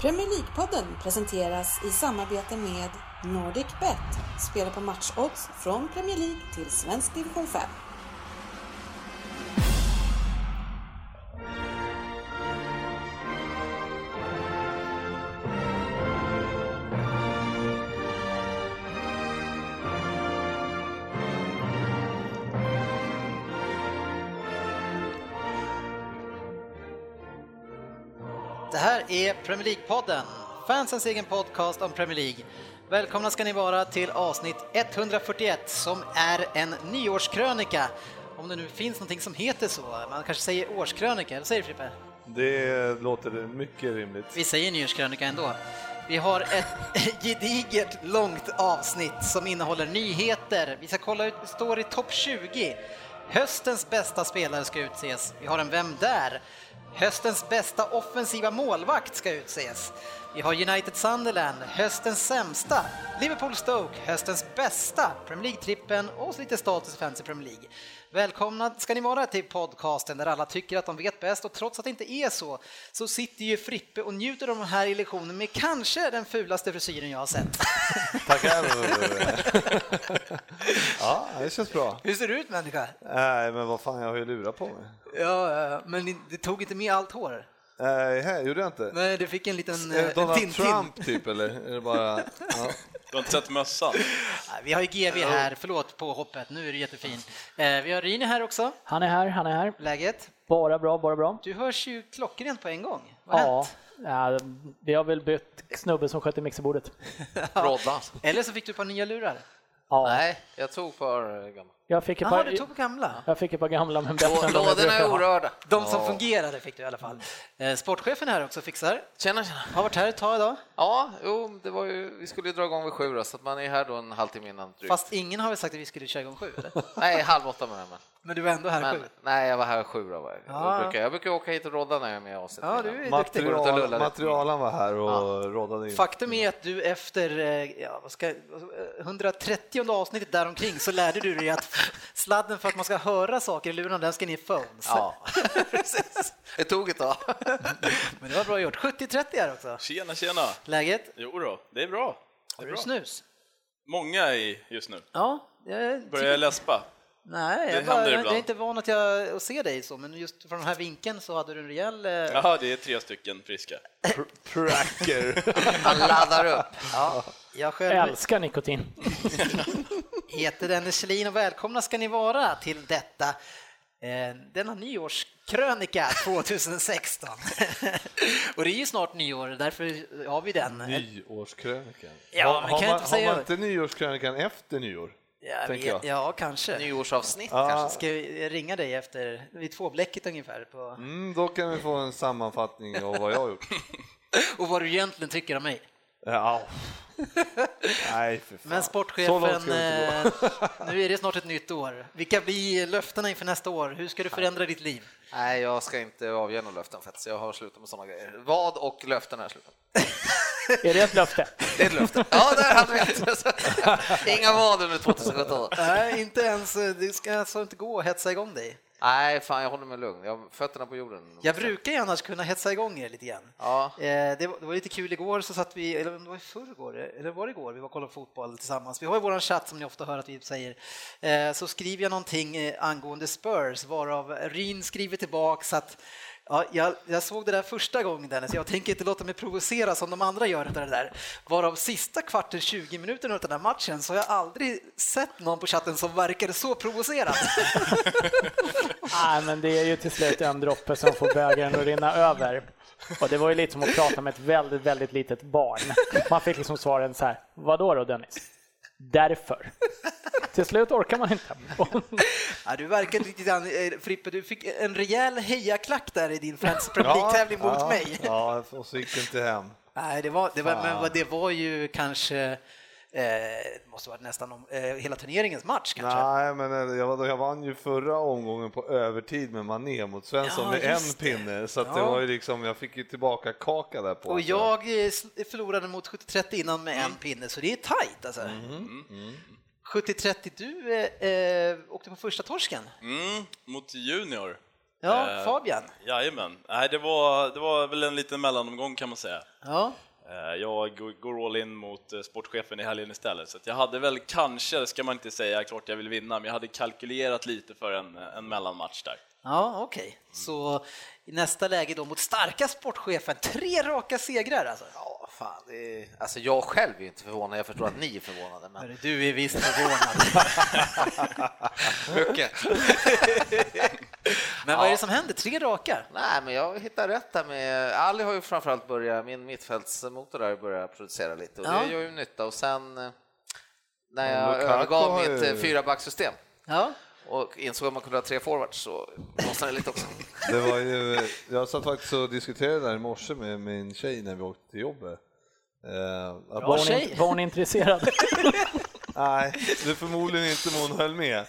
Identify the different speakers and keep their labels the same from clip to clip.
Speaker 1: Premier League-podden presenteras i samarbete med NordicBet. Spela på matchodds från Premier League till svensk division 5.
Speaker 2: Det här är Premier League-podden, fansens egen podcast om Premier League. Välkomna ska ni vara till avsnitt 141 som är en nyårskrönika. Om det nu finns någonting som heter så, man kanske säger årskrönika, eller säger du, Frippe?
Speaker 3: Det låter mycket rimligt.
Speaker 2: Vi säger nyårskrönika ändå. Vi har ett gediget långt avsnitt som innehåller nyheter. Vi ska kolla ut, vi står i topp 20. Höstens bästa spelare ska utses. Vi har en Vem där? Höstens bästa offensiva målvakt ska utses. Vi har United Sunderland, höstens sämsta, Liverpool Stoke, höstens bästa, Premier League-trippen och så lite status i fantasy Premier League. Välkomna ska ni vara till podcasten där alla tycker att de vet bäst och trots att det inte är så så sitter ju Frippe och njuter av den här illusionen med kanske den fulaste frisyren jag har sett.
Speaker 3: Tackar! ja, det känns bra.
Speaker 2: Hur ser du ut människa?
Speaker 3: Nej, men vad fan, jag har ju lurat på mig.
Speaker 2: Ja, eh, men det tog inte med allt hår.
Speaker 3: Nej, här gjorde jag inte.
Speaker 2: Nej, du fick en liten
Speaker 3: Är det
Speaker 2: eh,
Speaker 3: Donald
Speaker 2: Tintin.
Speaker 3: Trump typ, eller? Är det bara... Ja.
Speaker 4: Du har inte sett mössan?
Speaker 2: Nej, Vi har ju GV här, förlåt på hoppet, nu är du jättefin. Eh, Vi har Rini här också,
Speaker 5: Han är här, han är här.
Speaker 2: läget?
Speaker 5: Bara bra, bara bra.
Speaker 2: Du hörs ju klockrent på en gång. Vad har hänt?
Speaker 5: ja, vi har väl bytt snubben som skötte mixerbordet.
Speaker 6: Rodda.
Speaker 2: Eller så fick du ett par nya lurar.
Speaker 5: Ja,
Speaker 6: Nej, jag tog för gammal.
Speaker 5: Jag, fick ett
Speaker 2: Jaha,
Speaker 5: par,
Speaker 2: du tog gamla.
Speaker 5: jag fick ett par gamla men bättre än de jag
Speaker 6: Lådorna
Speaker 5: brukar
Speaker 6: är
Speaker 5: ha.
Speaker 6: orörda.
Speaker 2: De som fungerade fick du i alla fall. Eh, Sportchefen här också fixar.
Speaker 6: Tjena, tjena.
Speaker 2: Har varit här ett tag idag,
Speaker 6: Ja, jo, det var ju, vi skulle ju dra igång vid sju då, så att man är här då en halvtimme innan drygt.
Speaker 2: fast ingen har väl sagt att vi skulle köra igång sju? Eller?
Speaker 6: Nej, halv åtta menar jag, men.
Speaker 2: Men du var ändå här sju.
Speaker 6: men. Nej, jag var här sju då. Var jag.
Speaker 2: Ja.
Speaker 6: Jag, brukar, jag brukar åka hit och rodda när jag är med i avsnittet.
Speaker 2: Ja,
Speaker 6: innan.
Speaker 2: du är duktig.
Speaker 6: Går det att lulla
Speaker 3: Material,
Speaker 6: lite?
Speaker 3: materialen var här och rådade in.
Speaker 2: Faktum är att du efter eh, ja, vad ska, eh, 130 avsnittet däromkring så lärde du dig att sladden för att man ska höra saker i luren, den ska ner i phones.
Speaker 6: Ja, precis. Det tog ett tag.
Speaker 2: Men det var bra gjort. 70-30 här också.
Speaker 4: Tjena, tjena!
Speaker 2: Läget?
Speaker 4: Jo då, det är bra.
Speaker 2: Har du snus?
Speaker 4: Många i just nu.
Speaker 2: Ja. Jag
Speaker 4: Börjar jag läspa?
Speaker 2: Nej, jag,
Speaker 4: Det
Speaker 2: bara,
Speaker 4: händer
Speaker 2: jag
Speaker 4: ibland.
Speaker 2: är inte van att, jag, att se dig så, men just från den här vinkeln så hade du en rejäl... eh,
Speaker 4: Jaha, det är tre stycken friska.
Speaker 3: Pracker.
Speaker 6: Han laddar upp.
Speaker 2: Jag
Speaker 5: Jag
Speaker 2: själv
Speaker 5: älskar nikotin.
Speaker 2: heter Dennis Kjellin och välkomna ska ni vara till detta eh, denna nyårskrönika 2016. och det är ju snart nyår, därför har vi den.
Speaker 3: Nyårskrönikan.
Speaker 2: Ja,
Speaker 3: Har-
Speaker 2: men
Speaker 3: har,
Speaker 2: kan jag
Speaker 3: man,
Speaker 2: inte säga-
Speaker 3: har man inte nyårskrönikan efter nyår?
Speaker 2: Ja,
Speaker 3: tänker jag.
Speaker 2: ja kanske.
Speaker 6: Nyårsavsnitt
Speaker 3: Ja.
Speaker 6: kanske.
Speaker 2: Ska vi ringa dig efter, vid tvåblecket ungefär, på,
Speaker 3: Mm, då kan vi få en sammanfattning av vad jag har gjort.
Speaker 2: och vad du egentligen tycker om mig.
Speaker 3: Ja. Nej, för fan.
Speaker 2: Men
Speaker 3: Så långt
Speaker 2: sportchefen,
Speaker 3: ska det inte gå.
Speaker 2: eh, nu är det snart ett nytt år. Vilka blir löftena inför nästa år? Hur ska du förändra ditt liv?
Speaker 6: Nej, jag ska inte avge några löften faktiskt. Jag har slutat med sådana grejer. Vad och löften har jag slutat med.
Speaker 5: Är det ett löfte?
Speaker 6: Det är ett löfte. Ja, där hade vi ett. Inga vad under 2017.
Speaker 2: Nej, inte ens. eh, Det ska alltså inte gå att hetsa igång dig.
Speaker 6: Nej, fan jag håller mig lugn. Jag har fötterna på jorden.
Speaker 2: Jag brukar ju annars kunna hetsa igång er lite grann.
Speaker 6: Ja.
Speaker 2: Eh, Det var, det var lite kul igår så satt vi, eller om det var i förrgår, eller var det igår, vi var och kollade fotboll tillsammans. Vi har ju våran chatt som ni ofta hör att vi säger. Eh, Så skriver jag någonting eh, angående Spurs varav Ryn skriver tillbaks att Ja, jag, jag såg det där första gången Dennis, jag tänker inte låta mig provocera som de andra gör utav det där. Varav sista kvarten, 20 minuterna utav den här matchen så har jag aldrig sett någon på chatten som verkade så provocerad.
Speaker 5: Nej, men det är ju till slut en droppe som får bägaren att rinna över. Och det var ju lite som att prata med ett väldigt, väldigt litet barn. Man fick liksom svaren så här, vadå då Dennis? Därför. Till slut orkar man inte.
Speaker 2: Ja, du verkar lite grann, eh, Frippe, du fick en rejäl hejaklack där i din Fantasy Premier League-tävling mot
Speaker 3: ja,
Speaker 2: mig.
Speaker 3: Ja, och så gick det inte hem.
Speaker 2: Nej, det var, det var, men vad- det var ju kanske, eh, det måste vara nästan om, eh, hela turneringens match kanske.
Speaker 3: Nej, men eh, jag, jag vann ju förra omgången på övertid med Mané mot Svensson
Speaker 2: Ja,
Speaker 3: med en
Speaker 2: just
Speaker 3: pinne, så att det
Speaker 2: Ja.
Speaker 3: var ju liksom, jag fick ju tillbaka kaka där på.
Speaker 2: Och
Speaker 3: att
Speaker 2: jag eh, sl- förlorade mot 70-30 innan med en pinne, så det är tajt alltså. 70-30, du eh, eh, åkte på första torsken.
Speaker 4: Mm, mot Junior.
Speaker 2: Ja,
Speaker 4: Eh,
Speaker 2: Fabian.
Speaker 4: Jajamän. Nej, det var, det var väl en liten mellanomgång kan man säga.
Speaker 2: Ja.
Speaker 4: Eh, Jag g- går all in mot eh, sportchefen i helgen istället, så att jag hade väl kanske, ska man inte säga, klart jag vill vinna, men jag hade kalkylerat lite för en, eh, en mellanmatch där.
Speaker 2: Ja, okej. Så i nästa läge då mot starka sportchefen, tre raka segrar alltså.
Speaker 6: Ja, fan, det är... Alltså jag själv är ju inte förvånad, jag förstår att ni är förvånade. Men...
Speaker 2: Hörru, Du är visst förvånad.
Speaker 6: Mycket.
Speaker 2: Men vad är det som händer? Tre raka?
Speaker 6: Nej, men jag hittar rätt där med... Ali har ju framförallt börjat, min mittfältsmotor där börjar producera lite och
Speaker 2: Ja.
Speaker 6: det gör ju nytta. Och sen eh, när
Speaker 3: Men
Speaker 6: jag
Speaker 3: Lukaku
Speaker 6: övergav
Speaker 3: har
Speaker 6: mitt
Speaker 3: ju-
Speaker 6: eh, fyrabacksystem
Speaker 2: Ja.
Speaker 6: och insåg att man kunde ha tre forwards så lossnade det lite också.
Speaker 3: Det var ju, eh, jag satt faktiskt och diskuterade det här i morse med min tjej när vi åkte till jobbet. Eh, att
Speaker 5: Var
Speaker 3: bara,
Speaker 5: hon,
Speaker 2: tjej.
Speaker 5: in- var hon intresserad?
Speaker 3: nej, det är förmodligen inte vad hon höll med.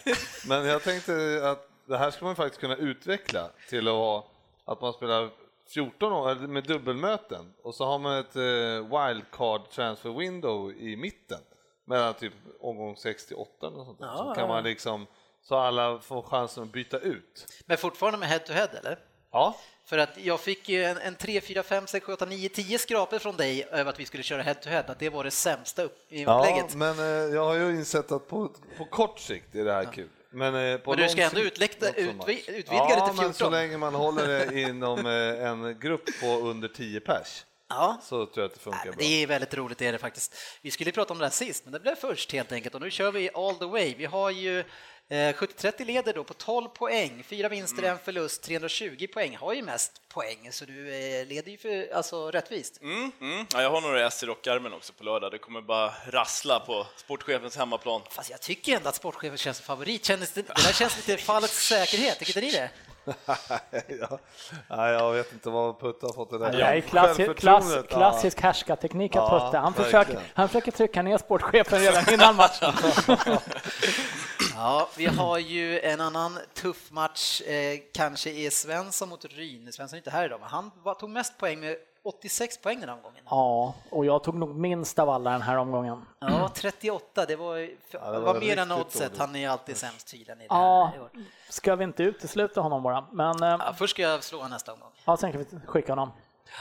Speaker 3: Men jag tänkte att det här skulle man faktiskt kunna utveckla till att, vara- att man spelar 14 år eller med dubbelmöten och så har man ett eh, wildcard transfer window i mitten mellan typ omgång 68 och sånt där. Så kan man liksom så alla får chansen att byta ut.
Speaker 2: Men fortfarande med head to head eller?
Speaker 3: Ja,
Speaker 2: För att jag fick ju en, en 3, 4, 5, 6, 7, 8, 9, 10 skrapor från dig över att vi skulle köra head to head, att det var det sämsta upp- i
Speaker 3: Ja,
Speaker 2: upplägget.
Speaker 3: men eh, jag har ju insett att på, på kort sikt är det här kul. Men, eh, på
Speaker 2: Men du
Speaker 3: lång
Speaker 2: ska ändå
Speaker 3: sikt-
Speaker 2: utläkta-
Speaker 3: not so much.
Speaker 2: utvi- utvidga det
Speaker 3: ja,
Speaker 2: till
Speaker 3: men så
Speaker 2: 14.
Speaker 3: länge man håller det inom eh, en grupp på under 10 pers
Speaker 2: Ja.
Speaker 3: så tror jag att det funkar
Speaker 2: Nej, men
Speaker 3: bra.
Speaker 2: det är väldigt roligt det är det faktiskt. Vi skulle prata om det här sist, men det blev först helt enkelt och nu kör vi all the way. Vi har ju eh, 70-30 leder då på 12 poäng, fyra vinster,
Speaker 3: Mm.
Speaker 2: en förlust, 320 poäng, har ju mest poäng så du eh, leder ju för, alltså, rättvist.
Speaker 4: Mm, mm. Ja, jag har några S i rockärmen också på lördag, det kommer bara rassla på sportchefens hemmaplan.
Speaker 2: Fast jag tycker ändå att sportchefen känns som favorit. Kändes det, det där känns lite fallets säkerhet, tycker ni det?
Speaker 3: ja. Nej, jag vet inte vad Putte har fått det där
Speaker 5: Det här är klassi- klass,
Speaker 3: Självförtroendet,
Speaker 5: klassisk härskarteknik att
Speaker 3: Ja,
Speaker 5: putta. Han
Speaker 3: verkligen.
Speaker 5: försöker, han försöker trycka ner sportchefen redan innan matchen.
Speaker 2: Ja, vi har ju en annan tuff match, eh, kanske är Svensson mot Ryn. Svensson är inte här idag, men han var- tog mest poäng med 86 poäng den här omgången.
Speaker 5: Ja, och jag tog nog minst av alla den här omgången.
Speaker 2: Ja, 38, det var, det
Speaker 3: det
Speaker 2: var
Speaker 3: var
Speaker 2: mer än
Speaker 3: riktigt
Speaker 2: oddset.
Speaker 3: dåligt.
Speaker 2: Han är alltid sämst tydligen i det
Speaker 5: Ja,
Speaker 2: här. i år.
Speaker 5: ska vi inte utesluta honom bara? Men eh,
Speaker 2: Ja, först ska jag slå honom nästa omgång.
Speaker 5: ja, sen kan vi skicka honom.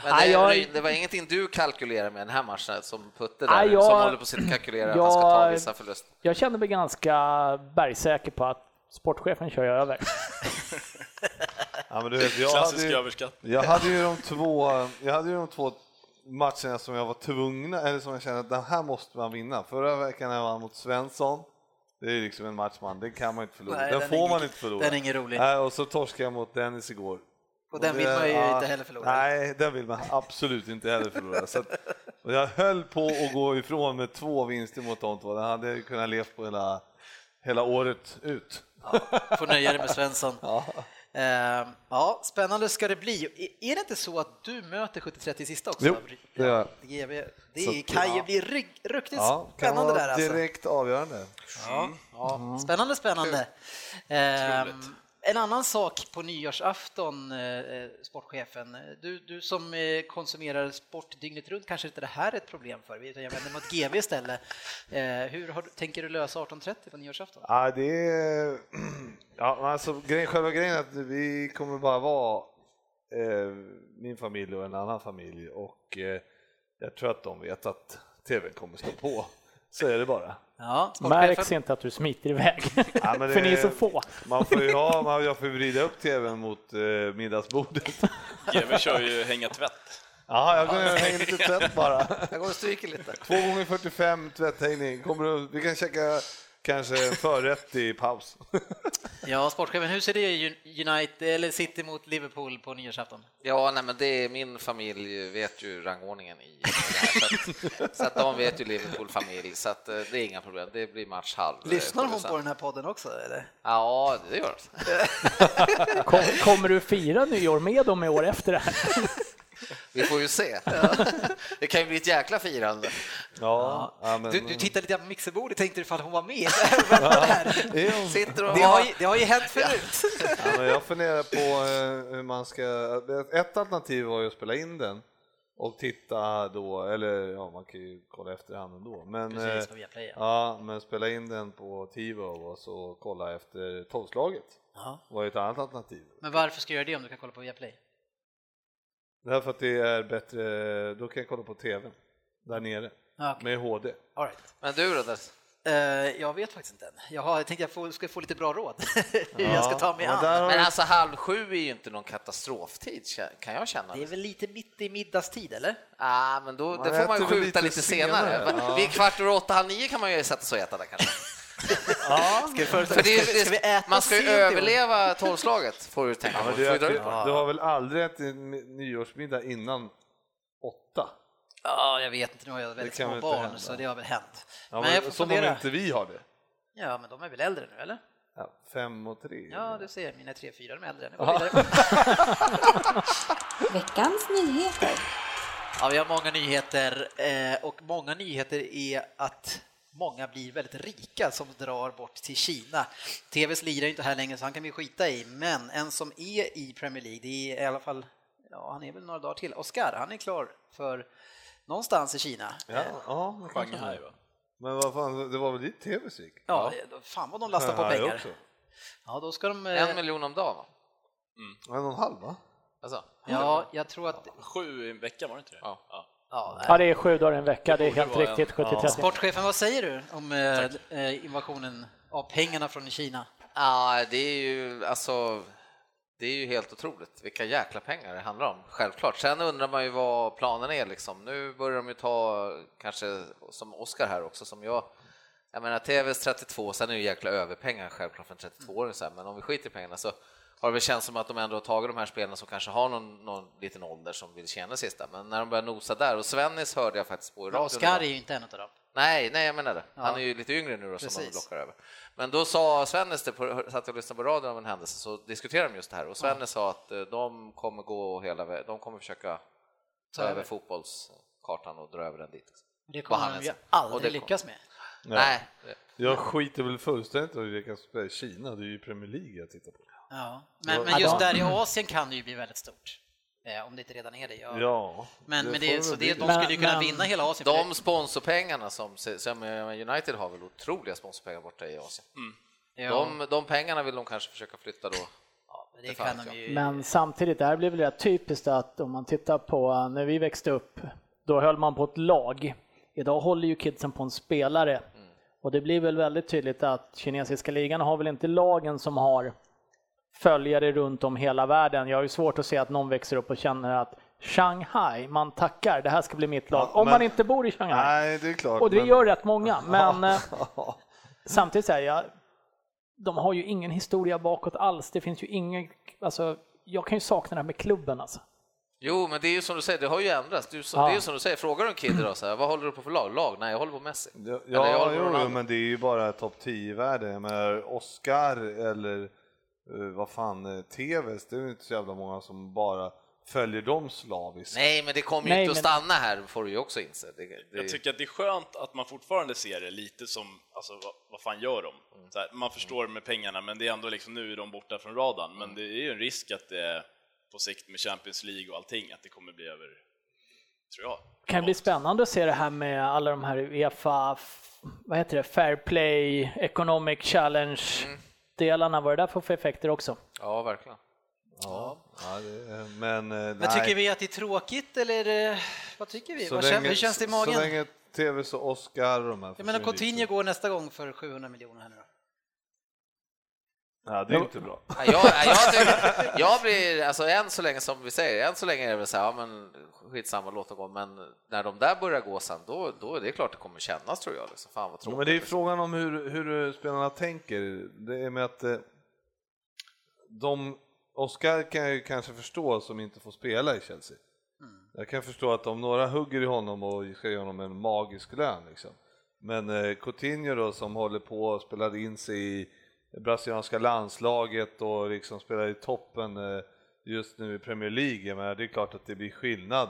Speaker 6: Men
Speaker 5: Nej,
Speaker 6: det,
Speaker 5: jag-
Speaker 6: det var ingenting du kalkylerade med den här matchen som Putte där,
Speaker 5: Nej, jag-
Speaker 6: som håller på att sitta och kalkylera att han ska ta
Speaker 5: jag-
Speaker 6: vissa förluster.
Speaker 5: Jag kände mig ganska bergsäker på att sportchefen kör jag över.
Speaker 3: Ja, men du vet, jag,
Speaker 4: Klassisk
Speaker 3: hade ju,
Speaker 4: överskatt.
Speaker 3: jag hade ju de två, jag hade ju de två matcherna som jag var tvungna, eller som jag kände att den här måste man vinna. Förra veckan när jag vann mot Svensson, det är ju liksom en match man, den kan man inte förlora.
Speaker 2: Nej,
Speaker 3: den,
Speaker 2: den är
Speaker 3: får
Speaker 2: ingen-
Speaker 3: man inte förlora.
Speaker 2: den är ingen rolig.
Speaker 3: Nej, och så torskade jag mot Dennis igår.
Speaker 2: Och den vill
Speaker 3: det-
Speaker 2: man ju
Speaker 3: ja,
Speaker 2: inte heller förlora.
Speaker 3: Nej, den vill man absolut inte heller förlora. Så att, och jag höll på att gå ifrån med två vinster mot de två. Den hade jag ju kunnat leva på hela, hela året ut.
Speaker 2: Får nöja dig med Svensson. Ja. ja, spännande ska det bli. I- Är det inte så att du möter 70-30 i sista också?
Speaker 3: Jo,
Speaker 2: Fabri-
Speaker 3: det gör jag.
Speaker 2: GB.
Speaker 3: Så
Speaker 2: Det
Speaker 3: att-
Speaker 2: kan ju
Speaker 3: ja.
Speaker 2: bli ry- riktigt
Speaker 3: Ja, kan
Speaker 2: spännande där
Speaker 3: vara
Speaker 2: alltså.
Speaker 3: direkt Mm. avgörande.
Speaker 2: Ja, spännande, spännande.
Speaker 4: Otroligt.
Speaker 2: Ehm, en annan sak på nyårsafton, eh, eh, sportchefen, du, du som eh, konsumerar sport dygnet runt kanske inte det här är ett problem för dig, utan jag vänder mig mot GB istället. Eh, hur har, du- tänker du lösa 18.30 på nyårsafton?
Speaker 3: Ja, det är... Ja, men alltså, grejen, själva grejen är att vi kommer bara vara eh, min familj och en annan familj och eh, jag tror att de vet att tvn kommer stå på. Så är det bara.
Speaker 2: Ja,
Speaker 5: Märks
Speaker 2: sportchefen.
Speaker 5: inte att du smiter iväg,
Speaker 3: Ja, men det-
Speaker 5: för ni är så få.
Speaker 3: Man får ju ha, man, jag får ju vrida upp tvn mot eh, middagsbordet.
Speaker 4: GW kör ju hänga tvätt.
Speaker 3: Ja, jag går ner och hänger lite tvätt bara.
Speaker 6: Jag går och stryker lite.
Speaker 3: Två gånger 45 tvätthängning. Kommer du, vi kan käka kanske en förrätt i paus.
Speaker 2: Ja, sportchefen, hur ser det ut United, eller City mot Liverpool på nyårsafton?
Speaker 6: Ja, nej, men det är min familj vet ju rangordningen i det här, så, att, så att de vet ju Liverpool familj så att eh, det är inga problem. Det blir match halv. eh,
Speaker 2: Lyssnar hon
Speaker 6: producent.
Speaker 2: på den här podden också? Eller?
Speaker 6: Ja, det gör de.
Speaker 5: Kom, kommer du fira nyår med dem i år efter det här?
Speaker 6: Vi får ju se. Det kan ju bli ett jäkla firande.
Speaker 3: Ja, ja, men, eh,
Speaker 2: Du, du tittar lite på mixerbordet, tänkte du ifall hon var med? Vem var där?
Speaker 3: Ja.
Speaker 6: Sitter och
Speaker 2: Det har ju, det har ju hänt förut.
Speaker 3: Ja, men jag funderar på eh, hur man ska... Ett alternativ var ju att spela in den och titta då, eller ja, man kan ju kolla efterhand ändå. Men,
Speaker 2: Precis,
Speaker 3: eh,
Speaker 2: på Viaplay, ja.
Speaker 3: ja, men spela in den på TiVo och så kolla efter tolvslaget.
Speaker 2: Ja.
Speaker 3: var ju ett annat alternativ.
Speaker 2: Men varför ska jag göra det om du kan kolla på Viaplay?
Speaker 3: Därför att det är bättre, då kan jag kolla på TVn där nere
Speaker 2: Ja, okej.
Speaker 3: med HD.
Speaker 2: All right.
Speaker 6: Men du då? Dess?
Speaker 2: Eh, jag vet faktiskt inte än. Jag, har, jag tänkte jag får, ska få lite bra råd hur jag ska ta mig
Speaker 3: men
Speaker 2: an.
Speaker 3: där har
Speaker 6: Men
Speaker 3: du-
Speaker 6: alltså halv sju är ju inte någon katastroftid kä- kan jag känna.
Speaker 2: Det är väl lite mitt i middagstid, eller?
Speaker 6: Ah, men då
Speaker 3: Man
Speaker 6: det får man ju
Speaker 3: äter väl lite
Speaker 6: skjuta lite, senare.
Speaker 3: senare, ja.
Speaker 6: Vid kvart över åtta, halv nio kan man ju sätta sig och äta där kanske.
Speaker 2: Ska, för,
Speaker 6: För det, är- det,
Speaker 2: vi äta
Speaker 6: man ska ju
Speaker 2: sent i år?
Speaker 6: överleva tolvslaget får du tänka
Speaker 3: Ja,
Speaker 6: på.
Speaker 3: men
Speaker 6: Får
Speaker 3: du,
Speaker 6: vi dra
Speaker 3: äter,
Speaker 6: ut på det?
Speaker 3: du har väl aldrig ätit en nyårsmiddag innan åtta?
Speaker 2: Ja, jag vet inte. Nu har jag väldigt
Speaker 3: kan väl
Speaker 2: små
Speaker 3: inte
Speaker 2: barn,
Speaker 3: hända.
Speaker 2: så det har väl hänt.
Speaker 3: Ja,
Speaker 2: men, jag får
Speaker 3: men, som om
Speaker 2: fundera.
Speaker 3: inte vi har det.
Speaker 2: Ja, men de är väl äldre nu, eller?
Speaker 3: Ja, fem och tre.
Speaker 2: Ja, du ser, mina tre, fyra, de är äldre. Nu går vi vidare.
Speaker 1: Veckans nyheter.
Speaker 2: Ja, vi har många nyheter eh, och många nyheter är att många blir väldigt rika som drar bort till Kina. TVs lirar är inte här längre så han kan vi skita i, men en som är i Premier League, det är i alla fall, ja han är väl några dagar till, Oscar, han är klar för någonstans i Kina.
Speaker 3: Ja, ja, men kanske.
Speaker 4: Shanghai va?
Speaker 3: Men vad fan, det var väl ditt tv gick?
Speaker 2: Ja, fan vad de lastar på
Speaker 3: Här
Speaker 2: pengar.
Speaker 3: också.
Speaker 2: Ja, då ska de... eh,
Speaker 6: En miljon om dagen va?
Speaker 3: En och en halv va?
Speaker 6: Alltså,
Speaker 2: Ja, jag tror att
Speaker 4: Sju i en vecka, var det inte det?
Speaker 6: Ja.
Speaker 2: ja,
Speaker 5: Ja, det är sju dagar i en vecka, det är
Speaker 4: borde
Speaker 5: helt
Speaker 4: vara en-
Speaker 5: riktigt 70-30.
Speaker 2: Sportchefen, vad säger du om eh, eh, invasionen av pengarna från Kina?
Speaker 6: ja, det är ju alltså det är ju helt otroligt vilka jäkla pengar det handlar om, självklart. Sen undrar man ju vad planen är liksom. Nu börjar de ju ta, kanske som Oscar här också, som jag, jag menar TVs 32, sen är det ju jäkla överpengar självklart för en 32-åring så här, men om vi skiter i pengarna så har det väl känts som att de ändå har tagit de här spelarna som kanske har någon, någon liten ålder som vill tjäna sista, men när de börjar nosa där, och Svennis hörde jag faktiskt på i radion.
Speaker 2: Oscar
Speaker 6: idag.
Speaker 2: är ju inte en av dem.
Speaker 6: Nej, nej, jag menar det. Han
Speaker 2: Ja.
Speaker 6: är ju lite yngre nu då, som de
Speaker 2: Precis.
Speaker 6: lockar över. Men då sa Svennes, det på, satt jag och lyssnade på radion om en händelse, så diskuterade de just det här och Svennes sa att eh, de kommer gå hela vä- de kommer försöka ta över fotbollskartan och dra över den dit.
Speaker 2: Det kommer
Speaker 6: Vad han
Speaker 2: de
Speaker 6: än
Speaker 2: ju
Speaker 6: säger. Och det
Speaker 2: aldrig
Speaker 6: kom-
Speaker 2: lyckas med.
Speaker 6: Nej,
Speaker 3: Jag skiter väl fullständigt i vilka som spelar i Kina, det är ju Premier League jag tittar på.
Speaker 2: Ja. Men, men
Speaker 5: Ja,
Speaker 2: just
Speaker 3: Alltså-
Speaker 5: de-
Speaker 2: där i Asien kan det ju bli väldigt stort. Eh, Om det inte redan är det. Jag...
Speaker 3: Ja,
Speaker 2: Men, men
Speaker 3: får
Speaker 2: det, så
Speaker 3: väl
Speaker 2: det,
Speaker 3: bli.
Speaker 2: de skulle ju
Speaker 5: Men-
Speaker 2: kunna
Speaker 5: men-
Speaker 2: vinna hela Asien. för
Speaker 6: de sponsorpengarna som, som United har väl otroliga sponsorpengar borta i Asien.
Speaker 2: det- ja,
Speaker 6: De, de pengarna vill de kanske försöka flytta då.
Speaker 2: det
Speaker 6: det
Speaker 2: kan
Speaker 6: fan
Speaker 2: de
Speaker 6: vet
Speaker 2: ju.
Speaker 5: Men samtidigt, det här blir väl rätt typiskt att om man tittar på när vi växte upp, då höll man på ett lag. Idag håller ju kidsen på en spelare.
Speaker 3: Mm.
Speaker 5: Och det blir väl väldigt tydligt att kinesiska ligan har väl inte lagen som har följare runt om hela världen. Jag har ju svårt att se att någon växer upp och känner att Shanghai, man tackar, det här ska bli mitt lag.
Speaker 3: Ja,
Speaker 5: Om man
Speaker 3: men-
Speaker 5: inte bor i Shanghai.
Speaker 3: Nej, det är klart.
Speaker 5: Och det
Speaker 3: men-
Speaker 5: gör rätt många, men eh, samtidigt säger jag, de har ju ingen historia bakåt alls. Det finns ju ingen, alltså, jag kan ju sakna det här med klubben alltså.
Speaker 6: Jo, men det är ju som du säger, det har ju ändrats. Du,
Speaker 5: Ja.
Speaker 6: Det är ju som du säger, frågar du en kid idag så här, vad håller du på för lag? Lag? Nej, jag håller på Messi.
Speaker 3: Ja,
Speaker 6: Eller jag
Speaker 3: ja
Speaker 6: håller på
Speaker 3: jo,
Speaker 6: Ronaldo.
Speaker 3: men det är ju bara topp 10-värde. Jag menar, Oscar eller eh, vad fan, eh, TVs, det är ju inte så jävla många som bara följer dem slaviskt.
Speaker 6: Nej, men det kommer ju
Speaker 5: Nej,
Speaker 6: inte att
Speaker 5: men-
Speaker 6: stanna här, får du ju också inse. Det, det...
Speaker 4: Jag tycker att det är skönt att man fortfarande ser det lite som, alltså vad, vad fan gör de? Så här, man förstår med pengarna, men det är ändå liksom, nu är de borta från radarn, men det är ju en risk att det på sikt med Champions League och allting, att det kommer bli över, tror jag.
Speaker 5: Det kan bli spännande att se det här med alla de här Uefa, f- vad heter det, Fair Play, Economic Challenge-delarna, vad det där får för effekter också.
Speaker 6: Ja, verkligen.
Speaker 3: Ja, ja, det, eh, men, eh,
Speaker 2: Men
Speaker 3: nej.
Speaker 2: tycker vi att det är tråkigt eller eh, vad tycker vi?
Speaker 3: Så
Speaker 2: Vad
Speaker 3: länge-
Speaker 2: känner, hur känns det i magen?
Speaker 3: Så länge TVs och Oscar och de här
Speaker 2: Jag menar
Speaker 3: försvinner
Speaker 2: Coutinho
Speaker 3: dit.
Speaker 2: går nästa gång för 700 miljoner här nu då.
Speaker 3: Ja, det är inte bra.
Speaker 6: Ja, Jag, ja, jag, tycker, jag blir, alltså än så länge som vi säger, än så länge är det väl så här, ja men skitsamma, låt dem gå, men när de där börjar gå sen, då, då är det klart det kommer kännas tror jag. Liksom. Fan vad
Speaker 3: Ja,
Speaker 6: tråkigt.
Speaker 3: men det är
Speaker 6: liksom.
Speaker 3: frågan om hur, hur spelarna tänker. Det är med att eh, de, Oscar kan jag ju kanske förstå som inte får spela i Chelsea. Jag kan förstå att om några hugger i honom och ska ge honom en magisk lön liksom. Men eh, Coutinho då som håller på och spelar in sig i brasilianska landslaget och liksom spelar i toppen eh, just nu i Premier League, jag menar, det är klart att det blir skillnad.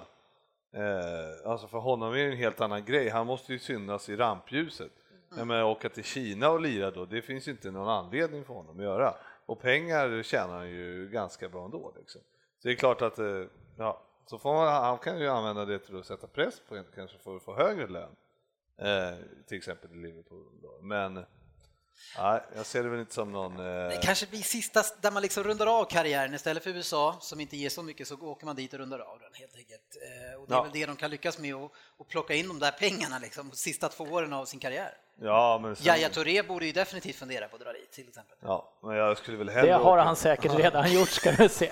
Speaker 3: Eh, alltså för honom är det en helt annan grej, han måste ju synas i rampljuset. Jag menar, åka till Kina och lira då, det finns ju inte någon anledning för honom att göra. Och pengar tjänar han ju ganska bra ändå. Liksom. Så det är klart att, eh, ja, så får man, han kan ju använda det till att sätta press på kanske för att få högre lön. Eh, till exempel i Liverpool. Då. Men nej, jag ser det väl inte som någon... Eh,
Speaker 2: Det kanske blir sista där man liksom rundar av karriären istället för USA som inte ger så mycket så åker man dit och rundar av den helt enkelt. Eh, Och det är
Speaker 3: Ja.
Speaker 2: väl det de kan lyckas med och, och plocka in de där pengarna liksom sista två åren av sin karriär.
Speaker 3: ja, men sen,
Speaker 2: Yahya Touré borde ju definitivt fundera på att dra dit till exempel.
Speaker 3: ja, men jag skulle väl hellre...
Speaker 5: Det har
Speaker 3: åka-
Speaker 5: han säkert redan gjort ska du se.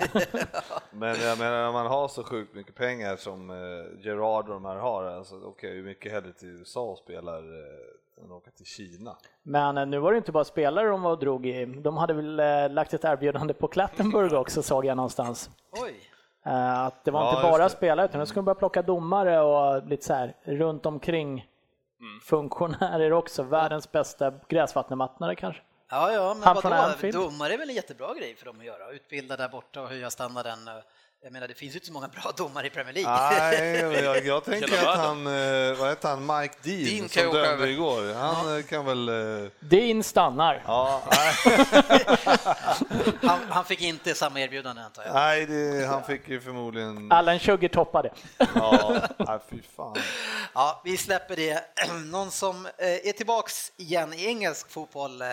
Speaker 3: Men jag menar när man har så sjukt mycket pengar som eh, Gerard och de här har, alltså, då åker jag ju mycket hellre till USA och spelar eh, än åka till Kina.
Speaker 5: Men eh, nu var det inte bara spelare de var och drog i. De hade väl eh, lagt ett erbjudande på Klattenburg också såg jag någonstans.
Speaker 2: Oj!
Speaker 5: Eh, Att det var
Speaker 3: Ja,
Speaker 5: inte
Speaker 3: just
Speaker 5: bara
Speaker 3: det.
Speaker 5: spelare utan de skulle börja plocka domare och lite så här runt omkring funktionärer också. Världens bästa gräsvattenmattnare kanske.
Speaker 2: Ja, ja, men
Speaker 5: Han från
Speaker 2: vadå?
Speaker 5: Anfield.
Speaker 2: Domare är väl en jättebra grej för dem att göra? Utbilda där borta och höja standarden. Jag menar, det finns ju inte så många bra domare i Premier League.
Speaker 3: Nej, men jag, jag tänker
Speaker 4: Hela
Speaker 3: att
Speaker 4: världen.
Speaker 3: han, eh, vad heter han, Mike Dean,
Speaker 6: Dean kan
Speaker 3: som
Speaker 6: ju åka
Speaker 3: dömde
Speaker 6: över.
Speaker 3: igår, han eh, kan väl... Eh,
Speaker 5: Dean stannar.
Speaker 3: ja, nej.
Speaker 2: Han, han fick inte samma erbjudande antar jag.
Speaker 3: Nej, det, han fick ju förmodligen...
Speaker 5: Allen Sugar toppade.
Speaker 3: Ja, nej, fy fan.
Speaker 2: Ja, vi släpper det. Någon som eh, är tillbaks igen i engelsk fotboll eh,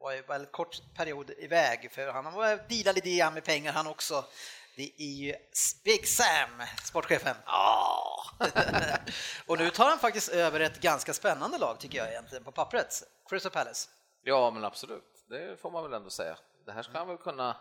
Speaker 2: var ju en kort period iväg för han var dealade lite grann med pengar han också. Det är ju Big Sam, sportchefen. och nu tar han faktiskt över ett ganska spännande lag tycker jag egentligen på pappret. Crystal Palace.
Speaker 6: Ja, men absolut. Det får man väl ändå säga. Det här ska han väl kunna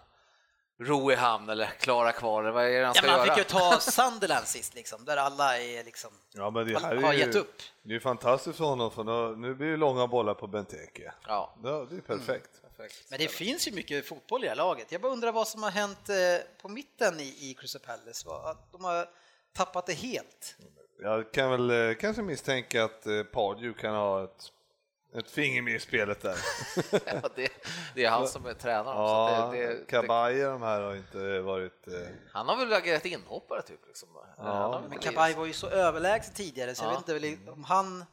Speaker 6: ro i hamn eller klara kvar eller vad är det han
Speaker 2: Ja,
Speaker 6: ska
Speaker 2: men han
Speaker 6: göra?
Speaker 2: fick ju ta Sunderland sist liksom, där alla är liksom...
Speaker 3: Ja, men det
Speaker 2: Han
Speaker 3: här är
Speaker 2: har
Speaker 3: ju,
Speaker 2: gett upp.
Speaker 3: Det är ju fantastiskt för honom, för nu, nu blir det långa bollar på Benteke.
Speaker 6: Ja,
Speaker 3: Ja, det är perfekt.
Speaker 6: perfekt.
Speaker 2: Men det finns ju mycket fotboll i det här laget. Jag bara undrar vad som har hänt eh, på mitten i, i Crystal Palace. Vad- att De har tappat det helt.
Speaker 3: Jag kan väl eh, kanske misstänka att eh, Pardew kan ha ett, ett finger med i spelet där.
Speaker 6: Ja, det, det är han som är tränaren.
Speaker 3: Ja,
Speaker 6: Ja, det, det, det,
Speaker 3: Kabaj och de här har inte varit... eh,
Speaker 6: han har väl agerat inhoppare typ. Liksom. Han har väl
Speaker 2: Men
Speaker 6: inte
Speaker 2: Kabaj var ju så överlägsen tidigare så jag
Speaker 6: Ja.
Speaker 2: vet inte väl om han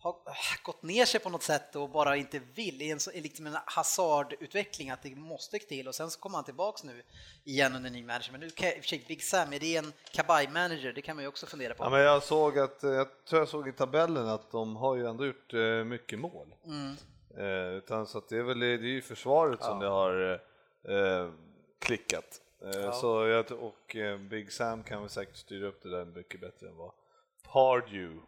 Speaker 2: har äh, gått ner sig på något sätt och bara inte vill. I en, så- i liksom en hazardutveckling att det måste till och sen så kommer han tillbaks nu igen under ny manager. Men nu kan, i och för sig, Big Sam, är det en Kabaj-manager? Det kan man ju också fundera på.
Speaker 3: Ja, men jag såg att, eh, jag tror jag såg i tabellen att de har ju ändå gjort eh, mycket mål. Eh, utan så att det är väl det är ju försvaret som det har eh, eh, klickat. Eh, så jag, och eh, Big Sam kan väl säkert styra upp det där mycket bättre än vad Pardew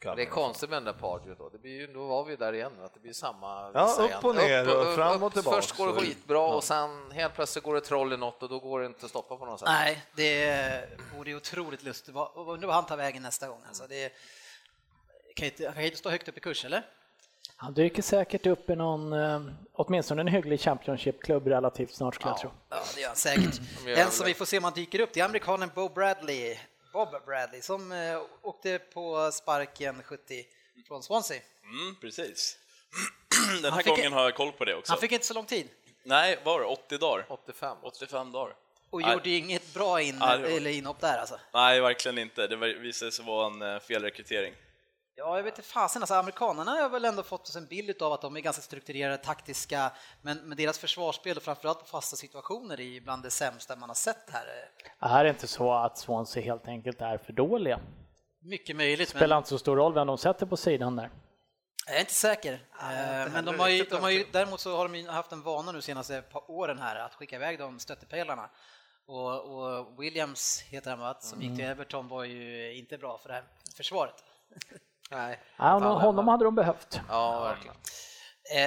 Speaker 3: kan.
Speaker 6: Det är konstigt med den där Pardew då. Det blir ju, då var vi där igen, att det blir samma
Speaker 3: Ja,
Speaker 6: visa
Speaker 3: upp
Speaker 6: igen.
Speaker 3: och ner och fram och tillbaks.
Speaker 6: Först går det skitbra och sen helt plötsligt går det troll i något och då går det inte att stoppa på något sätt.
Speaker 2: Nej, det vore otroligt lustigt. Vad- Undrar vad han tar vägen nästa gång. Alltså, det kan ju inte, han kan ju inte stå högt upp i kurs, eller?
Speaker 5: Han dyker säkert upp i någon, eh, åtminstone en hygglig Championship-klubb relativt snart skulle jag tro.
Speaker 2: Ja, det gör han säkert.
Speaker 6: De gör
Speaker 2: En
Speaker 6: väl
Speaker 2: som
Speaker 6: det.
Speaker 2: vi får se om han dyker upp, det är amerikanen Bo Bradley, Bob Bradley, som eh, åkte på sparken 70 från Swansea.
Speaker 4: Mm, precis. Den
Speaker 2: Han
Speaker 4: här
Speaker 2: fick-
Speaker 4: gången har jag koll på det också.
Speaker 2: Han fick inte så lång tid
Speaker 4: Nej, vad var det 80 dagar?
Speaker 6: 85.
Speaker 4: 85 dagar.
Speaker 2: och
Speaker 4: Nej.
Speaker 2: gjorde inget bra in,
Speaker 4: Nej, det var-
Speaker 2: eller inhopp där alltså.
Speaker 4: Nej, verkligen inte. Det var- visade sig vara en eh, felrekrytering.
Speaker 2: Ja, jag vet inte fasen. Alltså, amerikanerna har väl ändå fått oss en bild av att de är ganska strukturerade, taktiska, men, men deras försvarsspel och framförallt på fasta situationer är ju bland det sämsta man har sett här. eh.
Speaker 5: Är det inte så att Swansea helt enkelt är för dåliga?
Speaker 2: Mycket möjligt, men
Speaker 5: Spelar inte så stor roll vem de sätter på sidan där.
Speaker 2: jag är inte säker. Eh, men de
Speaker 6: heller
Speaker 2: har ju,
Speaker 6: riktigt
Speaker 2: de har ju, däremot så har de ju haft en vana nu senaste par åren här att skicka iväg de stöttepelarna. Och, och Williams heter han va, som gick till
Speaker 6: Mm.
Speaker 2: Everton var ju inte bra för det här försvaret.
Speaker 6: Nej.
Speaker 5: Ja,
Speaker 6: Fan,
Speaker 5: honom hade de behövt.
Speaker 6: Ja, verkligen.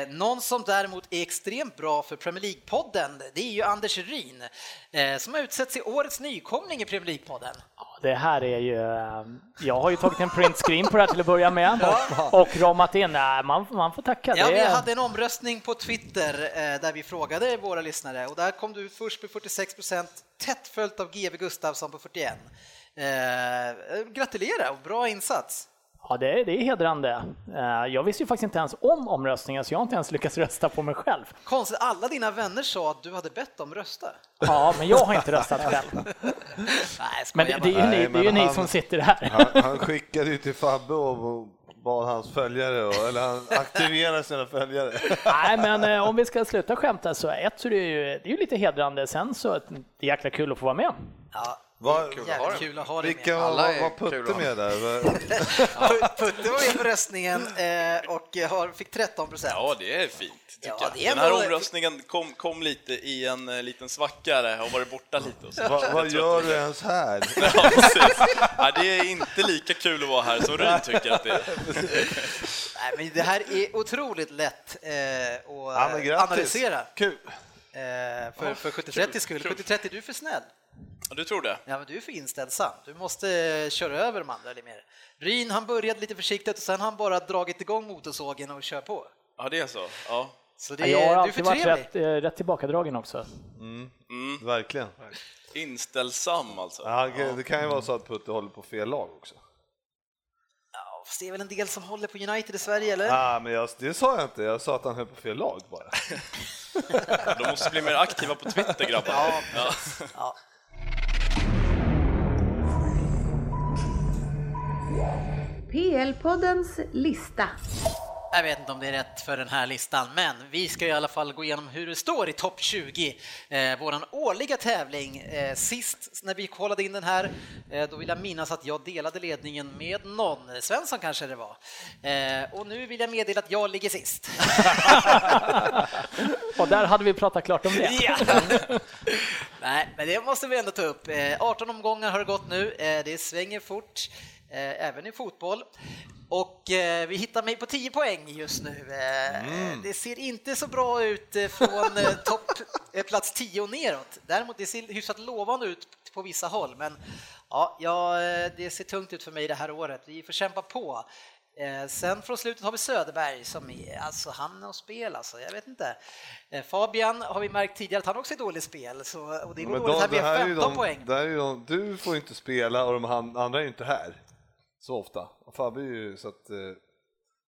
Speaker 2: Eh, någon som däremot är extremt bra för Premier League-podden, det är ju Anders Ryn eh, som har utsetts till årets nykomling i Premier League-podden.
Speaker 5: Ja, Det här är ju... eh, Jag har ju tagit en printscreen på det här till att börja med och ramat in. Nej, man, man får tacka.
Speaker 2: Ja,
Speaker 5: det
Speaker 2: vi
Speaker 5: är-
Speaker 2: hade en omröstning på Twitter eh, där vi frågade våra lyssnare och där kom du först med 46 procent, tätt följt av GV Gustafsson på 41. Eh, eh, gratulera och bra insats!
Speaker 5: Ja, det, är- det är hedrande. Eh, Jag visste ju faktiskt inte ens om omröstningen, så jag har inte ens lyckats rösta på mig själv.
Speaker 2: Konstigt, alla dina vänner sa att du hade bett dem rösta.
Speaker 5: Ja, men jag har inte röstat själv.
Speaker 2: Nej, jag
Speaker 5: Men det,
Speaker 2: skojar
Speaker 5: det
Speaker 2: bara.
Speaker 5: är ju
Speaker 3: Nej,
Speaker 5: ni, det är ju
Speaker 3: men
Speaker 5: ni
Speaker 3: han-
Speaker 5: som sitter här.
Speaker 3: Han, han skickade ju till Fabbe och och bad hans följare, och, eller han aktiverade sina följare.
Speaker 5: Nej, men eh, om vi ska sluta skämta så ett så är det ju, det är ju lite hedrande. Sen så, det är jäkla kul att få vara med.
Speaker 2: Ja,
Speaker 3: Vad-
Speaker 6: Kul att ha
Speaker 2: Jävligt
Speaker 6: den.
Speaker 2: kul att ha dig
Speaker 3: Vilka
Speaker 2: med.
Speaker 6: Alla
Speaker 3: var,
Speaker 6: är
Speaker 3: var
Speaker 6: kul att
Speaker 3: Putte
Speaker 6: ha.
Speaker 3: med där? Vad-
Speaker 2: Put- Putte var med på röstningen eh, och har, fick 13 procent.
Speaker 4: Ja, det är fint. tycker
Speaker 2: Ja,
Speaker 4: jag.
Speaker 2: det är
Speaker 4: Den här
Speaker 2: ändå-
Speaker 4: omröstningen kom, kom lite i en eh, liten svacka där jag har varit borta lite. Och så.
Speaker 3: Vad, vad
Speaker 4: Jag tror
Speaker 3: gör
Speaker 4: att-
Speaker 3: du ens här?
Speaker 4: Ja, precis. Ja, det är inte lika kul att vara här som Ryd tycker att det är.
Speaker 2: Nej, men det här är otroligt lätt eh, att
Speaker 3: Ja, men grattis.
Speaker 2: analysera.
Speaker 3: Kul.
Speaker 2: Eh, för, för 70-30 skull. 70-30, du är för snäll.
Speaker 4: Ja, Du tror det?
Speaker 2: Ja, men du är för inställsam. Du måste eh, köra över de andra lite mer. Ryn, han började lite försiktigt och sen har han bara dragit igång motorsågen och kör på.
Speaker 4: Ja, det är så. Ja.
Speaker 2: Så
Speaker 5: Ja,
Speaker 2: det,
Speaker 5: jag har
Speaker 2: är du är
Speaker 5: alltid
Speaker 2: för
Speaker 5: varit
Speaker 2: trevlig.
Speaker 5: rätt, eh, rätt tillbakadragen också.
Speaker 4: Mm.
Speaker 3: Verkligen.
Speaker 4: Inställsam alltså.
Speaker 3: Ja, det kan ju vara så att Putte håller på fel lag också.
Speaker 2: Ja, fast det är väl en del som håller på United i Sverige, eller?
Speaker 3: Ja, men jag, det sa jag inte. Jag sa att han höll på fel lag bara.
Speaker 4: De måste bli mer aktiva på Twitter grabbar. Ja.
Speaker 2: Ja.
Speaker 7: PL-poddens lista.
Speaker 2: Jag vet inte om det är rätt för den här listan, men vi ska i alla fall gå igenom hur det står i topp 20. Eh, våran årliga tävling. Eh, sist när vi kollade in den här, eh, då vill jag minnas att jag delade ledningen med någon. Svensson kanske det var. Eh, och nu vill jag meddela att jag ligger sist.
Speaker 5: Och där hade vi pratat klart om det.
Speaker 2: Ja. Nej, men det måste vi ändå ta upp. Eh, 18 omgångar har det gått nu. Eh, Det svänger fort, eh, även i fotboll. Och eh, vi hittar mig på 10 poäng just nu. Eh, Det ser inte så bra ut eh, från eh, topp, eh, plats 10 och neråt. Däremot det ser hyfsat lovande ut på vissa håll, men ja, ja, eh, det ser tungt ut för mig det här året. Vi får kämpa på. Eh, Sen från slutet har vi Söderberg som är, alltså han och spel alltså, jag vet inte. Eh, Fabian har vi märkt tidigare att han också är dålig spel, så, och det går
Speaker 3: Men
Speaker 2: dåligt, här
Speaker 3: de- det här är
Speaker 2: blir
Speaker 3: ju
Speaker 2: 15
Speaker 3: de-
Speaker 2: poäng.
Speaker 3: det här är ju de- Du får ju inte spela och de han- andra är ju inte här så ofta. Och Fabbe är ju så att... eh,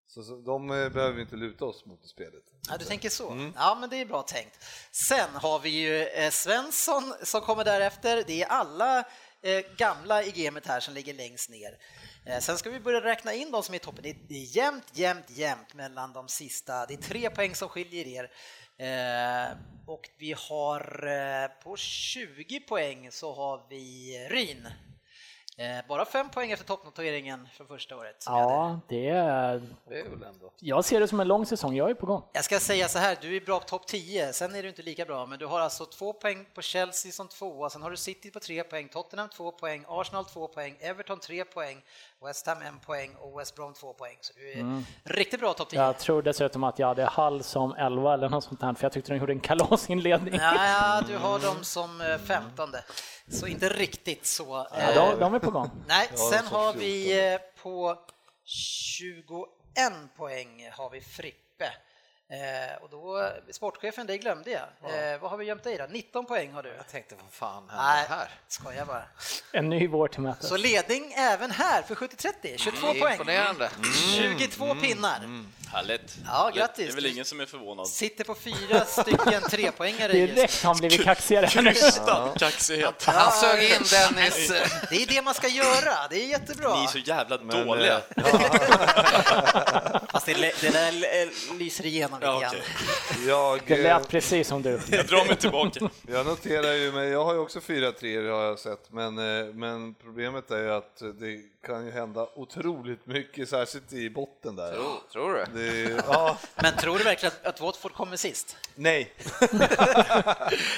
Speaker 3: Så, så, de eh, behöver vi inte luta oss mot i spelet.
Speaker 2: Ja, du tänker så. Ja, men det är bra tänkt. Sen har vi ju eh, Svensson som kommer därefter. Det är alla eh, gamla i gamet här som ligger längst ner. Eh, Sen ska vi börja räkna in de som är i toppen. Det är- det är jämnt, jämnt, jämnt mellan de sista. Det är tre poäng som skiljer er. Eh, Och vi har eh, på 20 poäng så har vi Ryn. Eh, Bara fem poäng efter toppnoteringen från första året. som vi hade.
Speaker 5: Ja, det är...
Speaker 6: Det är väl ändå.
Speaker 5: Jag ser det som en lång säsong, jag är på gång.
Speaker 2: Jag ska säga så här, du är bra på topp 10, sen är du inte lika bra, men du har alltså två poäng på Chelsea som tvåa, sen har du City på tre poäng, Tottenham två poäng, Arsenal två poäng, Everton tre poäng, West Ham en poäng och West Brom två poäng. Så du är riktigt bra topp 10.
Speaker 5: Jag tror dessutom att jag hade Hall som 11 eller något sånt där, för jag tyckte de gjorde en kalasinledning.
Speaker 2: Ja, ja, du har dem som eh, femtonde, så inte riktigt så.
Speaker 5: Ja,
Speaker 2: eh,
Speaker 5: de, de är på gång.
Speaker 2: Nej,
Speaker 3: Ja,
Speaker 2: sen
Speaker 3: så
Speaker 2: har vi eh, på 21 poäng har vi Frippe. Eh, och då, sportchefen, det glömde jag. Eh, vad har vi gömt dig då? 19 poäng har du.
Speaker 6: Jag tänkte, vad fan hände
Speaker 2: Nej,
Speaker 6: här?
Speaker 2: skojar bara.
Speaker 5: En ny vår till mötes.
Speaker 2: Så ledning även här för
Speaker 4: Mm.
Speaker 2: 70-30, 22
Speaker 6: Det är
Speaker 2: poäng.
Speaker 6: Imponerande.
Speaker 2: 22 pinnar.
Speaker 4: Härligt.
Speaker 2: Ja, grattis.
Speaker 4: Det är väl ingen som är förvånad.
Speaker 2: Sitter på fyra stycken trepoängare just.
Speaker 5: Direkt har han blivit kaxigare.
Speaker 4: Krystad kaxighet.
Speaker 6: Han sög in Dennis.
Speaker 2: Det är det man ska göra, det är jättebra.
Speaker 4: Ni är så jävla
Speaker 3: Men,
Speaker 4: dåliga.
Speaker 3: eh,
Speaker 2: Fast det, lä- det där eh, lyser igenom lite
Speaker 4: Ja,
Speaker 2: grann.
Speaker 4: okej.
Speaker 3: Jag,
Speaker 5: Det
Speaker 3: eh,
Speaker 5: lät precis som du.
Speaker 4: Jag drar mig tillbaka.
Speaker 3: jag noterar ju, men jag har ju också fyra treor har jag sett, men, eh, men problemet är ju att det kan ju hända otroligt mycket, särskilt i botten där.
Speaker 6: Jo, tror du?
Speaker 3: Det är, ja,
Speaker 2: Men tror du verkligen att, att Watford kommer sist?
Speaker 3: nej.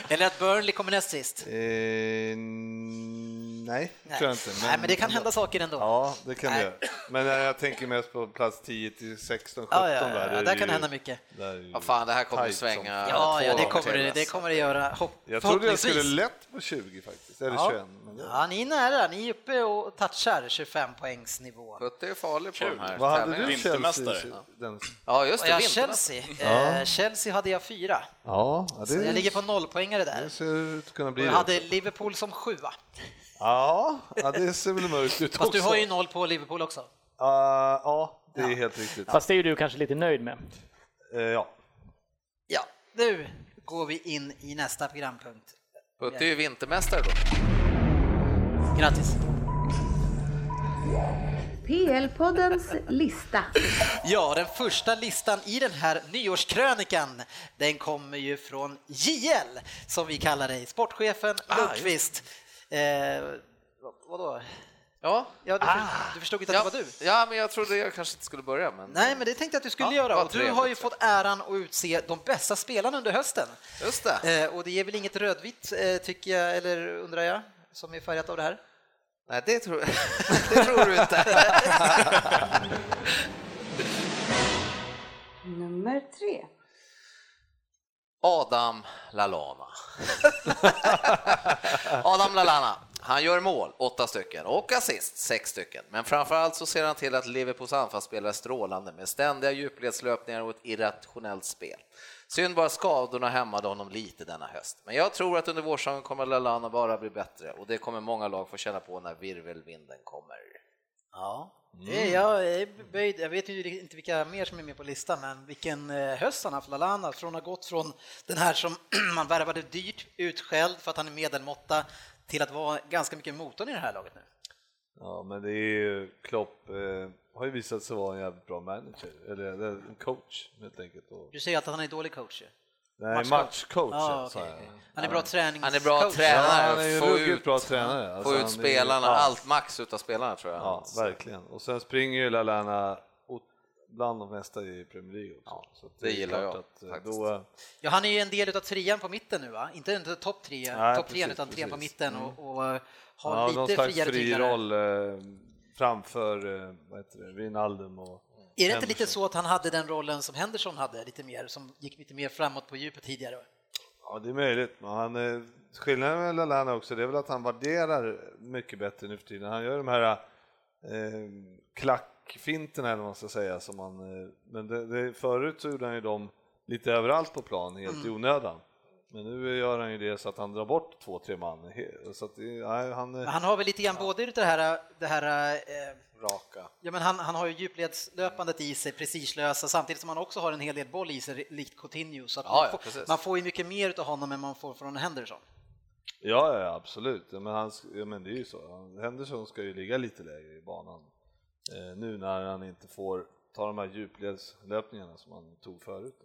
Speaker 2: Eller att Burnley kommer näst sist?
Speaker 3: Eh, nej, tror jag inte.
Speaker 2: Nej, men det kan hända saker ändå.
Speaker 3: Ja, det kan det
Speaker 2: Nej.
Speaker 3: göra. Men eh, jag tänker mest på plats 10 till 16, 17
Speaker 2: Ja, ja, ja,
Speaker 3: där. är
Speaker 2: där kan
Speaker 3: ju-
Speaker 2: det hända mycket.
Speaker 3: där är ju
Speaker 6: Ja, fan, det här kommer
Speaker 3: tajt som-
Speaker 6: svänga
Speaker 2: Ja,
Speaker 6: två
Speaker 2: ja det,
Speaker 6: gånger
Speaker 2: kommer
Speaker 6: till,
Speaker 2: det, det
Speaker 6: alltså.
Speaker 2: kommer det göra. Hopp,
Speaker 3: Jag trodde jag
Speaker 2: förhoppningsvis.
Speaker 3: skulle lätt på 20 faktiskt, eller
Speaker 2: Ja.
Speaker 3: 21. Men det...
Speaker 2: Ja, ni är nära, ni är uppe och touchar 25 poängsnivå.
Speaker 6: Putte är farlig på de här
Speaker 3: Vad hade
Speaker 6: tävlingarna.
Speaker 3: du Chelsea?
Speaker 4: Vintermästare.
Speaker 3: Den...
Speaker 6: Ja, just
Speaker 2: Och
Speaker 6: det.
Speaker 2: jag har
Speaker 6: vintermästare.
Speaker 2: Chelsea. Eh, Chelsea hade jag fyra.
Speaker 3: Ja, ja,
Speaker 2: Så jag ligger
Speaker 3: det
Speaker 2: på nollpoängare där.
Speaker 3: det ser ut att kunna
Speaker 2: Och
Speaker 3: bli
Speaker 2: jag
Speaker 3: det.
Speaker 2: hade Liverpool som sjua.
Speaker 3: Ja, ja, det ser väl mörkt ut
Speaker 2: Fast
Speaker 3: också.
Speaker 2: du har ju noll på Liverpool också.
Speaker 3: Ah, ja, det är helt riktigt.
Speaker 5: Fast det är ju du kanske lite nöjd med.
Speaker 3: Eh, ja.
Speaker 2: Ja, nu går vi in i nästa programpunkt.
Speaker 6: Putte är ju vintermästare då.
Speaker 2: Grattis!
Speaker 7: PL-poddens lista.
Speaker 2: Ja, den första listan i den här nyårskrönikan,
Speaker 6: Ah,
Speaker 2: den kommer ju från JL, som vi kallar dig, sportchefen Lundqvist. Eh, vad- vadå?
Speaker 6: Ja,
Speaker 2: Ja, du, förstod, du förstod inte att
Speaker 6: Ah. ja,
Speaker 2: det var du?
Speaker 6: ja, men jag trodde jag kanske inte skulle börja. Men...
Speaker 2: Nej, men det tänkte jag att du skulle
Speaker 6: Ja,
Speaker 2: göra.
Speaker 6: vad
Speaker 2: Och du
Speaker 6: trevligt.
Speaker 2: har ju fått äran att utse de bästa spelarna under hösten.
Speaker 6: Just det.
Speaker 2: Eh, och det ger väl inget rödvitt, eh, tycker jag, eller undrar jag, som är färgat av det här?
Speaker 6: Nej, det tror, det tror du inte.
Speaker 1: Nummer tre.
Speaker 6: Adam Lalana. Adam Lalana. Han gör mål, åtta stycken, och assist, sex stycken. Men framförallt så ser han till att Liverpools anfallsspelare är strålande med ständiga djupledslöpningar och ett irrationellt spel. Synd bara skadorna hämmade honom lite denna höst. Men jag tror att under vårsäsongen kommer Lalana bara bli bättre och det kommer många lag få känna på när virvelvinden kommer.
Speaker 2: Ja. Mm. Jag, är böjd, jag vet ju inte vilka mer som är med på listan, men vilken eh, höst han haft, Lalana, från att ha gått från den här som man värvade dyrt, utskälld för att han är medelmåtta, till att vara ganska mycket motorn i det här laget nu.
Speaker 3: Ja, men det är ju Klopp eh, har ju visat sig vara en jävligt bra manager, eller eller en coach helt enkelt. Och,
Speaker 2: Du säger att han är dålig coach ju.
Speaker 3: nej,
Speaker 2: matchcoach.
Speaker 3: matchcoach
Speaker 2: Ja,
Speaker 3: sa
Speaker 2: okej,
Speaker 3: jag.
Speaker 2: okej. Han är bra träningscoach.
Speaker 6: Han är bra
Speaker 3: Ja,
Speaker 6: tränare.
Speaker 3: han är ju
Speaker 6: Få
Speaker 3: ruggigt
Speaker 6: ut-
Speaker 3: bra tränare. Alltså,
Speaker 6: Få
Speaker 3: han
Speaker 6: ut
Speaker 3: är-
Speaker 6: spelarna,
Speaker 3: ja.
Speaker 6: allt max utav spelarna tror jag.
Speaker 3: Ja, verkligen. Och sen springer ju Lallana åt- bland de mesta i Premier League också. så att
Speaker 6: det gillar
Speaker 3: klart
Speaker 6: jag,
Speaker 3: att, eh,
Speaker 6: faktiskt.
Speaker 3: Då,
Speaker 2: Ja, han är ju en del av trean på mitten nu va? Inte, inte topp tre,
Speaker 3: Nej,
Speaker 2: topp trean,
Speaker 3: precis,
Speaker 2: utan trean på
Speaker 3: precis. Mm.
Speaker 2: mitten och, och eh, har
Speaker 3: ja, någon
Speaker 2: lite
Speaker 3: slags
Speaker 2: friare
Speaker 3: fri
Speaker 2: tyglar.
Speaker 3: roll eh, framför eh, vad heter det, Wijnaldum och
Speaker 2: Är det inte lite
Speaker 3: Henderson.
Speaker 2: så att han hade den rollen som Henderson hade lite mer, som gick lite mer framåt på djupet tidigare?
Speaker 3: Ja, det är möjligt. Men han, eh, skillnaden med Lallana också, det är väl att han värderar mycket bättre nu för tiden. Han gör de här eh, klackfinterna eller vad man ska säga. Som han, eh, men det, det, förut så gjorde han ju dem lite överallt på plan, helt i onödan. Men nu gör han ju det så att han drar bort två, tre man. he- Så att, det- nej, han, eh,
Speaker 2: Men han har väl lite grann både det här, det här eh,
Speaker 6: Raka.
Speaker 2: ja, men han, han har ju djupledslöpandet i sig, precislösa, samtidigt som han också har en hel del boll i sig, likt Coutinho. Så att
Speaker 6: Ja,
Speaker 2: man,
Speaker 6: ja,
Speaker 2: får,
Speaker 6: precis.
Speaker 2: man får ju mycket mer av honom än man får från Henderson.
Speaker 3: Ja, ja, ja, absolut. Ja, Men, han, ja, men det är ju så. Han- Henderson ska ju ligga lite lägre i banan eh, nu när han inte får ta de här djupledslöpningarna som han tog förut.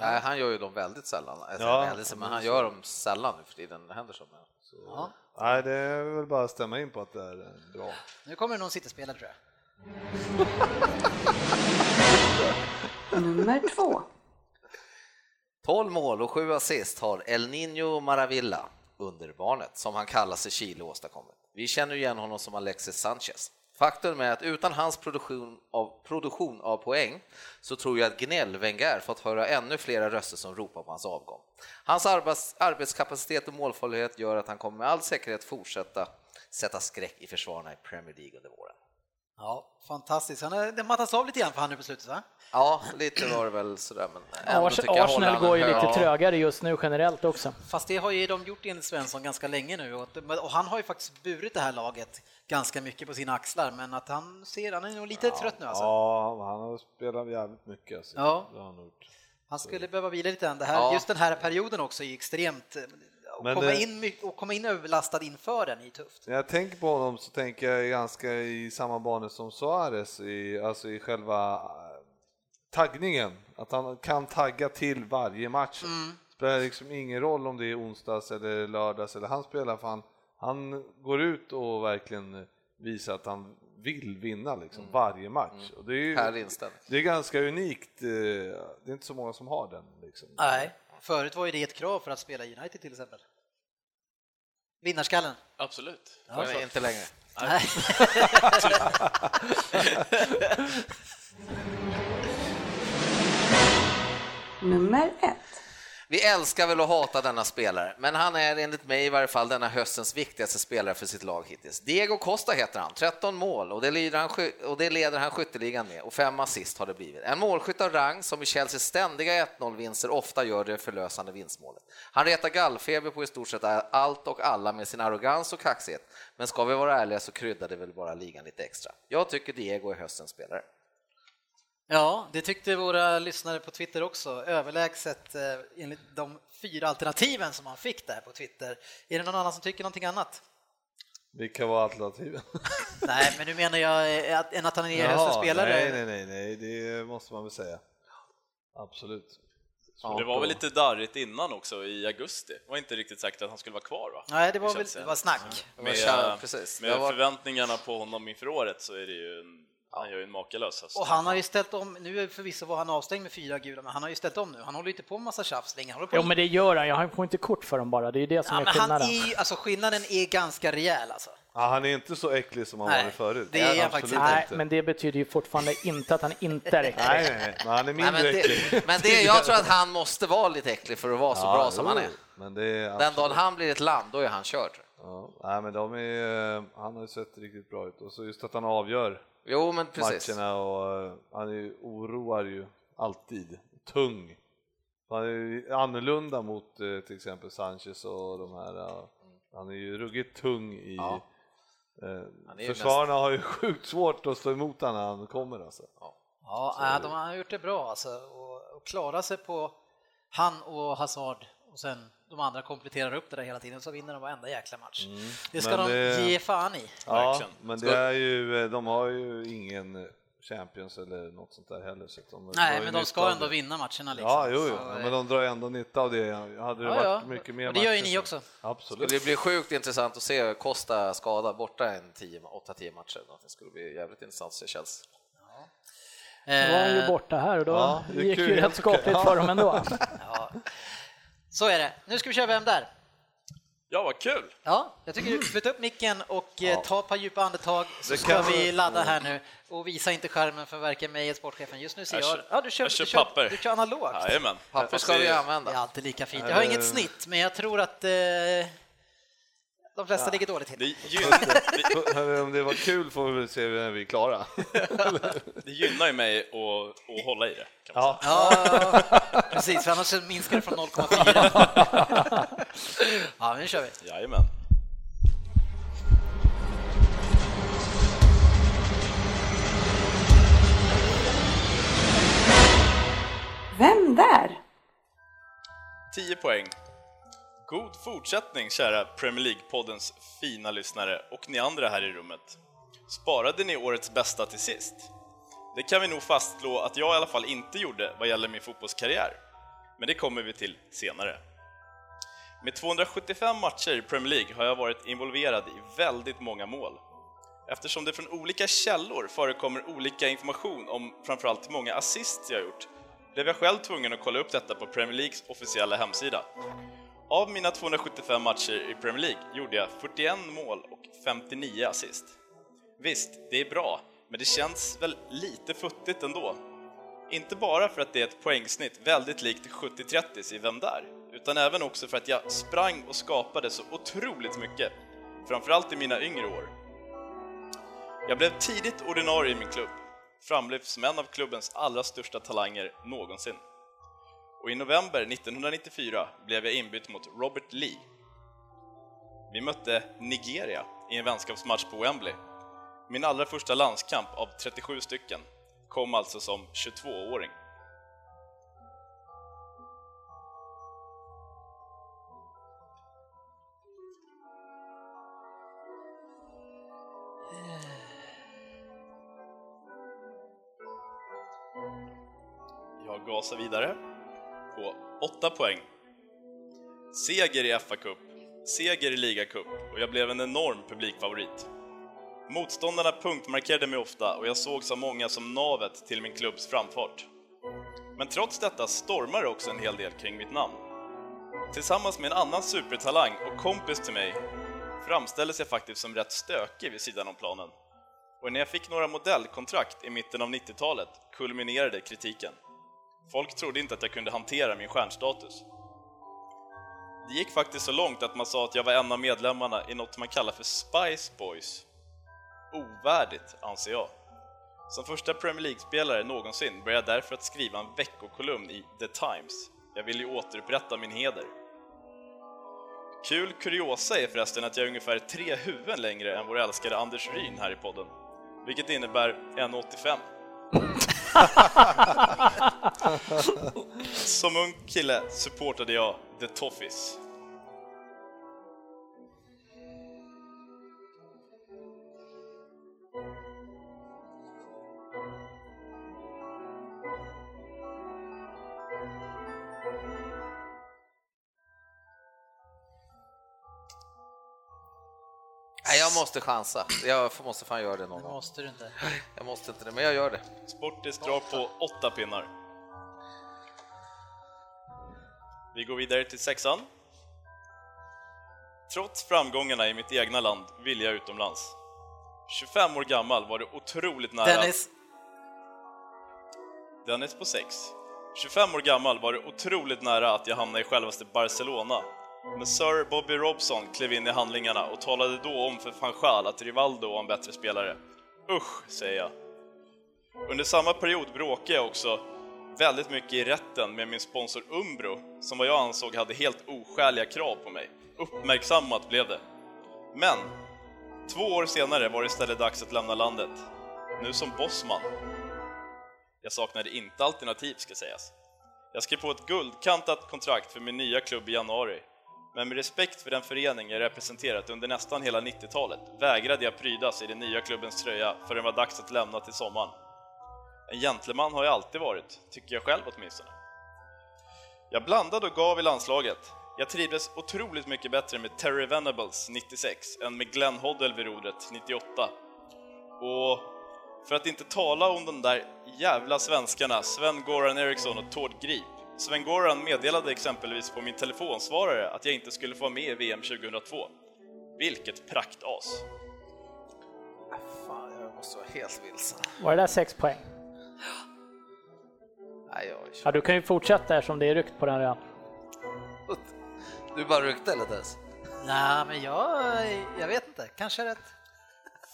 Speaker 6: Nej, han gör ju dem väldigt sällan. Alltså,
Speaker 3: Ja,
Speaker 6: väldigt, sällan, men han gör dem sällan nu för tiden, Henderson. men-
Speaker 3: Så,
Speaker 2: Ja.
Speaker 3: Nej, det är väl bara att stämma in på att det är eh, bra.
Speaker 2: Nu kommer det någon cityspelare tror jag.
Speaker 1: Nummer två.
Speaker 6: 12 mål och 7 assist har El Niño Maravilla, underbarnet, som han kallas i Chile, åstadkommit. Vi känner ju igen honom som Alexis Sanchez. Faktum är att utan hans produktion av, produktion av poäng så tror jag att Gnell Wenger fått höra ännu flera röster som ropar på hans avgång. Hans arbets, arbetskapacitet och målfarlighet gör att han kommer med all säkerhet fortsätta sätta skräck i försvararna i Premier League under våren.
Speaker 2: Ja, fantastiskt. Han har det mattats av lite grann för han nu på slutet va?
Speaker 6: Ja, lite var det väl sådär, men ändå
Speaker 5: Ars-
Speaker 6: tycker jag håller
Speaker 5: Arsenal
Speaker 6: han
Speaker 5: går ju
Speaker 6: en hög-
Speaker 5: lite
Speaker 6: Ja.
Speaker 5: trögare just nu generellt också.
Speaker 2: Fast det har ju de gjort enligt Svensson ganska länge nu och, och han har ju faktiskt burit det här laget ganska mycket på sina axlar men att han ser, han är nog lite trött nu alltså.
Speaker 3: Ja, han har spelat jävligt mycket. Alltså.
Speaker 2: Ja.
Speaker 3: Det har han gjort.
Speaker 2: Han skulle behöva vila lite än. Det här,
Speaker 6: Ja.
Speaker 2: Just den här perioden också är extremt, eh, att
Speaker 3: Men
Speaker 2: komma,
Speaker 3: det-
Speaker 2: in, mycket- och komma in överbelastad inför den är ju tufft.
Speaker 3: När jag tänker på honom så tänker jag ganska i samma banor som Suarez, i, alltså i själva eh, taggningen. Att han kan tagga till varje match.
Speaker 6: Mm.
Speaker 3: Spelar liksom ingen roll om det är onsdags eller lördags eller han spelar för han, han går ut och verkligen visar att han vill vinna liksom varje match. Och det är ju,
Speaker 6: Mm. Härlig inställning.
Speaker 3: det är ganska unikt, eh, det är inte så många som har den. Liksom.
Speaker 2: Nej, förut var ju det ett krav för att spela i United till exempel. Vinnarskallen.
Speaker 4: Absolut.
Speaker 6: Men inte längre.
Speaker 2: Nej.
Speaker 1: Nummer ett.
Speaker 6: Vi älskar väl att hata denna spelare, men han är enligt mig i varje fall denna höstens viktigaste spelare för sitt lag hittills. Diego Costa heter han, 13 mål och det, lider han, sky- och det leder han skytteligan med och fem assist har det blivit. En målskytt av rang som i Chelseas ständiga 1-0-vinster ofta gör det förlösande vinstmålet. Han retar gallfeber på i stort sett allt och alla med sin arrogans och kaxighet, men ska vi vara ärliga så kryddar det väl bara ligan lite extra. Jag tycker Diego är höstens spelare.
Speaker 2: Ja, det tyckte våra lyssnare på Twitter också, överlägset eh, enligt de fyra alternativen som man fick där på Twitter. Är det någon annan som tycker någonting annat?
Speaker 3: Vilka var alternativen?
Speaker 2: Nej, men nu menar jag eh, att, än att han är höstens
Speaker 3: Jaha,
Speaker 2: spelare.
Speaker 3: Nej, nej, nej, nej, det måste man väl säga. Absolut.
Speaker 4: det var väl lite darrigt innan också i augusti. Det var inte riktigt säkert att han skulle vara kvar va?
Speaker 2: Nej, det var
Speaker 4: I
Speaker 2: väl
Speaker 4: Chelsea.
Speaker 2: det var snack.
Speaker 6: Med,
Speaker 4: Med,
Speaker 6: precis.
Speaker 4: med
Speaker 6: Det var-
Speaker 4: förväntningarna på honom inför året så är det ju en, han gör ju en makalös höst.
Speaker 2: Och han har ju ställt om, nu är förvisso var han avstängd med fyra gula, men han har ju ställt om nu. Han håller ju inte på med massa tjafs längre. Han håller på
Speaker 5: Jo, men det gör han ju. Han får inte kort för dem bara. Det är ju det som
Speaker 2: ja,
Speaker 5: är
Speaker 2: men han
Speaker 5: skillnaden.
Speaker 2: är, ju- alltså skillnaden är ganska rejäl alltså.
Speaker 3: Ja, han är inte så äcklig som han
Speaker 2: Nej,
Speaker 3: var förut.
Speaker 2: det är
Speaker 3: Absolut
Speaker 2: jag faktiskt inte.
Speaker 5: Nej, men det betyder ju fortfarande inte att han inte är äcklig.
Speaker 3: Nej, nej, nej. Men han är
Speaker 6: Nej,
Speaker 3: mindre
Speaker 6: men,
Speaker 3: äcklig.
Speaker 6: det, men det, jag tror att han måste vara lite äcklig för att vara så
Speaker 3: Ja,
Speaker 6: bra som
Speaker 3: jo,
Speaker 6: han är.
Speaker 3: Men det är
Speaker 6: Den
Speaker 3: absolut-
Speaker 6: dagen han blir ett lamm, då är han körd.
Speaker 3: Ja, nej, men de är, eh, han har ju sett riktigt bra ut och så just att han avgör
Speaker 6: Jo, men precis.
Speaker 3: matcherna och eh, han är ju, oroar ju alltid. Tung. Han är ju annorlunda mot eh, till exempel Sanchez och de här. eh, Han är ju ruggigt tung i
Speaker 6: Ja.
Speaker 3: eh,
Speaker 6: är ju
Speaker 3: Försvararna har ju sjukt svårt att stå emot honom när han kommer alltså.
Speaker 2: Ja, nej, de har gjort det bra alltså och, och klarar sig på han och Hazard och sen de andra kompletterar upp det där hela tiden så vinner de varenda jäkla match. Mm. det ska
Speaker 3: men
Speaker 2: de
Speaker 3: det-
Speaker 2: ge fan i.
Speaker 3: Ja,
Speaker 4: Verkligen.
Speaker 3: men
Speaker 6: Skål.
Speaker 3: det är ju, eh, de har ju ingen eh, Champions eller något sånt där heller. Så att de drar
Speaker 2: Nej,
Speaker 3: ju
Speaker 2: men de
Speaker 3: nytta
Speaker 2: ska
Speaker 3: av
Speaker 2: ändå
Speaker 3: det.
Speaker 2: vinna matcherna liksom.
Speaker 3: Ja, jo, jo.
Speaker 2: Så,
Speaker 3: men de drar ändå nytta av det. Hade det
Speaker 2: Ja,
Speaker 3: varit
Speaker 2: ja.
Speaker 3: mycket mer
Speaker 2: Och det gör ju
Speaker 3: matcher
Speaker 2: ni
Speaker 3: så-
Speaker 2: också.
Speaker 3: Absolut.
Speaker 6: Det blir sjukt intressant att se Costa skada borta en 10 8-10 matcher. Det skulle bli jävligt intressant att se Chelsea.
Speaker 5: Nu var han ju
Speaker 2: eh,
Speaker 5: borta här och då
Speaker 3: Ja, det är
Speaker 5: gick
Speaker 3: kul.
Speaker 5: ju rätt skapligt för dem ändå.
Speaker 2: så är det. Nu ska vi köra Vem där?
Speaker 4: Ja, vad kul!
Speaker 2: Ja, jag tycker du flytta upp micken och ja. ta ett par djupa andetag så
Speaker 3: Det
Speaker 2: ska
Speaker 3: kan-
Speaker 2: vi ladda här nu och visa inte skärmen för varken mig eller sportchefen. Just nu ser
Speaker 4: Jag
Speaker 2: jag...
Speaker 4: kör-
Speaker 2: Ja, du kör,
Speaker 4: jag kör
Speaker 2: du kör,
Speaker 4: papper.
Speaker 2: du kör analogt.
Speaker 4: Jajamän.
Speaker 6: Papper
Speaker 4: Fast
Speaker 6: ska
Speaker 4: det-
Speaker 6: vi
Speaker 2: Det är
Speaker 6: använda.
Speaker 2: alltid lika fint. Jag har inget snitt, men jag tror att eh, de flesta ligger dåligt
Speaker 4: Det
Speaker 2: till.
Speaker 4: gynnar, det,
Speaker 3: Hörru, Om det var kul får vi väl se när vi är klara.
Speaker 4: det gynnar ju mig att, att hålla i det. Kan man
Speaker 3: Ja.
Speaker 2: Ja, precis, för annars så minskar det från 0,4. Ja, nu kör vi.
Speaker 4: säga. Jajamän.
Speaker 7: Vem där?
Speaker 4: 10 poäng. God fortsättning kära Premier League-poddens fina lyssnare och ni andra här i rummet. Sparade ni årets bästa till sist? Det kan vi nog fastslå att jag i alla fall inte gjorde vad gäller min fotbollskarriär. Men det kommer vi till senare. Med 275 matcher i Premier League har jag varit involverad i väldigt många mål. Eftersom det från olika källor förekommer olika information om framförallt hur många assist jag gjort blev jag själv tvungen att kolla upp detta på Premier Leagues officiella hemsida. Av mina 275 matcher i Premier League gjorde jag 41 mål och 59 assist. Visst, det är bra, men det känns väl lite futtigt ändå. Inte bara för att det är ett poängsnitt väldigt likt 70-30 i Vem där? Utan även också för att jag sprang och skapade så otroligt mycket. Framförallt i mina yngre år. Jag blev tidigt ordinarie i min klubb. Framlyfts som en av klubbens allra största talanger någonsin. Och i november 1994 blev jag inbytt mot Robert Lee. Vi mötte Nigeria i en vänskapsmatch på Wembley. Min allra första landskamp av 37 stycken kom alltså som 22-åring. Jag gasar vidare på 8 poäng. Seger i FA Cup, seger i Liga Cup och jag blev en enorm publikfavorit. Motståndarna punktmarkerade mig ofta och jag sågs av många som navet till min klubbs framfart. Men trots detta stormar det också en hel del kring mitt namn. Tillsammans med en annan supertalang och kompis till mig framställdes jag faktiskt som rätt stökig vid sidan om planen. Och när jag fick några modellkontrakt i mitten av 90-talet kulminerade kritiken. Folk trodde inte att jag kunde hantera min stjärnstatus. Det gick faktiskt så långt att man sa att jag var en av medlemmarna i något man kallar för Spice Boys. Ovärdigt, anser jag. Som första Premier League-spelare någonsin började jag därför att skriva en veckokolumn i The Times. Jag ville ju återupprätta min heder. Kul kuriosa är förresten att jag är ungefär tre huvuden längre än vår älskade Anders Ryn här i podden. Vilket innebär 1,85. Som ung kille supportade jag The Toffees.
Speaker 6: jag måste chansa. Jag får- måste fan göra det någon gång.
Speaker 2: Måste du inte.
Speaker 6: Jag måste inte det, men jag gör det.
Speaker 4: Sportis drar på åtta pinnar. Vi går vidare till sexan. Trots framgångarna i mitt egna land vill jag utomlands. 25 år gammal var det otroligt nära...
Speaker 2: Dennis,
Speaker 4: Dennis på 6. 25 år gammal var det otroligt nära att jag hamnade i självaste Barcelona. Men Sir Bobby Robson klev in i handlingarna och talade då om för van Schaal att Rivaldo var en bättre spelare. Usch, säger jag. Under samma period bråkade jag också väldigt mycket i rätten med min sponsor Umbro, som vad jag ansåg hade helt oskäliga krav på mig. Uppmärksammat blev det. Men, två år senare var det istället dags att lämna landet. Nu som bossman. Jag saknade inte alternativ ska sägas. Jag skrev på ett guldkantat kontrakt för min nya klubb i januari. Men med respekt för den förening jag representerat under nästan hela 90-talet vägrade jag prydas i den nya klubbens tröja förrän det var dags att lämna till sommaren. En gentleman har jag alltid varit, tycker jag själv åtminstone. Jag blandade och gav i landslaget. Jag trivdes otroligt mycket bättre med Terry Venables 96 än med Glenn Hoddle vid rodret 98. Och för att inte tala om de där jävla svenskarna Sven-Goran Eriksson och Tord Grip. Sven-Goran meddelade exempelvis på min telefonsvarare att jag inte skulle få vara med i VM 2002. Vilket praktas!
Speaker 6: Fan, jag måste vara helt vilsen.
Speaker 5: Var det där sex poäng?
Speaker 6: Nej, jag
Speaker 5: Ja, du kan ju fortsätta eftersom det är ryckt på den redan.
Speaker 6: Du bara ryckte eller Dennis?
Speaker 2: nej men jag, jag vet inte, kanske är rätt.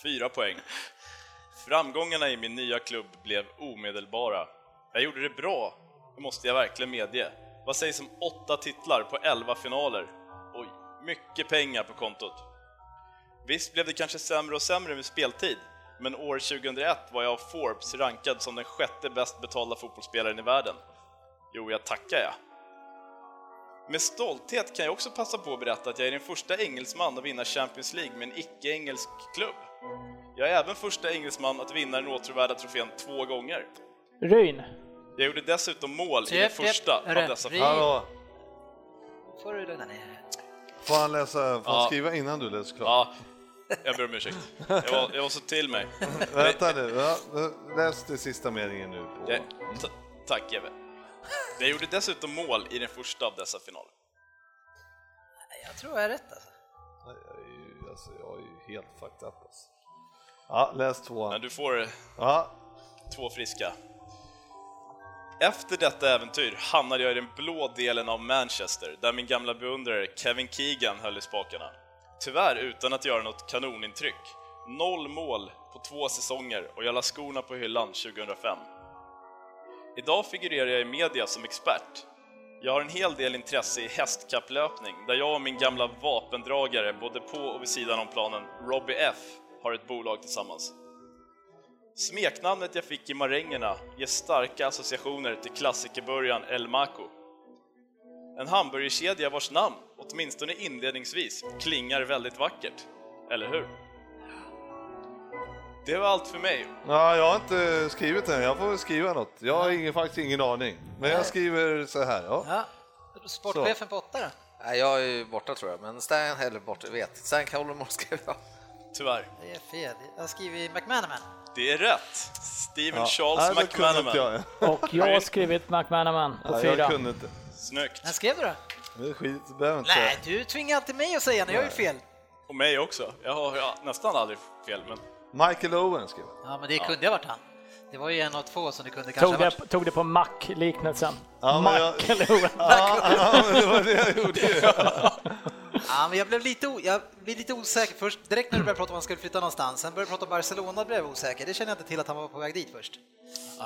Speaker 4: Fyra poäng. Framgångarna i min nya klubb blev omedelbara. Jag gjorde det bra, det måste jag verkligen medge. Vad sägs om åtta titlar på elva finaler? Oj, mycket pengar på kontot. Visst blev det kanske sämre och sämre med speltid, men år 2001 var jag av Forbes rankad som den sjätte bäst betalda fotbollsspelaren i världen. Jo, jag tackar jag. Med stolthet kan jag också passa på att berätta att jag är den första engelsman att vinna Champions League med en icke-engelsk klubb. Jag är även första engelsman att vinna den åtråvärda trofén två gånger.
Speaker 5: Ryn.
Speaker 4: Jag gjorde dessutom mål i
Speaker 2: Japp,
Speaker 4: det
Speaker 2: japp.
Speaker 4: första
Speaker 2: Hörru,
Speaker 4: av dessa
Speaker 2: vi-
Speaker 3: Hallå,
Speaker 2: får du lugna ner
Speaker 3: får han läsa, får
Speaker 4: Ja.
Speaker 3: han skriva innan du läser klart?
Speaker 4: Ja, jag ber om ursäkt. Jag var, jag var så till mig.
Speaker 3: Vänta nu, ja, läs den sista meningen nu. På.
Speaker 4: Jag, ta, tack, Eve. Jag gjorde dessutom mål i den första av dessa finaler.
Speaker 2: Jag tror jag är rätt alltså.
Speaker 3: Jag är ju, alltså, jag är ju helt fucked up alltså. Ja, läs
Speaker 4: Men
Speaker 3: tvåan.
Speaker 4: du får
Speaker 3: Ja,
Speaker 4: två friska. Efter detta äventyr hamnade jag i den blå delen av Manchester, där min gamla beundrare Kevin Keegan höll i spakarna. Tyvärr utan att göra något kanonintryck. Noll mål på två säsonger och jag la skorna på hyllan 2005. Idag figurerar jag i media som expert. Jag har en hel del intresse i hästkapplöpning, där jag och min gamla vapendragare, både på och vid sidan om planen, Robbie F, har ett bolag tillsammans. Smeknamnet jag fick i marängerna ger starka associationer till klassikerbörjan El Maco. En hamburgerkedja vars namn, åtminstone inledningsvis, klingar väldigt vackert. Eller hur? Det var allt för mig.
Speaker 3: Ja, jag har inte skrivit den, jag får väl skriva något. Jag har ingen, faktiskt ingen aning. Men jag skriver så här. Ja.
Speaker 2: Ja. Sportchefen på åtta då?
Speaker 6: Nej, jag är ju borta tror jag, men Stan, eller borta, jag vet. Stan Colomore skrev jag.
Speaker 4: Tyvärr.
Speaker 2: Det är fel, jag har skrivit McManaman.
Speaker 4: Det är rätt! Steven
Speaker 3: Ja.
Speaker 4: Charles
Speaker 3: Nej, det kunde
Speaker 4: McManaman.
Speaker 3: inte jag.
Speaker 5: Och jag har skrivit McManaman på
Speaker 3: Nej,
Speaker 5: fyra.
Speaker 3: jag kunde inte.
Speaker 4: Snyggt.
Speaker 2: När skrev du då?
Speaker 3: Det är skit, det behöver jag inte
Speaker 2: Nej,
Speaker 3: säga.
Speaker 2: du tvingar alltid mig att säga när jag har gjort fel.
Speaker 4: Och mig också. Jag har ja, nästan aldrig fel, men...
Speaker 3: Michael Owen skrev jag.
Speaker 2: Ja, men det kunde jag varit han. Det var ju en av två som det kunde kanske
Speaker 5: Tog
Speaker 2: ha
Speaker 5: det,
Speaker 2: varit.
Speaker 5: tog det på Mac-liknelsen.
Speaker 3: Ja, men jag-
Speaker 5: Mac eller Owen.
Speaker 3: Ja, ja, men det var det jag gjorde.
Speaker 2: Ja, men jag blev lite, o- jag blev lite osäker först, direkt när du började prata om att han skulle flytta någonstans. Sen började du prata om Barcelona blev jag osäker. Det kände jag inte till att han var på väg dit först.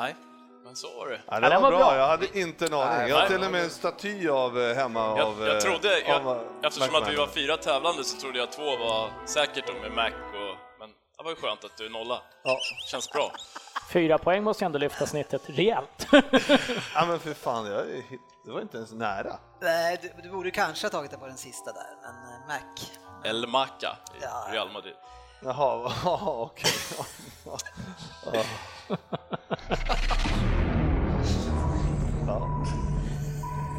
Speaker 4: Nej, men så var det.
Speaker 3: Ja,
Speaker 5: Ja,
Speaker 3: det
Speaker 5: den
Speaker 3: var
Speaker 5: var
Speaker 3: bra,
Speaker 5: bra.
Speaker 3: jag hade inte en aning.
Speaker 6: Nej,
Speaker 3: Jag har
Speaker 4: nej.
Speaker 3: till och med en staty av eh, hemma
Speaker 4: Jag,
Speaker 3: av... eh,
Speaker 4: jag trodde, jag,
Speaker 3: av, eh,
Speaker 4: eftersom att vi var
Speaker 3: McManaman.
Speaker 4: fyra tävlande så trodde jag två var säkert om med Mac och... Men det var ju skönt att du är nolla.
Speaker 3: Ja.
Speaker 4: Känns bra.
Speaker 5: Fyra poäng måste jag ändå lyfta snittet rejält.
Speaker 3: Ja men för fan, jag, är helt- det var inte ens nära.
Speaker 2: Nej, du, du borde kanske ha tagit det på den sista där, men eh, Mac.
Speaker 4: El Maca i
Speaker 2: Ja.
Speaker 4: Real Madrid.
Speaker 3: Jaha, ja, okej. Ja.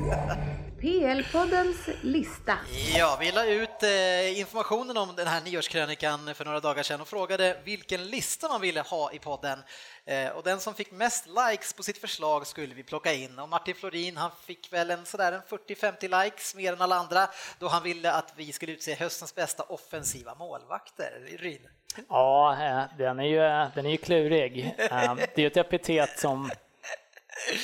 Speaker 3: Ja.
Speaker 8: PL-poddens lista.
Speaker 2: Ja, vi la ut eh, informationen om den här nyårskrönikan för några dagar sedan och frågade vilken lista man ville ha i podden. Eh, och den som fick mest likes på sitt förslag skulle vi plocka in. Och Martin Florin, han fick väl en sådär en 40-50 likes mer än alla andra då han ville att vi skulle utse höstens bästa offensiva målvakter. Ryn.
Speaker 5: Ja, eh, den är ju, eh, den är ju klurig. Eh, Det är ju ett epitet som...
Speaker 2: Fin,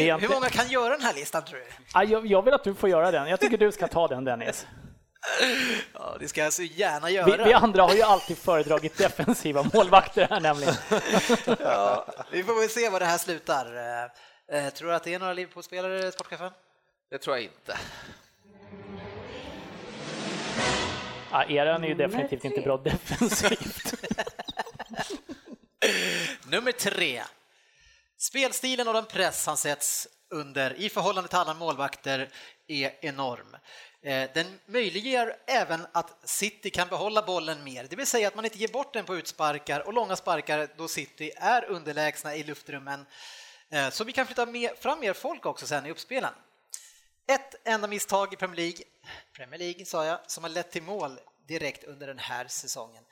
Speaker 5: Det är
Speaker 2: Hur
Speaker 5: inte-
Speaker 2: många kan göra den här listan tror du?
Speaker 5: Ah, jag, jag vill att du får göra den. Jag tycker du ska ta den Dennis.
Speaker 2: Ja, det ska jag så gärna göra.
Speaker 5: Vi, vi andra har ju alltid föredragit defensiva målvakter här nämligen.
Speaker 2: Ja, vi får väl se var det här slutar. Eh, tror du att det är några Liverpool-spelare, sportchefen?
Speaker 6: Det tror jag inte.
Speaker 5: Ah, Eran är ju
Speaker 7: Nummer
Speaker 5: definitivt inte
Speaker 7: tre.
Speaker 5: bra defensivt.
Speaker 2: Nummer tre. Spelstilen och den press han sätts under i förhållande till alla målvakter är enorm. Eh, Den möjliggör även att City kan behålla bollen mer, det vill säga att man inte ger bort den på utsparkar och långa sparkar då City är underlägsna i luftrummen. Eh, Så vi kan flytta med- fram mer folk också sen i uppspelen. Ett enda misstag i Premier League, Premier League sa jag, som har lett till mål direkt under den här säsongen.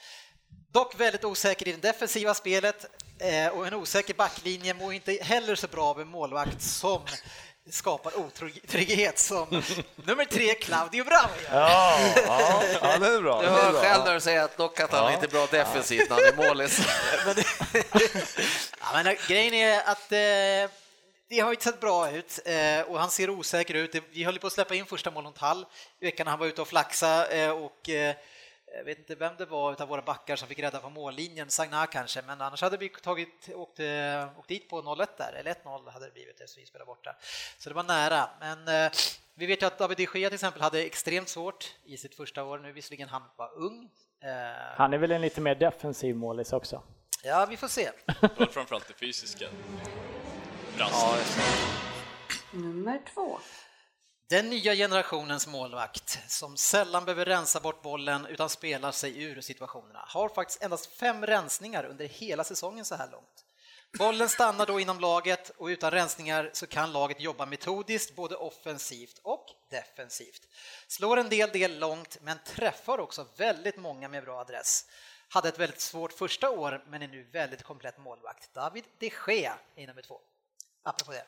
Speaker 2: Dock väldigt osäker i det defensiva spelet eh, och en osäker backlinje mår inte heller så bra av en målvakt som skapar otrygghet som nummer tre Claudio Bravo gör.
Speaker 3: Ja, ja, ja det är bra.
Speaker 6: Du
Speaker 3: det är
Speaker 6: hör
Speaker 3: bra.
Speaker 6: själv när du säger att dock att han inte är bra defensivt när han är målis.
Speaker 2: Ja, men, eh, grejen är att eh, det har inte sett bra ut eh, och han ser osäker ut. Det- Vi höll ju på att släppa in första målet mot Hall i veckan när han var ute och flaxa eh, och eh, jag vet inte vem det var utav våra backar som fick rädda på mållinjen, Sagna kanske, men annars hade vi tagit, åkt, eh, åkt dit på 0-1 där, eller 1-0 hade det blivit eftersom vi spelade borta. Så det var nära, men eh, vi vet ju att David de Gea till exempel hade extremt svårt i sitt första år nu, visserligen han var ung. Eh,
Speaker 5: Han är väl en lite mer defensiv målis också.
Speaker 2: Ja, vi får se.
Speaker 4: Det var framförallt det fysiska. Brans.
Speaker 7: Nummer två.
Speaker 2: Den nya generationens målvakt som sällan behöver rensa bort bollen utan spelar sig ur situationerna har faktiskt endast fem rensningar under hela säsongen så här långt. Bollen stannar då inom laget och utan rensningar så kan laget jobba metodiskt både offensivt och defensivt. Slår en del del långt men träffar också väldigt många med bra adress. Hade ett väldigt svårt första år men är nu väldigt komplett målvakt. David de Gea är nummer två. Apropå det.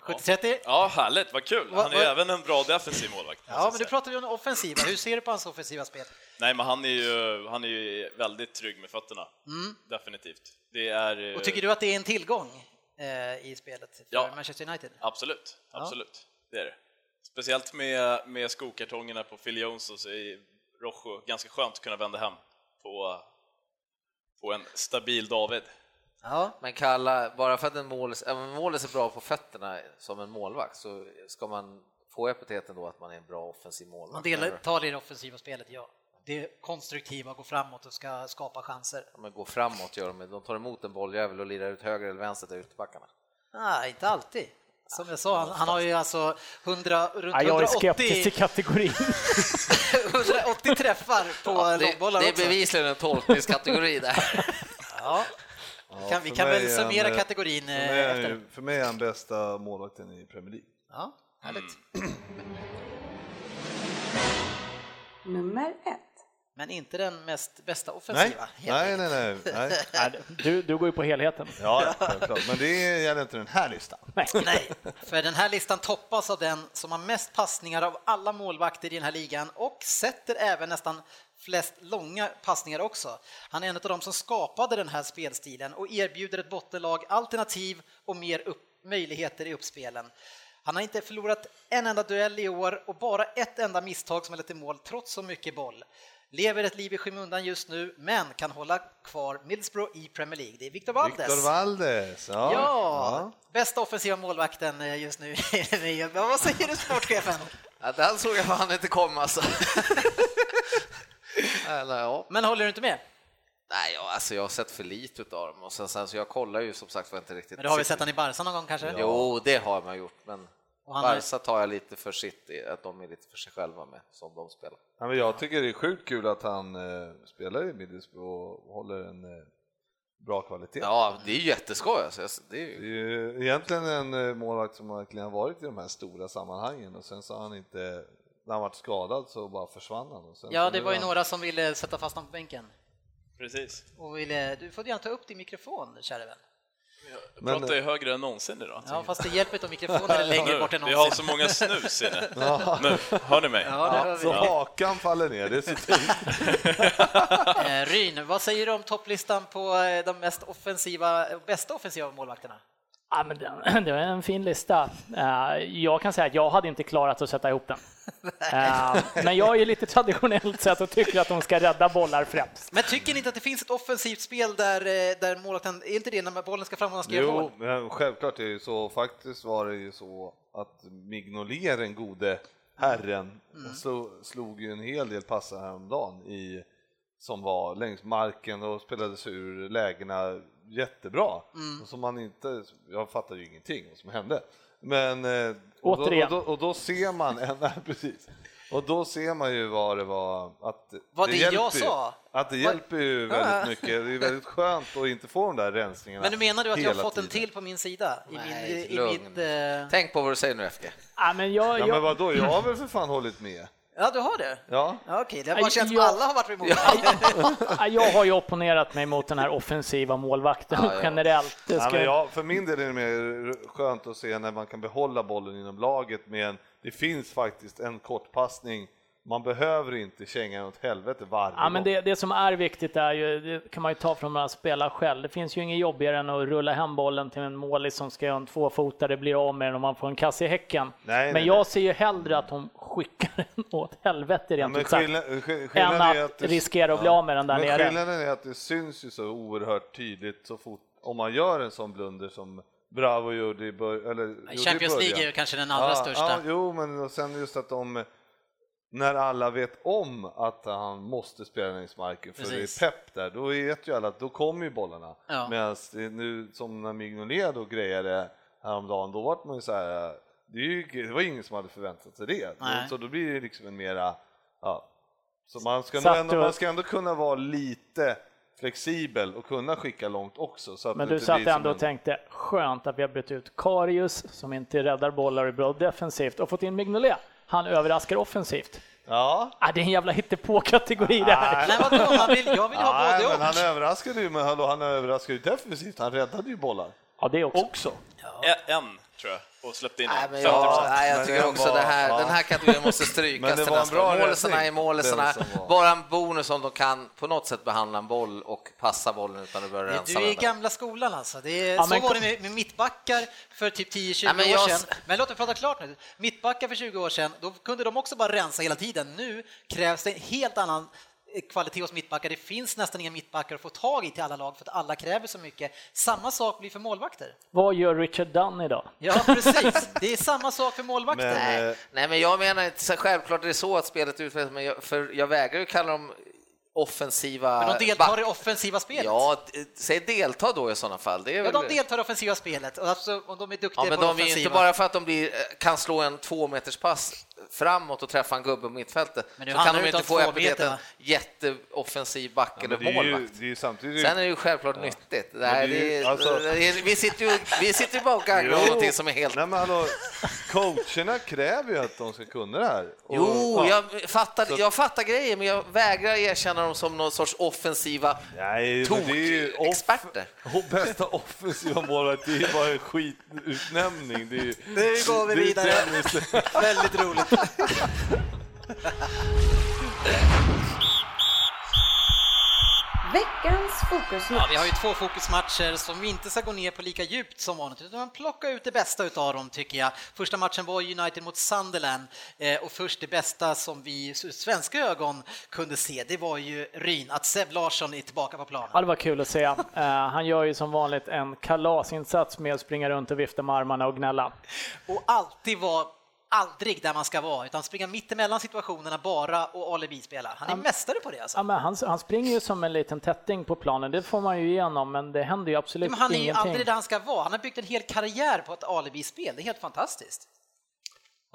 Speaker 2: 70-30.
Speaker 4: Ja, härligt, vad kul!
Speaker 2: Va-
Speaker 4: Han är ju
Speaker 2: va-
Speaker 4: även en bra defensiv målvakt. måste
Speaker 2: Ja,
Speaker 4: jag
Speaker 2: men du
Speaker 4: säga.
Speaker 2: pratar ju om det offensiva. Hur ser du på hans offensiva spel?
Speaker 4: Nej, men han är, ju, han är ju väldigt trygg med fötterna. Definitivt. Det är... eh,
Speaker 2: Mm. Och tycker du att det är en tillgång eh, i spelet för
Speaker 4: Ja.
Speaker 2: Manchester United?
Speaker 4: Absolut, absolut. Det är det. Speciellt med, med skokartongerna på Phil Jones och så i Rojo. Ganska skönt att kunna vända hem på, på en stabil David.
Speaker 2: Ja.
Speaker 6: Men kalla, bara för att en målis, även om en målis är bra på fötterna som en målvakt så ska man få epiteten då att man är en bra offensiv målvakt.
Speaker 2: Man delar,
Speaker 6: Eller-
Speaker 2: tar det i det offensiva spelet, ja. Det konstruktiva, gå framåt och ska skapa chanser.
Speaker 6: Ja, men gå framåt gör de, de tar emot en bolljävel och lirar ut höger eller vänster till ytterbackarna.
Speaker 2: Nej, inte alltid. Som jag sa, han, han har ju alltså 100, runt
Speaker 5: Ah, jag är skeptisk
Speaker 2: 180,
Speaker 5: till kategorin.
Speaker 2: 180 träffar på
Speaker 6: Ja, det,
Speaker 2: långbollar
Speaker 6: det är
Speaker 2: också.
Speaker 6: bevisligen en tolkningskategori där.
Speaker 2: Ja. Kan, vi
Speaker 3: för
Speaker 2: kan
Speaker 3: mig
Speaker 2: väl
Speaker 3: är han,
Speaker 2: summera
Speaker 3: eh,
Speaker 2: kategorin
Speaker 3: För
Speaker 2: eh,
Speaker 3: mig, är han
Speaker 2: efter.
Speaker 3: ju, för mig är han bästa målvakten i Premier League.
Speaker 2: Ja, härligt.
Speaker 3: Mm.
Speaker 7: Nummer ett.
Speaker 2: Men inte den mest bästa
Speaker 3: Nej,
Speaker 2: offensiva. helt
Speaker 3: nej,
Speaker 2: enkelt.
Speaker 3: nej, nej. nej.
Speaker 5: Nej, Du, du går ju på helheten.
Speaker 3: Ja, ja, självklart. Men det gäller inte den här listan.
Speaker 2: Nej, för den här listan toppas av den som har mest passningar av alla målvakter i den här ligan och sätter även nästan flest långa passningar också. Han är en av de som skapade den här spelstilen och erbjuder ett bottenlag alternativ och mer upp möjligheter i uppspelen. Han har inte förlorat en enda duell i år och bara ett enda misstag som har lett till mål trots så mycket boll. Lever ett liv i skymundan just nu, men kan hålla kvar Middlesbrough i Premier League. Det är Victor Valdes.
Speaker 3: Victor Valdes. Ja.
Speaker 2: Ja, bästa offensiva målvakten eh, just nu. Men Vad säger du sportchefen?
Speaker 6: Ja, den såg jag fan inte komma alltså. Eller, ja.
Speaker 2: Men håller du inte med?
Speaker 6: Nej, jag, alltså jag har sett för lite utav dem och sen, sen så jag kollar ju som sagt var inte riktigt.
Speaker 2: Men du har väl sett han i Barca någon gång kanske?
Speaker 6: Jo, det har man gjort, men
Speaker 2: Och han har-
Speaker 6: Barca tar jag lite för sitt, i, att de är lite för sig själva med som de spelar.
Speaker 3: Ja, men jag tycker det är sjukt kul att han eh, spelar i Middlesbrough och håller en eh, bra kvalitet.
Speaker 6: Ja, det är ju jätteskoj alltså. Alltså, Det är
Speaker 3: Det är
Speaker 6: ju...
Speaker 3: ju egentligen en eh, målvakt som verkligen har varit i de här stora sammanhangen och sen så har han inte, när han varit skadad så bara försvann han. Och sen
Speaker 2: Ja,
Speaker 3: så
Speaker 2: det
Speaker 3: nu
Speaker 2: var ju
Speaker 3: är han-
Speaker 2: några som ville sätta fast honom på bänken.
Speaker 4: Precis.
Speaker 2: Och ville, du får gärna ta upp din mikrofon, kära vän.
Speaker 4: Jag
Speaker 3: Men- eh,
Speaker 4: pratar ju högre än någonsin idag.
Speaker 2: Ja, fast det hjälper inte om mikrofonen är längre
Speaker 4: Nu,
Speaker 2: bort än
Speaker 4: vi har
Speaker 2: någonsin.
Speaker 4: så många snus inne. Nu, hör ni mig?
Speaker 2: Ja, det hör vi.
Speaker 3: Så hakan faller ner, det är så tungt.
Speaker 2: Eh, Ryn, vad säger du om topplistan på eh, de mest offensiva, eh, bästa offensiva målvakterna?
Speaker 5: Ja, men det, det var en fin lista. Eh, jag kan säga att jag hade inte klarat att sätta ihop den. Eh, men jag är ju lite traditionellt sett och tycker att de ska rädda bollar främst.
Speaker 2: Men tycker ni inte att det finns ett offensivt spel där, eh, där målvakten, är inte det när bollen ska fram och han ska göra
Speaker 3: Jo,
Speaker 2: mål?
Speaker 3: men självklart är det ju så. Faktiskt var det ju så att Mignolet, den gode herren,
Speaker 2: Mm.
Speaker 3: slog, slog ju en hel del passar häromdagen i, som var längs marken och spelades ur lägena jättebra.
Speaker 2: Mm.
Speaker 3: Och som man inte, jag fattar ju ingenting vad som hände. Men, eh, och, då, och,
Speaker 5: Återigen.
Speaker 3: då, och då ser man, nej, precis. Och då ser man ju vad det var, att
Speaker 2: Vad det jag
Speaker 3: hjälper ju.
Speaker 2: sa?
Speaker 3: Att det
Speaker 2: Vad-
Speaker 3: hjälper ju väldigt mycket. Det är väldigt skönt att inte få de där rensningarna
Speaker 2: Men du menar du att jag har
Speaker 3: hela
Speaker 2: fått en
Speaker 3: tiden.
Speaker 2: till på min sida? I min,
Speaker 6: Nej,
Speaker 2: i
Speaker 6: lugn.
Speaker 2: mitt, eh,
Speaker 6: Tänk på vad du säger nu FG.
Speaker 5: Ja, men jag,
Speaker 3: Ja,
Speaker 5: jag,
Speaker 3: men vadå, jag har väl för fan hållit med.
Speaker 2: ja, du har det?
Speaker 3: Ja.
Speaker 2: Ja, Okej, det har bara
Speaker 5: Aj,
Speaker 2: känts som
Speaker 5: ja.
Speaker 2: alla har varit emot mig.
Speaker 5: Ja, jag har ju opponerat mig mot den här offensiva målvakten
Speaker 6: Ja, ja.
Speaker 5: generellt. Det
Speaker 3: Ja,
Speaker 5: ska
Speaker 3: men
Speaker 5: jag...
Speaker 3: jag, för min del är det mer skönt att se när man kan behålla bollen inom laget med en, det finns faktiskt en kortpassning, man behöver inte känga åt helvete varje
Speaker 5: Ja, men
Speaker 3: gång.
Speaker 5: det, det som är viktigt är ju, det kan man ju ta från några spelare själv. Det finns ju inget jobbigare än att rulla hem bollen till en målis som ska göra en tvåfotare, blir av med den och man får en kasse i häcken.
Speaker 3: Nej,
Speaker 5: men
Speaker 3: nej,
Speaker 5: jag
Speaker 3: nej.
Speaker 5: ser ju hellre att de skickar den åt helvete
Speaker 3: Ja,
Speaker 5: rent
Speaker 3: men
Speaker 5: ut sagt,
Speaker 3: skillna- sk-
Speaker 5: än
Speaker 3: skillnaden är
Speaker 5: att
Speaker 3: att det-
Speaker 5: riskera att bli av med den där
Speaker 3: Men
Speaker 5: nere.
Speaker 3: skillnaden är att det syns ju så oerhört tydligt så fort, om man gör en sån blunder som Bravo gjorde i, bör- eller, gjorde i början.
Speaker 2: Champions League är ju kanske den allra
Speaker 3: Ja,
Speaker 2: största.
Speaker 3: Ja, jo, men och sen just att de, när alla vet om att han måste spela längs marken för
Speaker 2: Precis.
Speaker 3: det är pepp där, då vet ju alla att då kommer ju bollarna.
Speaker 2: Ja.
Speaker 3: Medan det nu som när Mignolet då grejade häromdagen, då var man ju så här, det, är ju, det var ingen som hade förväntat sig det.
Speaker 2: Nej.
Speaker 3: Så då blir det liksom en mera, ja, så man ska,
Speaker 5: Satt
Speaker 3: nog ändå,
Speaker 5: du-
Speaker 3: man ska ändå kunna vara lite flexibel och kunna skicka långt också. Så att
Speaker 5: Men
Speaker 3: det
Speaker 5: du
Speaker 3: inte
Speaker 5: satt
Speaker 3: blir som
Speaker 5: ändå
Speaker 3: en-
Speaker 5: och tänkte, skönt att vi har bytt ut Karius som inte räddar bollar och är bra defensivt och fått in Mignolet. Han överraskar offensivt.
Speaker 3: Ja,
Speaker 5: Ah, det är en jävla hittepå-kategori det här.
Speaker 2: Nej, vadå, man vill, jag vill ha
Speaker 3: Nej,
Speaker 2: både
Speaker 3: men
Speaker 2: och.
Speaker 3: han överraskade ju, men hallå, han överraskade ju defensivt. Han räddade ju bollar.
Speaker 5: Ja, det också.
Speaker 4: E- En, tror jag, och släppte in
Speaker 6: Nej,
Speaker 4: en.
Speaker 6: men
Speaker 4: 50%.
Speaker 6: jag, nej, jag
Speaker 3: Men
Speaker 6: tycker
Speaker 3: den
Speaker 6: också det här,
Speaker 3: var-
Speaker 6: den här kategorin måste
Speaker 3: Men
Speaker 6: strykas
Speaker 3: det
Speaker 6: till
Speaker 3: var en
Speaker 6: nästa
Speaker 3: bra
Speaker 6: år. Målisarna är
Speaker 3: räddning,
Speaker 6: målisarna.
Speaker 3: den som var.
Speaker 6: Bara en bonus om de kan på något sätt behandla en boll och passa bollen utan att börja rensa
Speaker 2: Du är i
Speaker 6: den.
Speaker 2: gamla skolan alltså. Det är,
Speaker 5: Ja,
Speaker 2: så
Speaker 5: men-
Speaker 2: var det med, med mittbackar för typ 10-20
Speaker 6: Nej, men
Speaker 2: år
Speaker 6: jag-
Speaker 2: sedan. Men låt mig prata klart nu. Mittbackar för 20 år sedan, då kunde de också bara rensa hela tiden. Nu krävs det en helt annan eh, kvalitet hos mittbackar. Det finns nästan inga mittbackar att få tag i till alla lag för att alla kräver så mycket. Samma sak blir för målvakter.
Speaker 5: Vad gör Richard Dunn idag?
Speaker 2: Ja, precis. Det är samma sak för målvakter.
Speaker 3: Men,
Speaker 6: Nej.
Speaker 3: eh,
Speaker 6: Nej, men jag menar inte, så självklart är det så att spelet utvecklas, men jag, för jag vägrar ju kalla dem offensiva...
Speaker 2: Men de deltar
Speaker 6: back-
Speaker 2: i offensiva spelet. Ja,
Speaker 6: Ja, d- säg delta då i sådana fall. Det är väl...
Speaker 2: de deltar i offensiva spelet. Och Alltså, om de är duktiga
Speaker 6: Ja, men
Speaker 2: på
Speaker 6: de är ju
Speaker 2: offensiva.
Speaker 6: inte bara för att de blir, eh, kan slå en tvåmeterspass framåt och träffa en gubbe på mittfältet,
Speaker 2: Men nu
Speaker 6: så
Speaker 2: handlar
Speaker 6: kan de
Speaker 2: det
Speaker 6: ju
Speaker 2: inte
Speaker 6: inte
Speaker 2: om
Speaker 6: få
Speaker 2: två meter,
Speaker 6: epiteten
Speaker 2: va?
Speaker 6: jätteoffensiv back
Speaker 3: ja,
Speaker 6: eller
Speaker 3: men det är ju,
Speaker 6: målvakt.
Speaker 3: det är ju samtidigt...
Speaker 6: Sen är det ju självklart nyttigt. Det här,
Speaker 3: Men det är ju-
Speaker 6: det är,
Speaker 3: alltså-
Speaker 6: det är, vi sitter ju vi sitter ju bara och gaggar om
Speaker 3: Jo.
Speaker 6: någonting som är helt...
Speaker 3: Nej, men hallå, coacherna kräver ju att de ska kunna det här. Och-
Speaker 6: Jo,
Speaker 3: ja.
Speaker 6: jag fattar, jag fattar grejer, men jag vägrar erkänna dem som någon sorts offensiva...
Speaker 3: Nej, men det är ju off-
Speaker 6: Tokexperter.
Speaker 3: Och bästa offensiva målet, det är ju bara en skitutnämning. Det är ju,
Speaker 2: Nu går vi
Speaker 3: det är
Speaker 2: vidare.
Speaker 3: tennis.
Speaker 2: Väldigt roligt.
Speaker 7: Veckans fokusmatch.
Speaker 2: Ja, vi har ju två fokusmatcher som vi inte ska gå ner på lika djupt som vanligt, utan plocka ut det bästa utav dem tycker jag. Första matchen var United mot Sunderland eh, och först det bästa som vi ur svenska ögon kunde se, det var ju Ryn, att Seb Larsson är tillbaka på
Speaker 5: Ja,
Speaker 2: planen.
Speaker 5: det var kul att se. Eh, han gör ju som vanligt en kalasinsats med att springa runt och vifta med armarna och gnälla.
Speaker 2: Och alltid var aldrig där man ska vara, utan springa mittemellan situationerna bara och alibi-spela. Han är mästare på det alltså.
Speaker 5: Ja, men han, han springer ju som en liten tätting på planen, det får man ju igenom, men det händer ju absolut
Speaker 2: Men han är ju
Speaker 5: ingenting.
Speaker 2: aldrig där han ska vara. Han har byggt en hel karriär på ett alibi-spel. Det är helt fantastiskt.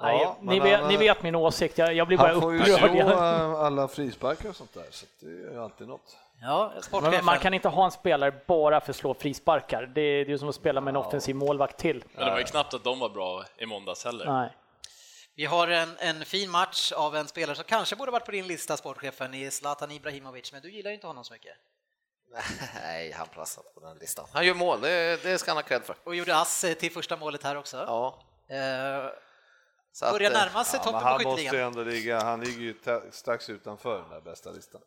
Speaker 5: Nej,
Speaker 3: men
Speaker 5: ni, vet,
Speaker 3: han- eh,
Speaker 5: ni vet min åsikt, jag, jag blir bara
Speaker 3: Han får ju
Speaker 5: upprörd.
Speaker 3: slå
Speaker 5: Jag-
Speaker 3: eh, alla frisparkar och sånt där, så att det är ju alltid något.
Speaker 2: Ja,
Speaker 5: Men
Speaker 2: sportchefen.
Speaker 5: man kan inte ha en spelare bara för att slå frisparkar. Det är det är ju som att spela med en offensiv målvakt till.
Speaker 4: Men det var ju knappt att de var bra i måndags heller.
Speaker 5: Nej.
Speaker 2: Vi har en, en fin match av en spelare som kanske borde varit på din lista, sportchefen, i Zlatan Ibrahimovic, men du gillar ju inte honom så mycket.
Speaker 6: Nej, han platsar på den listan. Han gör mål, det, det ska han ha cred för.
Speaker 2: Och gjorde ass eh, till första målet här också.
Speaker 6: Ja,
Speaker 2: Eh,
Speaker 6: så att,
Speaker 2: Börjar
Speaker 6: eh,
Speaker 2: närma sig
Speaker 3: Ja,
Speaker 2: toppen
Speaker 3: men
Speaker 2: på
Speaker 3: han måste ju
Speaker 2: skytteligan.
Speaker 3: ändå ligga, han ligger ju ta- strax utanför den där bästa listan.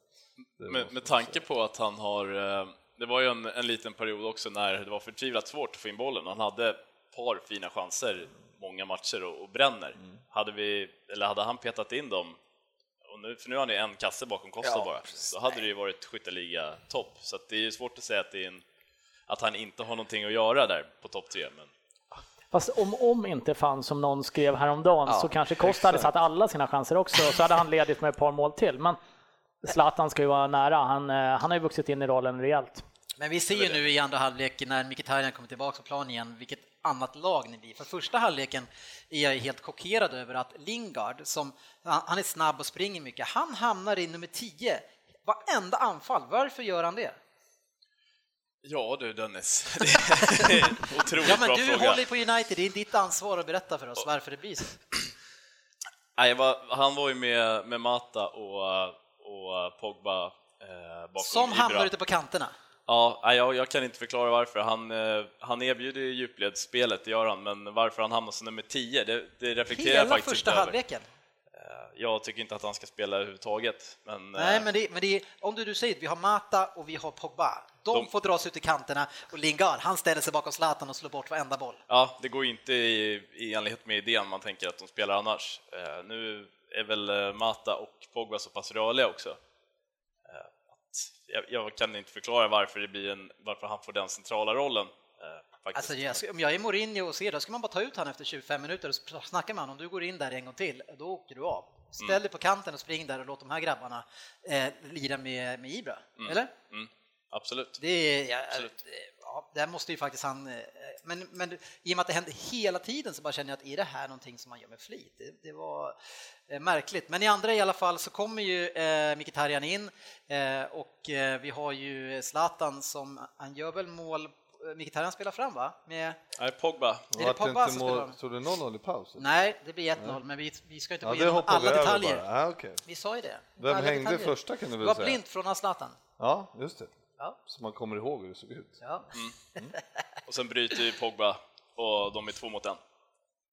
Speaker 3: Det måste
Speaker 4: Med, med
Speaker 3: man
Speaker 4: tanke
Speaker 3: säga.
Speaker 4: på att han har, eh, det var ju en, en liten period också när det var förtvivlat svårt att få in bollen och han hade ett par fina chanser många matcher och, och bränner. Hade, vi, eller hade han petat in dem, och nu, för nu har han ju en kasse bakom Costa
Speaker 6: Ja,
Speaker 4: bara,
Speaker 6: precis.
Speaker 4: då hade det ju varit skytteliga-topp. Så att det är ju svårt att säga att, det är en, att han inte har någonting att göra där på topp tre. Men
Speaker 5: Fast om om inte fanns, som någon skrev häromdagen,
Speaker 6: Ja,
Speaker 5: så kanske Costa hade satt alla sina chanser också, så hade han ledigt med ett par mål till. Men Zlatan ska ju vara nära, han, eh, han har ju vuxit in i rollen rejält.
Speaker 2: Men vi ser ju nu i andra halvlek när Mkhitaryan kommer tillbaka på plan igen vilket annat lag ni blir. För första halvleken är jag helt chockerad över att Lingard, som han han är snabb och springer mycket, han hamnar i nummer 10 varenda anfall. Varför gör han det?
Speaker 4: ja du Dennis, det är en otroligt
Speaker 2: Ja, men
Speaker 4: bra
Speaker 2: du
Speaker 4: fråga.
Speaker 2: håller ju på United, det är ditt ansvar att berätta för oss varför det blir så.
Speaker 4: Nej, vad- han var ju med, med Mata och, eh, och eh, Pogba eh, bakom
Speaker 2: Som
Speaker 4: Ibra.
Speaker 2: hamnar ute på kanterna.
Speaker 4: Ja, nej, jag, jag kan inte förklara varför. Han, eh, han erbjuder ju djupledsspelet, det gör han, men varför han hamnar som nummer 10, det, det reflekterar jag
Speaker 2: Hela
Speaker 4: faktiskt
Speaker 2: första
Speaker 4: inte
Speaker 2: halvleken.
Speaker 4: över. Jag tycker inte att han ska spela överhuvudtaget, men...
Speaker 2: Nej,
Speaker 4: eh,
Speaker 2: men, det, men det, om du, du säger att vi har Mata och vi har Pogba, de,
Speaker 4: De-
Speaker 2: får dra sig ut i kanterna och Lingard, han ställer sig bakom Zlatan och slår bort varenda boll.
Speaker 4: Ja, det går ju inte i, i enlighet med idén man tänker att de spelar annars. Eh, nu är väl eh, Mata och Pogba så pass rörliga också. Eh, att jag, jag kan inte förklara varför, det blir en, varför han får den centrala rollen. Eh, faktiskt.
Speaker 2: Alltså, jag, sk- om jag är Mourinho och ser det, ska man bara ta ut han efter 25 minuter och sp- snacka med honom. Om du går in där en gång till, då åker du av. Ställ
Speaker 4: Mm.
Speaker 2: dig på kanten och spring där och låt de här grabbarna eh, lira med, med Ibra, eller?
Speaker 4: mm, absolut.
Speaker 2: Det är, ja,
Speaker 4: Absolut.
Speaker 2: eh, ja, där måste ju faktiskt han, eh, men, men i och med att det händer hela tiden så bara känner jag att är det här någonting som man gör med flit? Det, det var eh, märkligt. Men i andra i alla fall så kommer ju eh, Mkhitaryan in eh, och eh, vi har ju Zlatan som, han gör väl mål, eh, Mkhitaryan spelar fram va? Med,
Speaker 4: Nej, Pogba.
Speaker 2: Är det
Speaker 3: Vart
Speaker 2: Pogba
Speaker 3: inte
Speaker 2: som spelar?
Speaker 3: mål- Stod det 0-0 i pausen?
Speaker 2: nej, det blir 1-0 men vi, vi ska inte
Speaker 3: Ja,
Speaker 2: gå
Speaker 3: det
Speaker 2: igenom
Speaker 3: hoppade
Speaker 2: alla
Speaker 3: vi över
Speaker 2: detaljer.
Speaker 3: bara. Ah, okej.
Speaker 2: Vi sa ju det.
Speaker 3: Vem
Speaker 2: Alla
Speaker 3: hängde
Speaker 2: detaljer.
Speaker 3: första kan du
Speaker 2: Det
Speaker 3: väl
Speaker 2: var
Speaker 3: säga?
Speaker 2: blint från Zlatan.
Speaker 3: Ja, just det.
Speaker 2: Ja.
Speaker 3: Så man kommer ihåg hur det såg ut.
Speaker 2: Ja.
Speaker 4: Och sen bryter ju Pogba och de är två mot en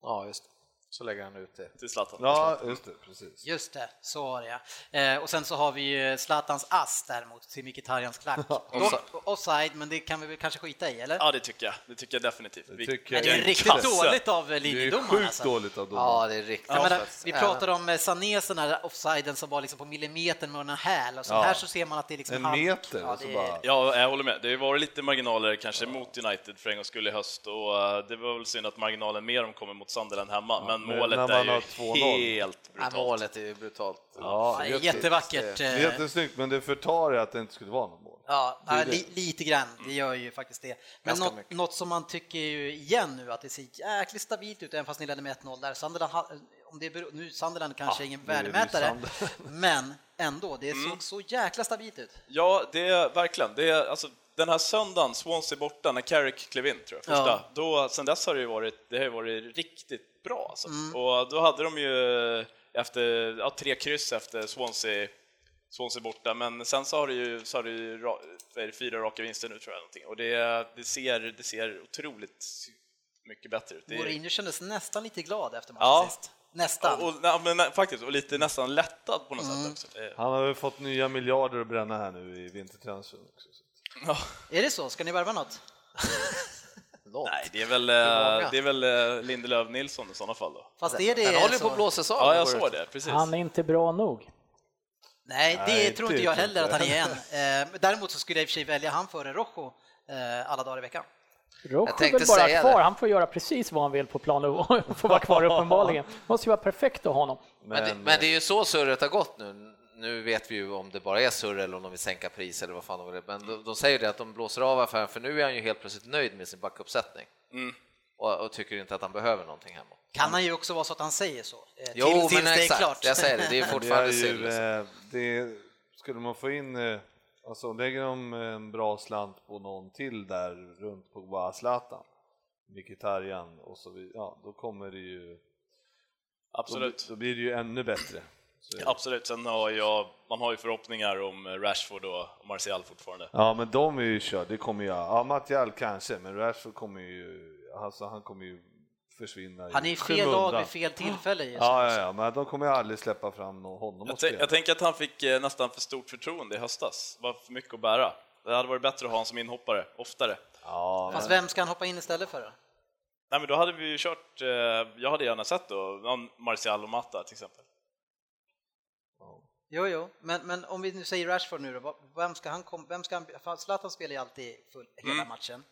Speaker 6: Ja, just det. Så lägger han ut det.
Speaker 4: till Zlatan.
Speaker 3: Ja, just det, precis.
Speaker 2: Just det, så var det ja. Eh, och sen så har vi ju Zlatans ass däremot till Mkhitarjans klack.
Speaker 6: offside.
Speaker 2: Och- Offside, men det kan vi väl kanske skita i eller?
Speaker 4: Ja, det tycker jag. Det tycker jag definitivt.
Speaker 3: Det
Speaker 4: Vi-
Speaker 3: tycker
Speaker 2: Nej,
Speaker 3: jag
Speaker 2: det är
Speaker 3: inte.
Speaker 2: riktigt
Speaker 4: Kasse.
Speaker 2: dåligt av eh,
Speaker 3: Det är
Speaker 2: linjedomaren
Speaker 3: sjukt
Speaker 2: alltså.
Speaker 3: dåligt av domarna.
Speaker 6: Ja, det är riktigt.
Speaker 2: Jag menar,
Speaker 6: offside.
Speaker 2: vi
Speaker 6: Ja.
Speaker 2: pratade om eh, Sanés den här offsiden som var liksom på millimetern med en häl och så
Speaker 3: Ja.
Speaker 2: här så ser man att det är liksom
Speaker 3: En
Speaker 2: halv-
Speaker 3: meter
Speaker 2: Ja,
Speaker 3: och så
Speaker 2: det är-
Speaker 3: bara...
Speaker 4: Ja, jag håller med. Det har ju varit lite marginaler kanske mot United för en gångs skull i höst och eh, det var väl synd att marginalen mer om kommer mot Sunderland hemma, men
Speaker 3: men
Speaker 4: målet
Speaker 3: när man
Speaker 4: är ju
Speaker 3: har 2-0.
Speaker 4: helt
Speaker 6: Ja,
Speaker 4: brutalt.
Speaker 6: målet är ju brutalt.
Speaker 3: Ja,
Speaker 2: Ja,
Speaker 3: jätte-
Speaker 2: jättevackert. eh,
Speaker 3: Jättesnyggt, men det förtar ju att det inte skulle vara något mål.
Speaker 2: Ja,
Speaker 3: är
Speaker 2: nej,
Speaker 3: det.
Speaker 2: li, lite grann, det gör ju faktiskt det. Men
Speaker 6: Ganska
Speaker 2: något,
Speaker 6: mycket.
Speaker 2: något som man tycker ju igen nu att det ser jäkligt stabilt ut även fast ni ledde med 1-0 där. Sunderland, ha- om det beror, nu Sunderland kanske är ingen
Speaker 3: nu är det ju
Speaker 2: värdemätare, men ändå, det såg så jäkla stabilt ut.
Speaker 4: Ja, det är verkligen. Det är, alltså, den här söndagen, Swansea borta, när Carrick klev in, tror jag, första,
Speaker 2: Ja.
Speaker 4: då, sen dess har det ju varit, det har ju varit riktigt bra. Alltså. Och då hade de ju efter, ja, tre kryss efter Swansea, Swansea borta, men sen så har det ju, så har det ju ra, vad är det, fyra raka vinster nu, tror jag, någonting. och det, det, ser, det ser otroligt mycket bättre ut. Det är-
Speaker 2: Mourinho kändes nästan lite glad efter matchen
Speaker 4: Ja.
Speaker 2: sist. Nästan.
Speaker 4: och, och, ja, men, nej, faktiskt, och lite nästan lättad på något sätt också. Eh,
Speaker 3: Han har ju fått nya miljarder att bränna här nu i vintertransfern också. så.
Speaker 4: Ja.
Speaker 2: Är det så? Ska ni värva något?
Speaker 6: Något.
Speaker 4: Nej, det är väl, eh,
Speaker 6: många.
Speaker 4: det är väl eh, Lindelöf Nilsson i sådana fall då.
Speaker 2: Fast är det
Speaker 6: Han håller ju
Speaker 2: så-
Speaker 6: på att blåsas av.
Speaker 4: Ja, jag såg det, precis.
Speaker 5: Han är inte bra nog.
Speaker 2: Nej, det
Speaker 3: Nej,
Speaker 2: tror
Speaker 3: det
Speaker 2: inte jag
Speaker 3: tror
Speaker 2: heller att
Speaker 3: inte
Speaker 2: han är än. Eh, men Däremot så skulle jag i och för sig välja han före Rojo eh, alla dagar i veckan.
Speaker 5: Roche är
Speaker 6: tänkte
Speaker 5: väl bara
Speaker 6: säga
Speaker 5: kvar,
Speaker 6: det.
Speaker 5: han får göra precis vad han vill på planen och får vara kvar uppenbarligen. Måste ju vara perfekt av honom.
Speaker 6: Men, det, men det är ju så surret har gått nu. Nu vet vi ju om det bara är surr eller om de vill sänka pris eller vad fan
Speaker 4: Mm.
Speaker 6: de vill. Men de, de säger det att de blåser av affären för nu är han ju helt plötsligt nöjd med sin backuppsättning. och, och tycker inte att han behöver någonting hemåt.
Speaker 2: Kan han ju också vara så att han säger så. eh,
Speaker 6: Jo,
Speaker 2: till-
Speaker 6: men
Speaker 2: tills det är
Speaker 6: exakt.
Speaker 2: klart.
Speaker 6: Jag säger det, det är
Speaker 3: Det är
Speaker 6: fortfarande liksom.
Speaker 3: ju,
Speaker 6: Silas.
Speaker 3: eh, det är, skulle man få in, eh, alltså lägger de en bra slant på någon till där runt på bara Zlatan, Mkhitaryan och så vidare, ja då kommer det ju,
Speaker 4: Absolut.
Speaker 3: Då, då blir det ju ännu bättre. Så,
Speaker 4: Absolut, sen har jag, man har ju förhoppningar om eh, Rashford och Martial fortfarande.
Speaker 3: Ja men de är ju körda, det kommer ju, ja Martial kanske, men Rashford kommer ju, alltså han kommer ju försvinna i
Speaker 2: Han är i fel
Speaker 3: skymundan.
Speaker 2: lag vid fel tillfälle just nu.
Speaker 3: Ja, ja, ja, men de kommer ju aldrig släppa fram någon- honom
Speaker 4: Jag,
Speaker 3: att
Speaker 4: tän-
Speaker 3: spela.
Speaker 4: jag tänker att han fick eh, nästan för stort förtroende i höstas. Det var för mycket att bära. Det hade varit bättre att ha honom som inhoppare oftare.
Speaker 3: Ja, men-
Speaker 2: Fast vem ska han hoppa in istället för då?
Speaker 4: Nej, men då hade vi ju kört, eh, jag hade gärna sett då, någon Martial och Matta till exempel.
Speaker 2: Jo, jo, men, men om vi nu säger Rashford nu då, vad- vem ska han kom, vem ska han, för Zlatan spelar ju alltid full, hela
Speaker 3: Mm.
Speaker 2: matchen.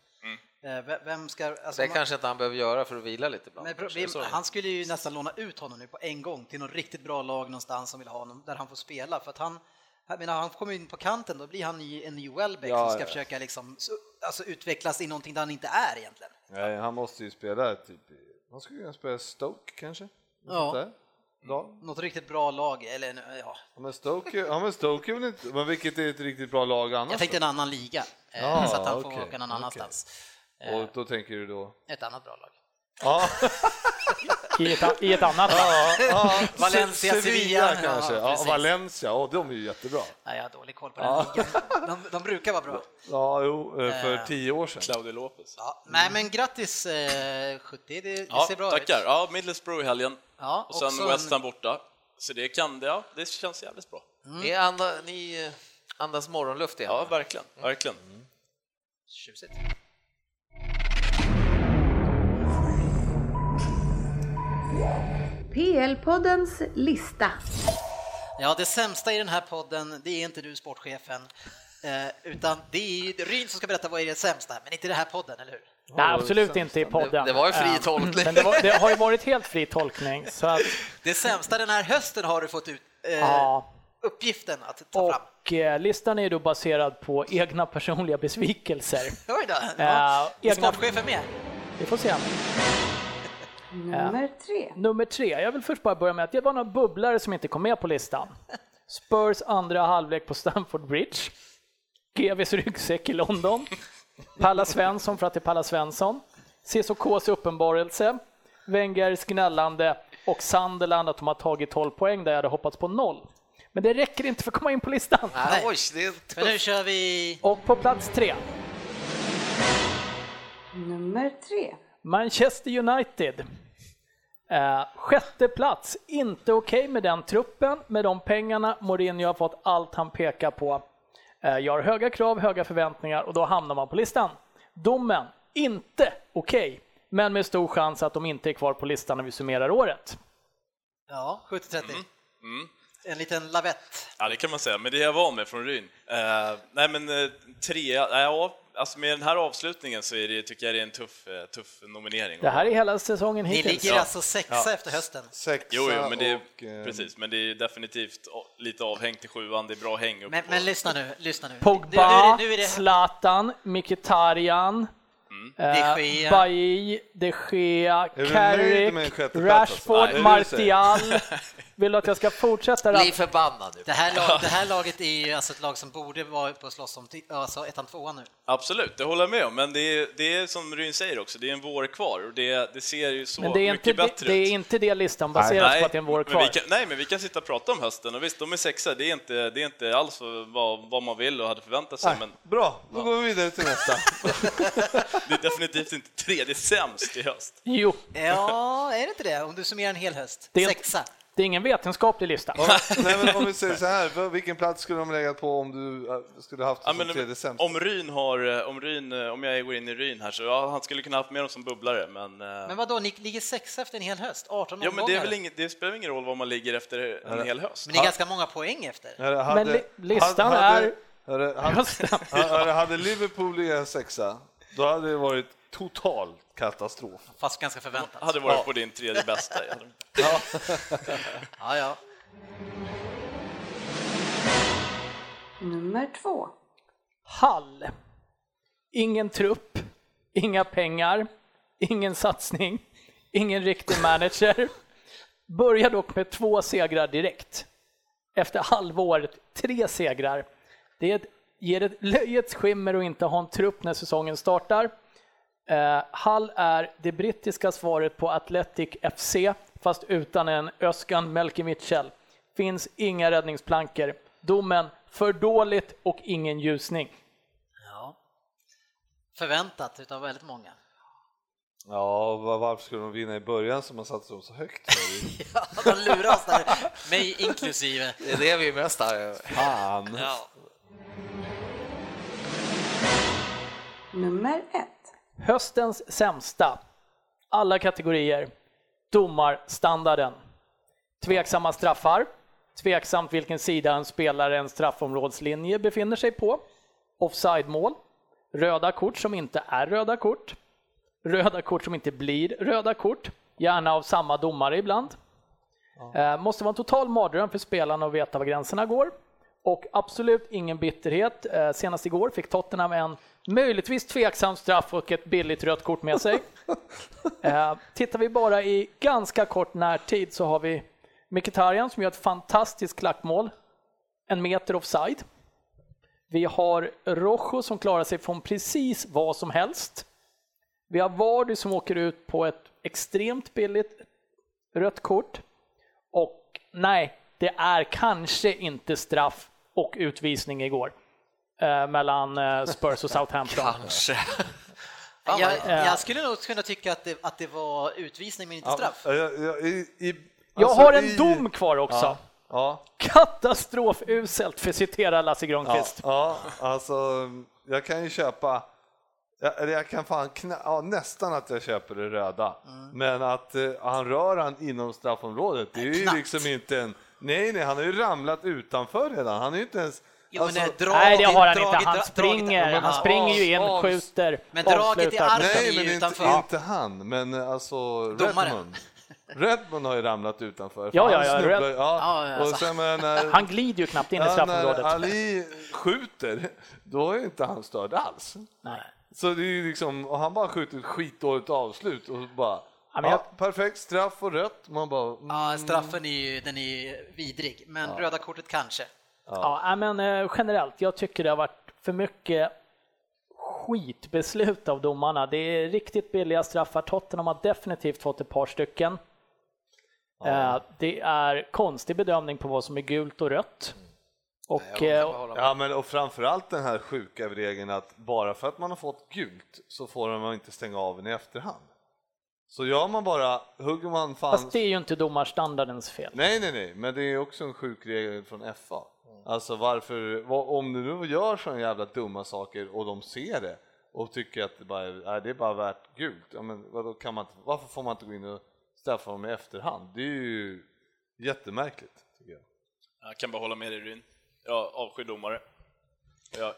Speaker 2: Eh, ve- Vem ska, alltså,
Speaker 6: Det
Speaker 2: man-
Speaker 6: kanske inte han behöver göra för att vila lite ibland.
Speaker 2: men, pro-
Speaker 6: kanske. Så är
Speaker 2: vi,
Speaker 6: det.
Speaker 2: han skulle ju nästan låna ut honom nu på en gång till något riktigt bra lag någonstans som vill ha honom, där han får spela, för att han, jag menar, han kommer in på kanten, då blir han ny, en ny Welbeck
Speaker 3: Ja,
Speaker 2: som ska
Speaker 3: ja.
Speaker 2: försöka liksom, så- alltså, utvecklas i någonting där han inte är egentligen.
Speaker 3: Nej, han måste ju spela typ, i- han skulle kunna spela Stoke kanske? Något
Speaker 2: Ja.
Speaker 3: sånt där. Ja.
Speaker 2: Något riktigt bra lag, eller ja,
Speaker 3: Ja, Men Stoke, ja, men Stoke är väl inte, men vilket är ett riktigt bra lag annars?
Speaker 2: jag tänkte en annan liga, eh,
Speaker 3: Ja,
Speaker 2: så att han får
Speaker 3: Ah, okej,
Speaker 2: åka någon
Speaker 3: okej.
Speaker 2: annanstans.
Speaker 3: då? Och då tänker du då?
Speaker 2: Ett annat bra lag.
Speaker 3: Ja,
Speaker 5: I ett, i ett annat land.
Speaker 3: ja,
Speaker 2: Valencia,
Speaker 3: Se-
Speaker 2: Sevilla,
Speaker 3: kanske.
Speaker 2: ja,
Speaker 3: Ja,
Speaker 2: precis.
Speaker 3: Valencia, ja de är ju jättebra.
Speaker 2: Nej, jag har dålig koll på den
Speaker 3: Ah.
Speaker 2: ligan. De, de brukar vara bra.
Speaker 3: Ja, jo, eh, för tio år sedan.
Speaker 4: Claudio Lopez.
Speaker 2: Ja, nej, men grattis eh, 70, det, det
Speaker 4: Ja,
Speaker 2: ser bra
Speaker 4: tackar.
Speaker 2: ut.
Speaker 4: Ja, Middlesbrough i helgen
Speaker 2: Ja,
Speaker 4: och sen
Speaker 2: också
Speaker 4: West
Speaker 2: en-
Speaker 4: Ham borta. Så det kan det, ja, det känns jävligt bra.
Speaker 6: Ni, anda, ni eh, andas morgonluft igen.
Speaker 4: Ja, verkligen, verkligen.
Speaker 2: Tjusigt.
Speaker 7: PL-poddens lista.
Speaker 2: Ja, det sämsta i den här podden, det är inte du sportchefen, eh, utan det är ju Ryn som ska berätta vad är det sämsta, men inte i den här podden, eller hur?
Speaker 5: Nej, absolut inte i podden.
Speaker 6: Det- det var ju fri
Speaker 5: Eh,
Speaker 6: tolkning. Eh,
Speaker 5: Men det, var, det har ju varit helt fri tolkning. Så att,
Speaker 2: Det sämsta den här hösten har du fått ut eh,
Speaker 5: ja.
Speaker 2: uppgiften att ta fram.
Speaker 5: Och eh, listan är ju då baserad på egna personliga besvikelser.
Speaker 2: Oj då,
Speaker 5: Eh,
Speaker 2: ja. är
Speaker 5: egna-
Speaker 2: sportchefen med?
Speaker 5: Vi får se.
Speaker 7: Nummer tre.
Speaker 5: Nummer tre, jag vill först bara börja med att det var några bubblare som inte kom med på listan. Spurs andra halvlek på Stamford Bridge. GVs ryggsäck i London. Palla Svensson för att det är Palla Svensson. CSKs uppenbarelse. Wengers gnällande och Sunderland att de har tagit 12 poäng där jag hade hoppats på noll. Men det räcker inte för att komma in på listan.
Speaker 6: Ah,
Speaker 2: Nej.
Speaker 6: oj, det är
Speaker 2: Men nu
Speaker 6: tufft.
Speaker 2: kör vi...
Speaker 5: Och på plats tre,
Speaker 7: Nummer tre.
Speaker 5: Manchester United. Eh, sjätte plats, inte okej med den truppen, med de pengarna. Mourinho har fått allt han pekar på. Eh, jag har höga krav, höga förväntningar och då hamnar man på listan. Domen, inte okej, men med stor chans att de inte är kvar på listan när vi summerar året.
Speaker 2: Ja, 70-30.
Speaker 4: Mm.
Speaker 2: En liten lavett.
Speaker 4: Ja, det kan man säga, men det är jag van med från Ryn. Eh, nej, men eh, trea, nej, ja, alltså med den här avslutningen så är det, tycker jag det är en tuff, eh, tuff nominering.
Speaker 5: Det här är hela säsongen
Speaker 2: Ni
Speaker 5: hittills.
Speaker 2: ligger alltså sexa efter hösten.
Speaker 3: Sexa
Speaker 4: Jo, jo, men det är,
Speaker 3: och, eh,
Speaker 4: precis, men det är definitivt a- lite avhängt till sjuan, det är bra häng upp
Speaker 2: Men,
Speaker 4: på-
Speaker 2: men lyssna nu, lyssna nu.
Speaker 5: Pogba,
Speaker 2: Nu, nu, är det, nu är det
Speaker 5: Zlatan, Mkhitaryan, eh,
Speaker 2: De Gea.
Speaker 5: Bailly, de Gea,
Speaker 3: du nöjd med en
Speaker 5: Carrick,
Speaker 3: sjätteplats,
Speaker 5: Rashford,
Speaker 3: alltså? Nej, det du säger.
Speaker 5: Martial. Vill du att jag ska fortsätta?
Speaker 6: Bli
Speaker 5: rabbla?
Speaker 6: förbannad nu.
Speaker 2: det, här lag, det här laget är ju alltså ett lag som borde vara uppe och slåss om ty- alltså ettan, tvåan nu.
Speaker 4: Absolut, det håller jag med om, men det är, det är som Ryn säger också, det är en vår kvar och det, det ser ju så
Speaker 5: Men det är,
Speaker 4: mycket
Speaker 5: inte det,
Speaker 4: bättre
Speaker 5: det är
Speaker 4: ut.
Speaker 5: inte det listan baseras på att det är en vår
Speaker 4: Men
Speaker 5: kvar.
Speaker 4: vi kan, nej, men vi kan sitta och prata om hösten och visst, de är sexa, det är inte, det är inte alls vad, vad man vill och hade förväntat sig, men
Speaker 3: Bra, då går vi vidare till nästa.
Speaker 4: det är definitivt inte tredje sämst i höst.
Speaker 5: Jo,
Speaker 2: Ja, är det inte det? Om du summerar en hel höst.
Speaker 5: Det är-
Speaker 2: Sexa.
Speaker 5: det är ingen vetenskaplig lista.
Speaker 3: Nej, men om vi säger så här, vilken plats skulle de lägga på om du eh, skulle haft det
Speaker 4: Ja,
Speaker 3: som
Speaker 4: men
Speaker 3: tredje sämst?
Speaker 4: om Ryn har, eh, om Ryn, eh, om jag går in i Ryn här så ja, han skulle kunna haft med dem som bubblare, men... eh,
Speaker 2: Men vadå, ni ligger sexa efter en hel höst? 18
Speaker 4: ja, men det, är väl
Speaker 2: omgångar.
Speaker 4: inget, det spelar ingen roll vad man ligger efter en hel höst.
Speaker 2: Men det är ganska många poäng efter.
Speaker 3: Hörru,
Speaker 5: Men li- listan är-
Speaker 3: Hörru, hade,
Speaker 5: Hösten.
Speaker 3: hörru, hade Liverpool legat sexa, då hade det varit total katastrof.
Speaker 2: Fast ganska förväntat.
Speaker 4: hade varit på din tredje bästa. ja.
Speaker 2: Ja, ja.
Speaker 7: Nummer två.
Speaker 5: Hall. Ingen trupp, inga pengar, ingen satsning, ingen riktig manager. Börjar dock med två segrar direkt. Efter halvåret, tre segrar. Det är ett, ger ett löjets skimmer att inte ha en trupp när säsongen startar. Eh, Hull är det brittiska svaret på Athletic FC, fast utan en Özcan Melke Mitchell. Finns inga räddningsplankor. Domen, för dåligt och ingen ljusning.
Speaker 2: Ja. Förväntat utav väldigt många.
Speaker 3: Ja, va- varför skulle de vinna i början som man satte dem så högt för?
Speaker 2: Ja, de lurar oss där, mig inklusive.
Speaker 6: Det är det vi är mest arga över.
Speaker 3: Fan!
Speaker 2: Ja.
Speaker 7: nummer ett,
Speaker 5: Höstens sämsta, alla kategorier, domarstandarden. Tveksamma straffar, tveksamt vilken sida en spelare en straffområdslinje befinner sig på, offside-mål, röda kort som inte är röda kort, röda kort som inte blir röda kort, gärna av samma domare ibland. Eh, måste vara en total mardröm för spelarna att veta var gränserna går. Och absolut ingen bitterhet. Eh, senast igår fick Tottenham en möjligtvis tveksam straff och ett billigt rött kort med sig. eh, tittar vi bara i ganska kort närtid så har vi Mkhitaryan som gör ett fantastiskt klackmål, en meter offside. Vi har Rojo som klarar sig från precis vad som helst. Vi har Vardy som åker ut på ett extremt billigt rött kort. Och nej, det är kanske inte straff och utvisning igår eh, mellan eh, Spurs och Southampton.
Speaker 6: Kanske.
Speaker 2: Jag, jag skulle nog kunna tycka att det, att det var utvisning men inte straff.
Speaker 3: Ja, jag- jag- i- i-
Speaker 5: Jag
Speaker 3: alltså,
Speaker 5: har en
Speaker 3: i-
Speaker 5: dom kvar också.
Speaker 3: Ja, ja,
Speaker 5: Katastrofuselt för att citera Lasse
Speaker 3: ja,
Speaker 5: Granqvist.
Speaker 3: ja, alltså jag kan ju köpa, jag, eller jag kan fan knä, ja, nästan att jag köper det röda. Men att eh, han rör han inom straffområdet, det är ju
Speaker 2: Knappt.
Speaker 3: liksom inte en, nej nej, han har ju ramlat utanför redan, han är ju inte ens, alltså-
Speaker 2: Jo, men det är drag-
Speaker 5: Nej, det har han
Speaker 2: drag-
Speaker 5: inte. Han
Speaker 2: drag-
Speaker 5: springer,
Speaker 2: drag-
Speaker 5: han
Speaker 2: Ja.
Speaker 5: springer ju in,
Speaker 3: avs-
Speaker 5: skjuter,
Speaker 2: Men draget i
Speaker 5: avslutar.
Speaker 2: armen.
Speaker 3: nej
Speaker 2: är
Speaker 3: men
Speaker 2: ju
Speaker 3: inte,
Speaker 2: utanför.
Speaker 3: inte han, men eh, alltså
Speaker 2: Domaren.
Speaker 3: Redmond. Redmond har ju ramlat utanför.
Speaker 5: Ja, ja,
Speaker 3: Han
Speaker 5: ja,
Speaker 3: snubblar-
Speaker 5: Red-
Speaker 2: Ja, ja,
Speaker 3: ja.
Speaker 2: alltså.
Speaker 3: Och sen men, när,
Speaker 5: Han glider ju knappt in
Speaker 3: Ja,
Speaker 5: i
Speaker 3: när
Speaker 5: straffområdet.
Speaker 3: Ali skjuter, då är inte han störd alls. Så det är ju liksom, och han bara skjuter ett skitdåligt avslut och bara,
Speaker 5: Ja,
Speaker 3: ja,
Speaker 5: men jag-
Speaker 3: perfekt straff och rött. Man bara, mm.
Speaker 2: Ja, straffen är ju, den är ju vidrig, men röda kortet kanske.
Speaker 5: Ja, nej, men eh, generellt, jag tycker det har varit för mycket skitbeslut av domarna. Det är riktigt billiga straffar. Tottenham har definitivt fått ett par stycken. Eh, Det är konstig bedömning på vad som är gult och rött.
Speaker 3: Mm.
Speaker 5: Och eh,
Speaker 3: ja men och framförallt den här sjuka regeln att bara för att man har fått gult så får man inte stänga av en i efterhand. Så gör man bara, hugger man fan,
Speaker 5: fast det är ju inte domarstandardens fel.
Speaker 3: nej nej nej, men det är också en sjuk regel från FA. Alltså varför, vad, om du nu gör sådana jävla dumma saker och de ser det och tycker att det bara är, nej, det är bara värt gult, ja, men vadå, kan man inte, varför får man inte gå in och straffa dem i efterhand? Det är ju jättemärkligt. Tycker jag.
Speaker 4: Jag kan bara hålla med dig Ryn. Jag avskyr domare. Jag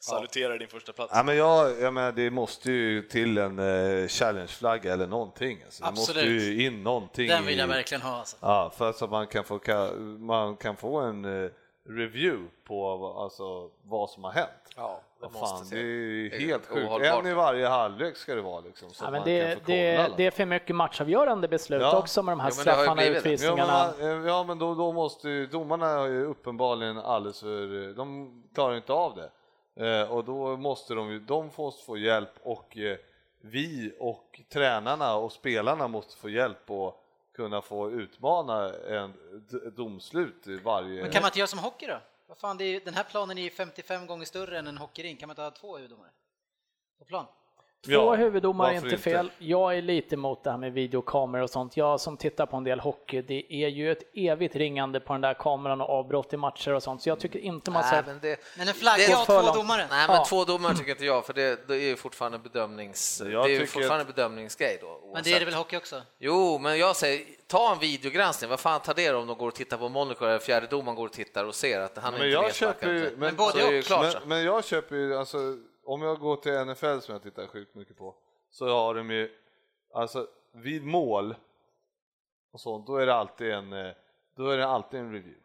Speaker 4: saluterar din första plats.
Speaker 3: Ja, men jag, jag menar, det måste ju till en eh, challengeflagga eller någonting. Alltså, det måste
Speaker 2: Absolut.
Speaker 3: ju in någonting.
Speaker 2: Den vill jag
Speaker 3: i-
Speaker 2: verkligen ha. Alltså.
Speaker 3: Ja, för att så att man kan få, ka- man kan få en eh, review på vad- alltså, vad som har hänt.
Speaker 6: Ja, det
Speaker 3: Vad
Speaker 6: måste
Speaker 3: fan,
Speaker 6: till.
Speaker 3: det är ju
Speaker 6: Det är
Speaker 3: helt sjukt.
Speaker 6: ohållbart.
Speaker 3: En i varje halvlek ska det vara liksom. Så
Speaker 5: Ja,
Speaker 3: att
Speaker 5: men
Speaker 3: man kan
Speaker 5: det,
Speaker 3: få kolla
Speaker 5: det,
Speaker 3: alla.
Speaker 5: det är för mycket matchavgörande beslut
Speaker 3: Ja.
Speaker 5: också med de här
Speaker 6: Jo, men det har ju
Speaker 5: straffarna och
Speaker 6: blivit det.
Speaker 3: liksom. Ja men,
Speaker 5: utvisningarna.
Speaker 3: man, eh, ja, men då, då måste ju domarna har ju uppenbarligen alldeles för, de klarar inte av det. Eh, och då måste de ju, de måste få hjälp och eh, vi och tränarna och spelarna måste få hjälp och kunna få utmana en d- domslut i varje...
Speaker 2: Men kan man inte göra som hockey då? Vad fan, det är, ju- den här planen är ju 55 gånger större än en hockeyring, kan man inte ha två huvuddomare? På plan?
Speaker 5: Två
Speaker 3: Ja,
Speaker 5: huvuddomare är
Speaker 3: varför
Speaker 5: inte fel. Jag är lite emot det här med videokameror och sånt. Jag som tittar på en del hockey, det är ju ett evigt ringande på den där kameran och avbrott i matcher och sånt, så jag tycker inte man ska...
Speaker 6: Nej, men det,
Speaker 2: Men en flagga
Speaker 6: Det-
Speaker 2: och
Speaker 5: för
Speaker 2: två
Speaker 5: långt.
Speaker 2: domare?
Speaker 6: Nej, men
Speaker 5: Ja.
Speaker 6: två domare tycker inte jag, för det, det är ju fortfarande bedömnings...
Speaker 3: Jag
Speaker 6: Det är ju
Speaker 3: tycker
Speaker 6: fortfarande bedömningsgrej då.
Speaker 2: Men
Speaker 6: oavsett.
Speaker 2: det är det väl hockey också?
Speaker 6: Jo, men jag säger, ta en videogranskning. Vad fan tar det om de går och tittar på Monaco eller fjärde domaren går och tittar och ser att han är
Speaker 3: Men
Speaker 6: inte
Speaker 3: jag
Speaker 6: nedsparkad.
Speaker 3: köper ju...
Speaker 2: Men
Speaker 6: Så
Speaker 2: både
Speaker 6: är det ju
Speaker 2: och.
Speaker 6: klart så.
Speaker 3: men, men jag köper ju, alltså, om jag går till NFL som jag tittar sjukt mycket på, så har de ju, alltså vid mål och sånt, då är det alltid en, eh, då är det alltid en review.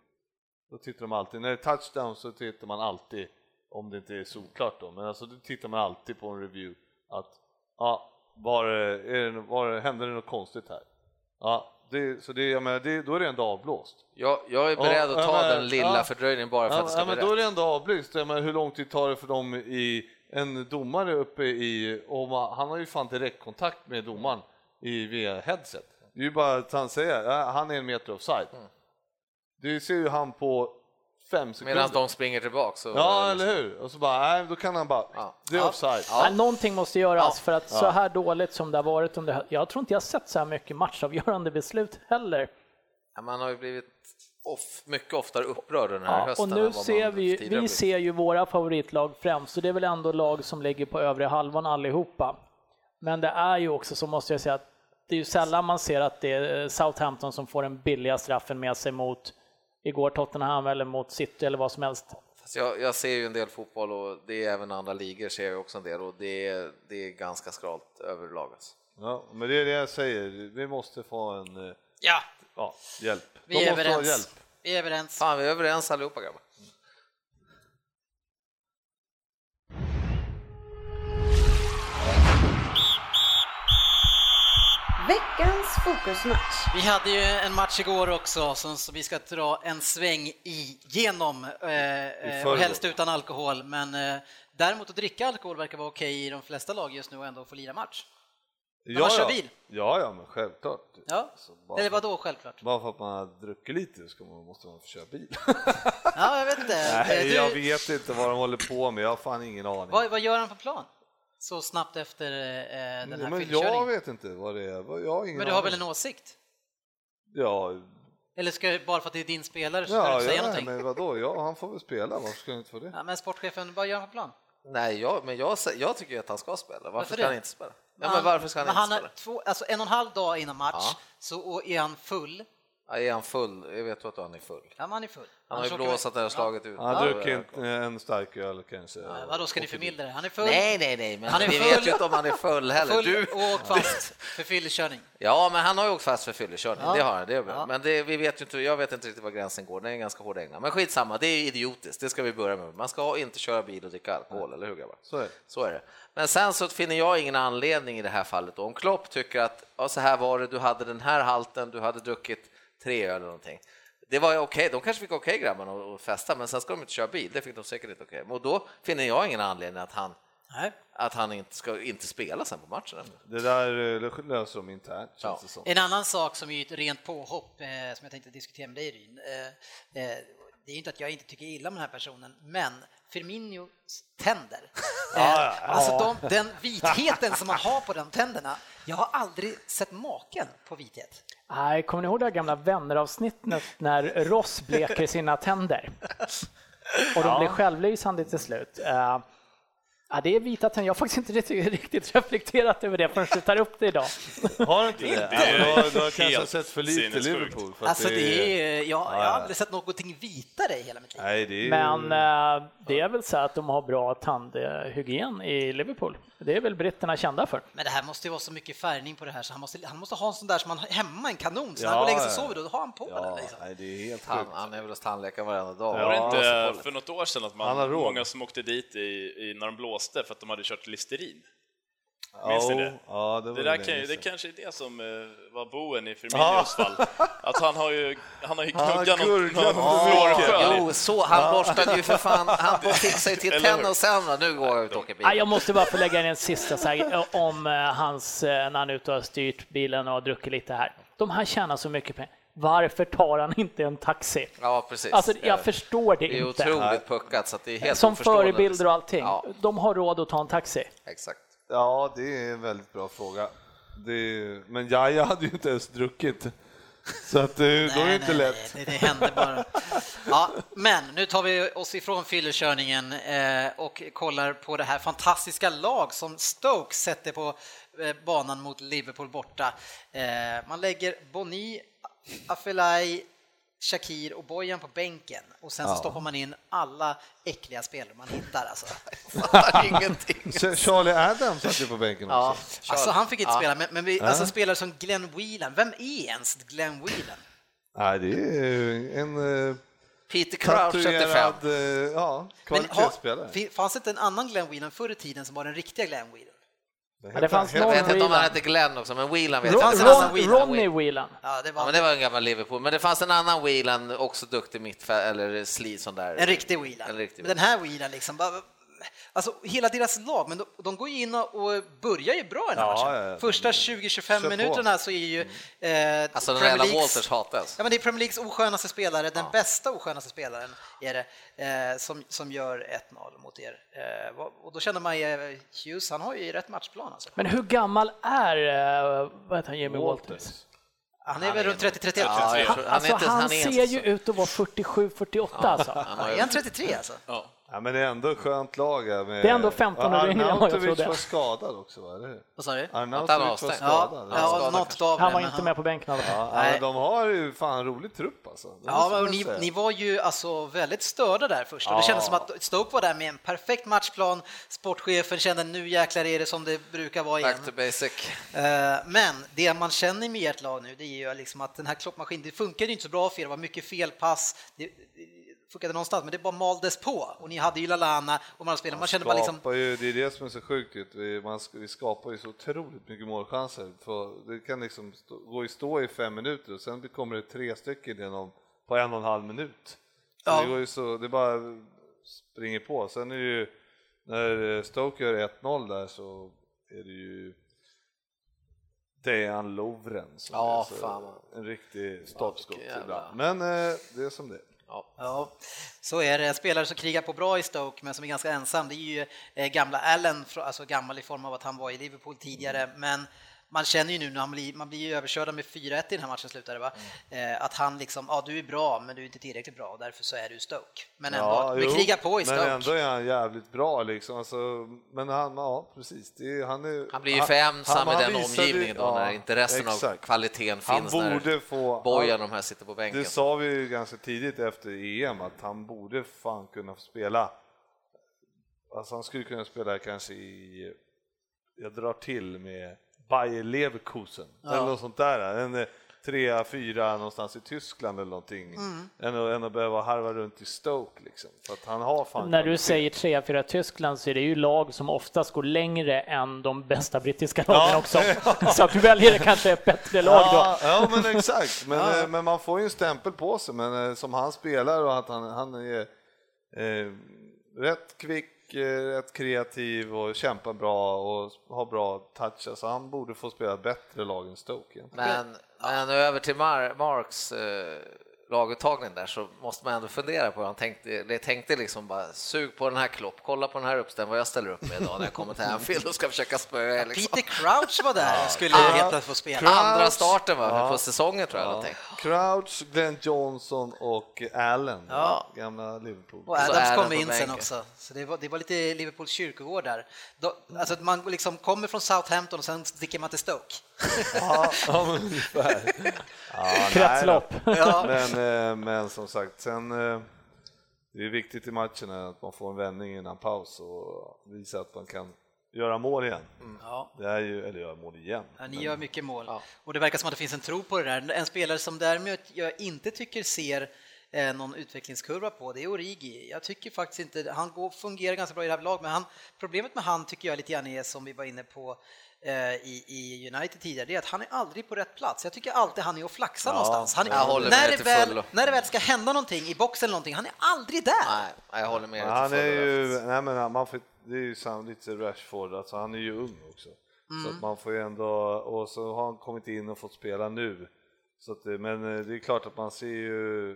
Speaker 3: Då tittar de alltid, när det är touchdown så tittar man alltid, om det inte är solklart då, men alltså då tittar man alltid på en review att, ja, var, det- är det, var, det- hände det något konstigt här? Ja, det, så det, jag menar, det, då är det ändå avblåst.
Speaker 6: Jag, jag är beredd
Speaker 3: Ja,
Speaker 6: att
Speaker 3: ja,
Speaker 6: ta
Speaker 3: men-
Speaker 6: den lilla
Speaker 3: ja.
Speaker 6: fördröjningen bara för
Speaker 3: Ja,
Speaker 6: att det ska
Speaker 3: ja,
Speaker 6: bli
Speaker 3: men då är
Speaker 6: rätt.
Speaker 3: det ändå avblåst. Jag menar, hur lång tid tar det för dem i en domare uppe i... Och man, han har ju fan direktkontakt med domaren i via headset. Det är ju bara att han säger ja, han är en meter offside.
Speaker 6: Mm.
Speaker 3: Det ser ju han på fem sekunder.
Speaker 6: Medan de springer tillbaka. Så
Speaker 3: Ja, eller hur? Och så bara, nej, då kan han bara,
Speaker 6: Ja.
Speaker 3: det är
Speaker 6: Ja.
Speaker 3: offside.
Speaker 6: Ja.
Speaker 5: Men någonting måste göras för att så här dåligt som det har varit under Jag tror inte jag har sett så här mycket matchavgörande beslut heller.
Speaker 6: Ja, Man har ju blivit off, mycket oftare upprörd den här
Speaker 5: Ja,
Speaker 6: hösten
Speaker 5: och
Speaker 6: än
Speaker 5: nu
Speaker 6: vad man
Speaker 5: ser vi ju,
Speaker 6: tidigare
Speaker 5: vi
Speaker 6: blivit.
Speaker 5: ser ju våra favoritlag främst, så det är väl ändå lag som ligger på övre halvan allihopa. Men det är ju också så måste jag säga att det är ju sällan man ser att det är Southampton som får den billiga straffen med sig mot igår Tottenham eller mot City eller vad som helst.
Speaker 6: Fast Alltså, jag, jag ser ju en del fotboll och det är även andra ligor ser jag också en del och det är, det är ganska skralt överlag. Alltså.
Speaker 3: Ja, men det är det jag säger, vi måste få en eh,
Speaker 2: Ja,
Speaker 3: ja, hjälp.
Speaker 2: vi är
Speaker 3: måste ha
Speaker 2: överens.
Speaker 3: hjälp.
Speaker 2: Vi är överens.
Speaker 6: Fan, vi är överens allihopa grabbar.
Speaker 7: Veckans fokusmatch.
Speaker 2: Vi hade ju en match igår också som som vi ska dra en sväng igenom, eh, eh, och
Speaker 3: förrgår.
Speaker 2: helst utan alkohol. Men eh, däremot att dricka alkohol verkar vara okej i de flesta lag just nu och ändå få lira match. man
Speaker 3: ja,
Speaker 2: kör
Speaker 3: ja.
Speaker 2: bil.
Speaker 3: Ja, ja, men självklart.
Speaker 2: Ja,
Speaker 6: Alltså,
Speaker 3: Så bara-
Speaker 2: eller vadå självklart?
Speaker 3: Bara för att man har druckit lite så man, måste man få köra bil.
Speaker 2: Ja, jag vet inte.
Speaker 3: Nej,
Speaker 2: Eh,
Speaker 3: jag
Speaker 2: du,
Speaker 3: vet inte vad de håller på med, jag har fan ingen aning.
Speaker 2: vad, vad gör han för plan? Så snabbt efter eh, den här
Speaker 3: men jag
Speaker 2: fyllkörningen?
Speaker 3: vet inte vad det är, vad- jag har ingen
Speaker 2: Men du har
Speaker 3: aning.
Speaker 2: väl en åsikt?
Speaker 3: Ja,
Speaker 2: Eller ska, bara för att det är din spelare så ska du
Speaker 3: ja,
Speaker 2: inte säga
Speaker 3: ja
Speaker 2: någonting?
Speaker 3: men vadå, ja, han får väl spela, varför ska jag inte få det?
Speaker 2: Ja, men sportchefen, vad gör han för plan?
Speaker 6: Nej, jag, men jag, sä- jag tycker ju att han ska spela. Varför,
Speaker 2: Varför
Speaker 6: ska han
Speaker 2: det?
Speaker 6: inte spela? Ja, men varför ska han
Speaker 2: men
Speaker 6: inte
Speaker 2: har
Speaker 6: spela?
Speaker 2: Två, alltså en och en halv dag innan match
Speaker 6: Ja.
Speaker 2: så och är han full.
Speaker 6: Ja, är han full? Jag vet att han är full.
Speaker 2: Ja, men han är full.
Speaker 6: Han har
Speaker 2: Annars
Speaker 6: ju
Speaker 2: åker vi-
Speaker 6: blåsat det här slaget ut.
Speaker 3: Han har
Speaker 6: Ja.
Speaker 3: druckit en, en stark öl kanske.
Speaker 2: Ja, vadå, ska ni förmildra det? Han är full,
Speaker 6: Nej, nej, nej, men
Speaker 2: Han är
Speaker 6: vi
Speaker 2: full.
Speaker 6: vet ju inte om han är full heller.
Speaker 2: full
Speaker 6: du,
Speaker 2: och åkt fast för fyllekörning.
Speaker 6: Ja, men han har ju åkt fast för fyllekörning,
Speaker 2: Ja.
Speaker 6: det har han. Det är bra.
Speaker 2: Ja.
Speaker 6: Men det, vi vet ju inte, jag vet inte riktigt var gränsen går, den är ganska hård i England. Men skitsamma, det är ju idiotiskt, det ska vi börja med. Man ska inte köra bil och dricka alkohol, eller hur grabbar?
Speaker 3: Så är det.
Speaker 6: Så är det. Men sen så finner jag ingen anledning i det här fallet, då. om Klopp tycker att ja, så här var det, du hade den här halten, du hade druckit tre öl eller någonting. Det var ju okej, de kanske fick okej grabbarna och och festa, men sen ska de inte köra bil, det fick de säkert inte okej. Och då finner jag ingen anledning att han,
Speaker 2: Nej.
Speaker 6: att han inte ska inte spela sen på matchen. efter.
Speaker 3: Det där eh, löser de internt känns
Speaker 6: Ja.
Speaker 3: det som.
Speaker 2: En annan sak som är ju ett rent påhopp eh, som jag tänkte diskutera med dig Ryn. Eh, eh, det är ju inte att jag inte tycker illa om den här personen, men Firminos tänder.
Speaker 3: Ja, ja.
Speaker 2: Eh, alltså de, den vitheten som man har på de tänderna, jag har aldrig sett maken på vithet.
Speaker 5: Nej, kommer ni ihåg det här gamla vänneravsnittet när Ross bleker sina tänder? Och de blir självlysande till slut. Eh, ja, det är vita tänder, jag har faktiskt inte riktigt- riktigt reflekterat över det förrän du tar upp det idag.
Speaker 3: Har inte det?
Speaker 4: Det är
Speaker 3: Ja, du har kanske
Speaker 4: helt
Speaker 3: sett för lite
Speaker 4: sinnessjukt.
Speaker 3: Liverpool. För att
Speaker 2: Alltså det är, jag, jag har
Speaker 3: ja.
Speaker 2: aldrig sett någonting vitare i hela mitt liv.
Speaker 3: Nej, det är...
Speaker 5: Men
Speaker 6: Mm.
Speaker 5: eh, det är väl så att de har bra tandhygien i Liverpool. Det är väl britterna kända för.
Speaker 2: Men det här måste ju vara så mycket färgning på det här så han måste, han måste ha en sån där som han har hemma, en kanon, så när
Speaker 3: Ja,
Speaker 2: han går och lägger sig och
Speaker 3: ja.
Speaker 2: sover då, då har han på den
Speaker 3: ja,
Speaker 2: liksom.
Speaker 3: nej, det är helt
Speaker 6: Han,
Speaker 3: sjukt.
Speaker 6: han är väl hos tandläkaren varenda dag.
Speaker 4: Var det
Speaker 3: Ja,
Speaker 4: inte för något år sedan att
Speaker 3: Han har
Speaker 4: man,
Speaker 3: råd.
Speaker 4: många som åkte dit i, i, när de blåste för att de hade kört Listerin? Minns
Speaker 3: Ja,
Speaker 4: ni det?
Speaker 3: Ja, det var
Speaker 4: Det, där
Speaker 3: länge
Speaker 4: kan ju, det
Speaker 3: sedan.
Speaker 4: kanske är det som eh, var boen i Firminos fall. Att han har ju, han har ju
Speaker 3: Han har
Speaker 4: knuggat någon, någon
Speaker 3: gurglat för mycket.
Speaker 4: fluorskölj.
Speaker 6: Jo, så han borstade ju för fan, han fixade ju till
Speaker 4: Eller hur?
Speaker 6: tänderna och sen va, nu går jag ut och åker bil.
Speaker 5: Ah, jag måste bara få lägga in en sista så här, eh, om eh, hans, eh, när han är ute och har styrt bilen och har druckit lite här. De här tjänar så mycket pengar. Varför tar han inte en taxi?
Speaker 6: Ja, precis.
Speaker 5: Alltså,
Speaker 6: Ja.
Speaker 5: jag förstår det
Speaker 6: Det är
Speaker 5: inte.
Speaker 6: otroligt puckat så att det är helt
Speaker 5: Som
Speaker 6: oförståeligt.
Speaker 5: förebilder och allting.
Speaker 6: Ja,
Speaker 5: De har råd att ta en taxi.
Speaker 6: exakt.
Speaker 3: Ja, det är en väldigt bra fråga. Det är... Men Jaja hade ju inte ens druckit. Så att, eh, då är det inte lätt.
Speaker 2: Nej, det, det hände bara. Ja, men nu tar vi oss ifrån fyllekörningen eh, och kollar på det här fantastiska lag som Stoke sätter på eh, banan mot Liverpool borta. Eh, man lägger Boni, Afelai, Shakir och Bojan på bänken och sen så stoppar man in alla äckliga spelare man hittar. Alltså,
Speaker 6: Fattar ingenting.
Speaker 3: Ch- Charlie Adams satt ju på bänken också.
Speaker 2: alltså han fick inte
Speaker 6: Ja.
Speaker 2: spela, men, men vi, alltså, spelare som Glenn Whelan, vem är ens Glenn Whelan?
Speaker 3: Nej, det är ju en eh,
Speaker 6: Peter Crouch 75.
Speaker 3: tatuerad eh, ja,
Speaker 2: Men har-
Speaker 3: kvalitetsspelare.
Speaker 2: fin- fanns det inte en annan Glenn Whelan förr i tiden som var den riktiga Glenn Whelan?
Speaker 5: Men det fanns
Speaker 6: Jag
Speaker 5: någon
Speaker 6: vet inte om han
Speaker 5: Whelan.
Speaker 6: hette Glenn också, men Whelan vet
Speaker 5: Ron,
Speaker 6: jag.
Speaker 2: fanns en annan
Speaker 5: Ron,
Speaker 2: Whelan.
Speaker 5: Ronnie Whelan.
Speaker 2: Ja, det var,
Speaker 6: Ja, men det var en gammal Liverpool, men det fanns en annan Whelan, också duktig mittfält eller sli sån där.
Speaker 2: en riktig wheeler.
Speaker 6: En riktig
Speaker 2: Men den här wheeler liksom, bara, alltså hela deras lag, men de, de går ju in och och börjar ju bra den här
Speaker 3: Ja,
Speaker 2: matchen.
Speaker 3: ja, ja.
Speaker 2: Första
Speaker 3: Kör
Speaker 2: 20-25
Speaker 3: på.
Speaker 2: minuterna så är ju eh,
Speaker 6: Alltså den här
Speaker 2: Premier
Speaker 6: jävla
Speaker 2: Leagues-
Speaker 6: Walters hatas.
Speaker 2: Ja, men det är Premier Leagues oskönaste spelare, den bästa oskönaste spelaren är det, eh, som, som gör 1-0 mot er. Eh, vad- och då känner man ju, eh, Hughes, han har ju rätt matchplan alltså.
Speaker 5: Men hur gammal är eh, vad heter han, Jimmy Walters?
Speaker 2: Han är
Speaker 6: är
Speaker 2: väl runt 30-31?
Speaker 6: Ja, jag
Speaker 2: Ja,
Speaker 6: tror- han är
Speaker 5: Alltså
Speaker 6: inte-
Speaker 5: han
Speaker 6: han är inte
Speaker 5: ser ju
Speaker 6: så-
Speaker 5: ut att vara 47-48 alltså.
Speaker 6: Han har
Speaker 2: Är
Speaker 6: ju-
Speaker 2: han 33 alltså?
Speaker 4: Ja.
Speaker 3: Ja, men det är ändå ett skönt lag. Här med...
Speaker 5: Det är ändå 15 år yngre än vad jag
Speaker 3: Arnautovic
Speaker 5: trodde.
Speaker 3: var skadad också, va? eller hur?
Speaker 2: Vad sa du?
Speaker 6: Att han
Speaker 3: Arnautovic var
Speaker 6: avstängd.
Speaker 2: Ja,
Speaker 3: skadad.
Speaker 6: skadad
Speaker 2: ja, något
Speaker 6: kanske.
Speaker 2: gav
Speaker 5: Han
Speaker 2: det,
Speaker 5: var
Speaker 2: men
Speaker 5: inte med på bänken i alla fall.
Speaker 3: Ja, ja,
Speaker 2: Nej.
Speaker 3: men de har ju fan en rolig trupp alltså. Det
Speaker 2: Ja,
Speaker 3: måste
Speaker 2: men
Speaker 3: man
Speaker 2: ni,
Speaker 3: säga.
Speaker 2: ni var ju alltså väldigt störda där först och det kändes som att Stoke var där med en perfekt matchplan. Sportchefen kände nu jäklar är det som det brukar vara igen.
Speaker 6: Back to basic.
Speaker 2: Eh, Men det man känner med ert lag nu det är ju liksom att den här kloppmaskinen, det funkade ju inte så bra för er, det var mycket felpass, det det funkade någonstans men det bara maldes på och ni hade ju Lalana och man spelade, man kände bara liksom
Speaker 3: Skapar ju, det är det som är så sjukt, vet du. vi, man, sk- vi skapar ju så otroligt mycket målchanser. För det kan liksom stå, gå i stå i fem minuter och sen kommer det tre stycken genom, på en och en halv minut. Så
Speaker 2: Ja.
Speaker 3: det, går ju så, det bara springer på. Sen är det ju, när eh, Stoke gör 1-0 där så är det ju Dejan Lovren som
Speaker 6: Ja,
Speaker 3: är
Speaker 6: fan.
Speaker 3: så, en riktig stolpskott
Speaker 6: vilken jävla-
Speaker 3: ibland. Men eh, det är som det är.
Speaker 2: Ja, så är det. En spelare som krigar på bra i Stoke men som är ganska ensam, det är ju eh, gamla Allen, fr- alltså gammal i form av att han var i Liverpool tidigare,
Speaker 3: Mm.
Speaker 2: men man känner ju nu när han blir, man blir ju överkörda med 4-1 i den här matchen slutade va,
Speaker 3: Mm.
Speaker 2: Eh, att han liksom, ja du är bra men du är inte tillräckligt bra och därför så är du Stoke. Men ändå, men
Speaker 3: jo,
Speaker 2: kriga på i
Speaker 3: Men
Speaker 2: Stoke.
Speaker 3: ändå är han jävligt bra liksom. Alltså, men han, ja precis. Det är, han, är,
Speaker 6: Han blir ju för ensam i
Speaker 3: han
Speaker 6: den
Speaker 3: visade-
Speaker 6: omgivningen då
Speaker 3: ja,
Speaker 6: när inte resten av
Speaker 3: exakt.
Speaker 6: kvaliteten
Speaker 3: Han
Speaker 6: finns.
Speaker 3: borde
Speaker 6: när
Speaker 3: få-
Speaker 6: Bojan
Speaker 3: han-
Speaker 6: de här sitter på
Speaker 3: Det
Speaker 6: bänken.
Speaker 3: sa vi ju ganska tidigt efter EM att han borde fan kunna få spela. Alltså han skulle kunna spela kanske i, jag drar till med Bayer Leverkusen eller något sånt där. En eh, trea, fyra någonstans i Tyskland eller någonting.
Speaker 6: Mm.
Speaker 3: Än, att, än att behöva harva runt i Stoke liksom. För att han har fan
Speaker 5: När du
Speaker 3: kvalitet.
Speaker 5: säger 3-4 Tyskland så är det ju lag som oftast går längre än de bästa brittiska lagen också. Så att du väljer kanske ett bättre lag då.
Speaker 3: Ja, ja men exakt. Men, eh, men man får ju en stämpel på sig. Men eh, som han spelar och att han, han är eh, rätt kvick, eh, rätt kreativ och kämpar bra och har bra touch. Alltså han borde få spela bättre lag än Stoke. egentligen.
Speaker 6: Men, men över till Mar Marks eh, laguttagning där så måste man ändå fundera på hur han tänkte. Det tänkte liksom bara sug på den här Klopp, kolla på den här uppställningen, vad jag ställer upp med idag när jag kommer till Anfield och ska försöka spöa er, liksom.
Speaker 2: Peter Crouch var där och skulle helt plötsligt få spela.
Speaker 6: Andra starten va, på säsongen tror jag. Ja. Tänkte.
Speaker 3: Crouch, Glenn Johnson och Allen,
Speaker 2: Ja.
Speaker 3: gamla Liverpool.
Speaker 2: Och
Speaker 6: Så
Speaker 2: Adams
Speaker 6: är
Speaker 2: kom
Speaker 6: den på
Speaker 2: in sen
Speaker 6: bänken.
Speaker 2: också, så det var, det var lite Liverpools kyrkogård där. Då, alltså att man liksom kommer från Southampton och sen sticker man till Stoke.
Speaker 3: Ja, ja, men ungefär. Ja, nej då.
Speaker 5: Kretslopp.
Speaker 3: Men, eh, men som sagt, sen, eh, det är viktigt i matchen är att man får en vändning innan paus och visa att man kan göra mål igen.
Speaker 2: Ja.
Speaker 3: Det är ju, eller göra mål igen.
Speaker 2: Ja, ni gör mycket mål och det verkar som att det finns en tro på det där. En spelare som däremot jag inte tycker ser eh, någon utvecklingskurva på, det är Origi. Jag tycker faktiskt inte, han går, fungerar ganska bra i det här laget, men han, problemet med han tycker jag lite grann är som vi var inne på eh, i, i United tidigare, det är att han är aldrig på rätt plats. Jag tycker alltid han är och flaxar någonstans. Han, är-
Speaker 6: jag håller med
Speaker 2: när, det
Speaker 6: till
Speaker 2: väl,
Speaker 6: fullo.
Speaker 2: när det väl ska hända någonting i boxen eller någonting, han är aldrig där.
Speaker 6: Nej, jag håller med
Speaker 3: Men
Speaker 6: dig
Speaker 3: han
Speaker 6: till
Speaker 3: är
Speaker 6: fullo där.
Speaker 3: ju, nej men han- man får, det är ju sam- lite Rashford, alltså han är ju ung också. Så att man får ju ändå, och så har han kommit in och fått spela nu. Så att, det- men eh, det är klart att man ser ju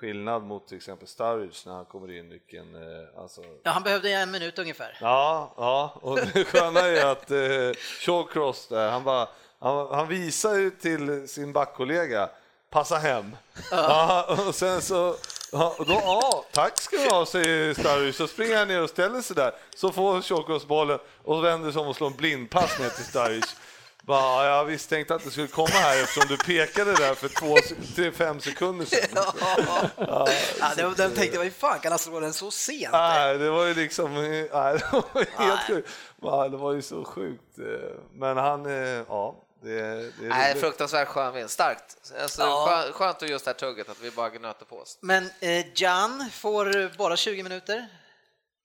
Speaker 3: skillnad mot till exempel Sturridge när han kommer in, vilken, eh, alltså
Speaker 2: Ja, han behövde en minut ungefär.
Speaker 3: Ja, ja, och det sköna är ju att eh, Shawcross där, han, bara, han, han visar ju till sin backkollega, passa hem. Ja, och sen så, ja, och då, ja, tack ska du ha, säger Starry. Så springer han ner och ställer sig där, så får Shawcross bollen och vänder sig om och slår en blindpass ner till Starry. Bara, jag visst tänkte att det skulle komma här eftersom du pekade där för två, tre, fem sekunder sedan.
Speaker 2: ja, den, den tänkte jag, hur fan kan han slå den så sent?
Speaker 3: Nej, det var ju liksom nej, det var helt sjukt. Ja, Det var ju så sjukt. eh, Men han, eh, ja. Det, det är
Speaker 6: Nej,
Speaker 3: roligt.
Speaker 6: fruktansvärt skön vinst. Starkt. Alltså,
Speaker 2: Ja.
Speaker 6: skön- Skönt att just det här tugget, att vi bara gnöter på oss.
Speaker 2: Men eh, Jan får eh, bara 20 minuter.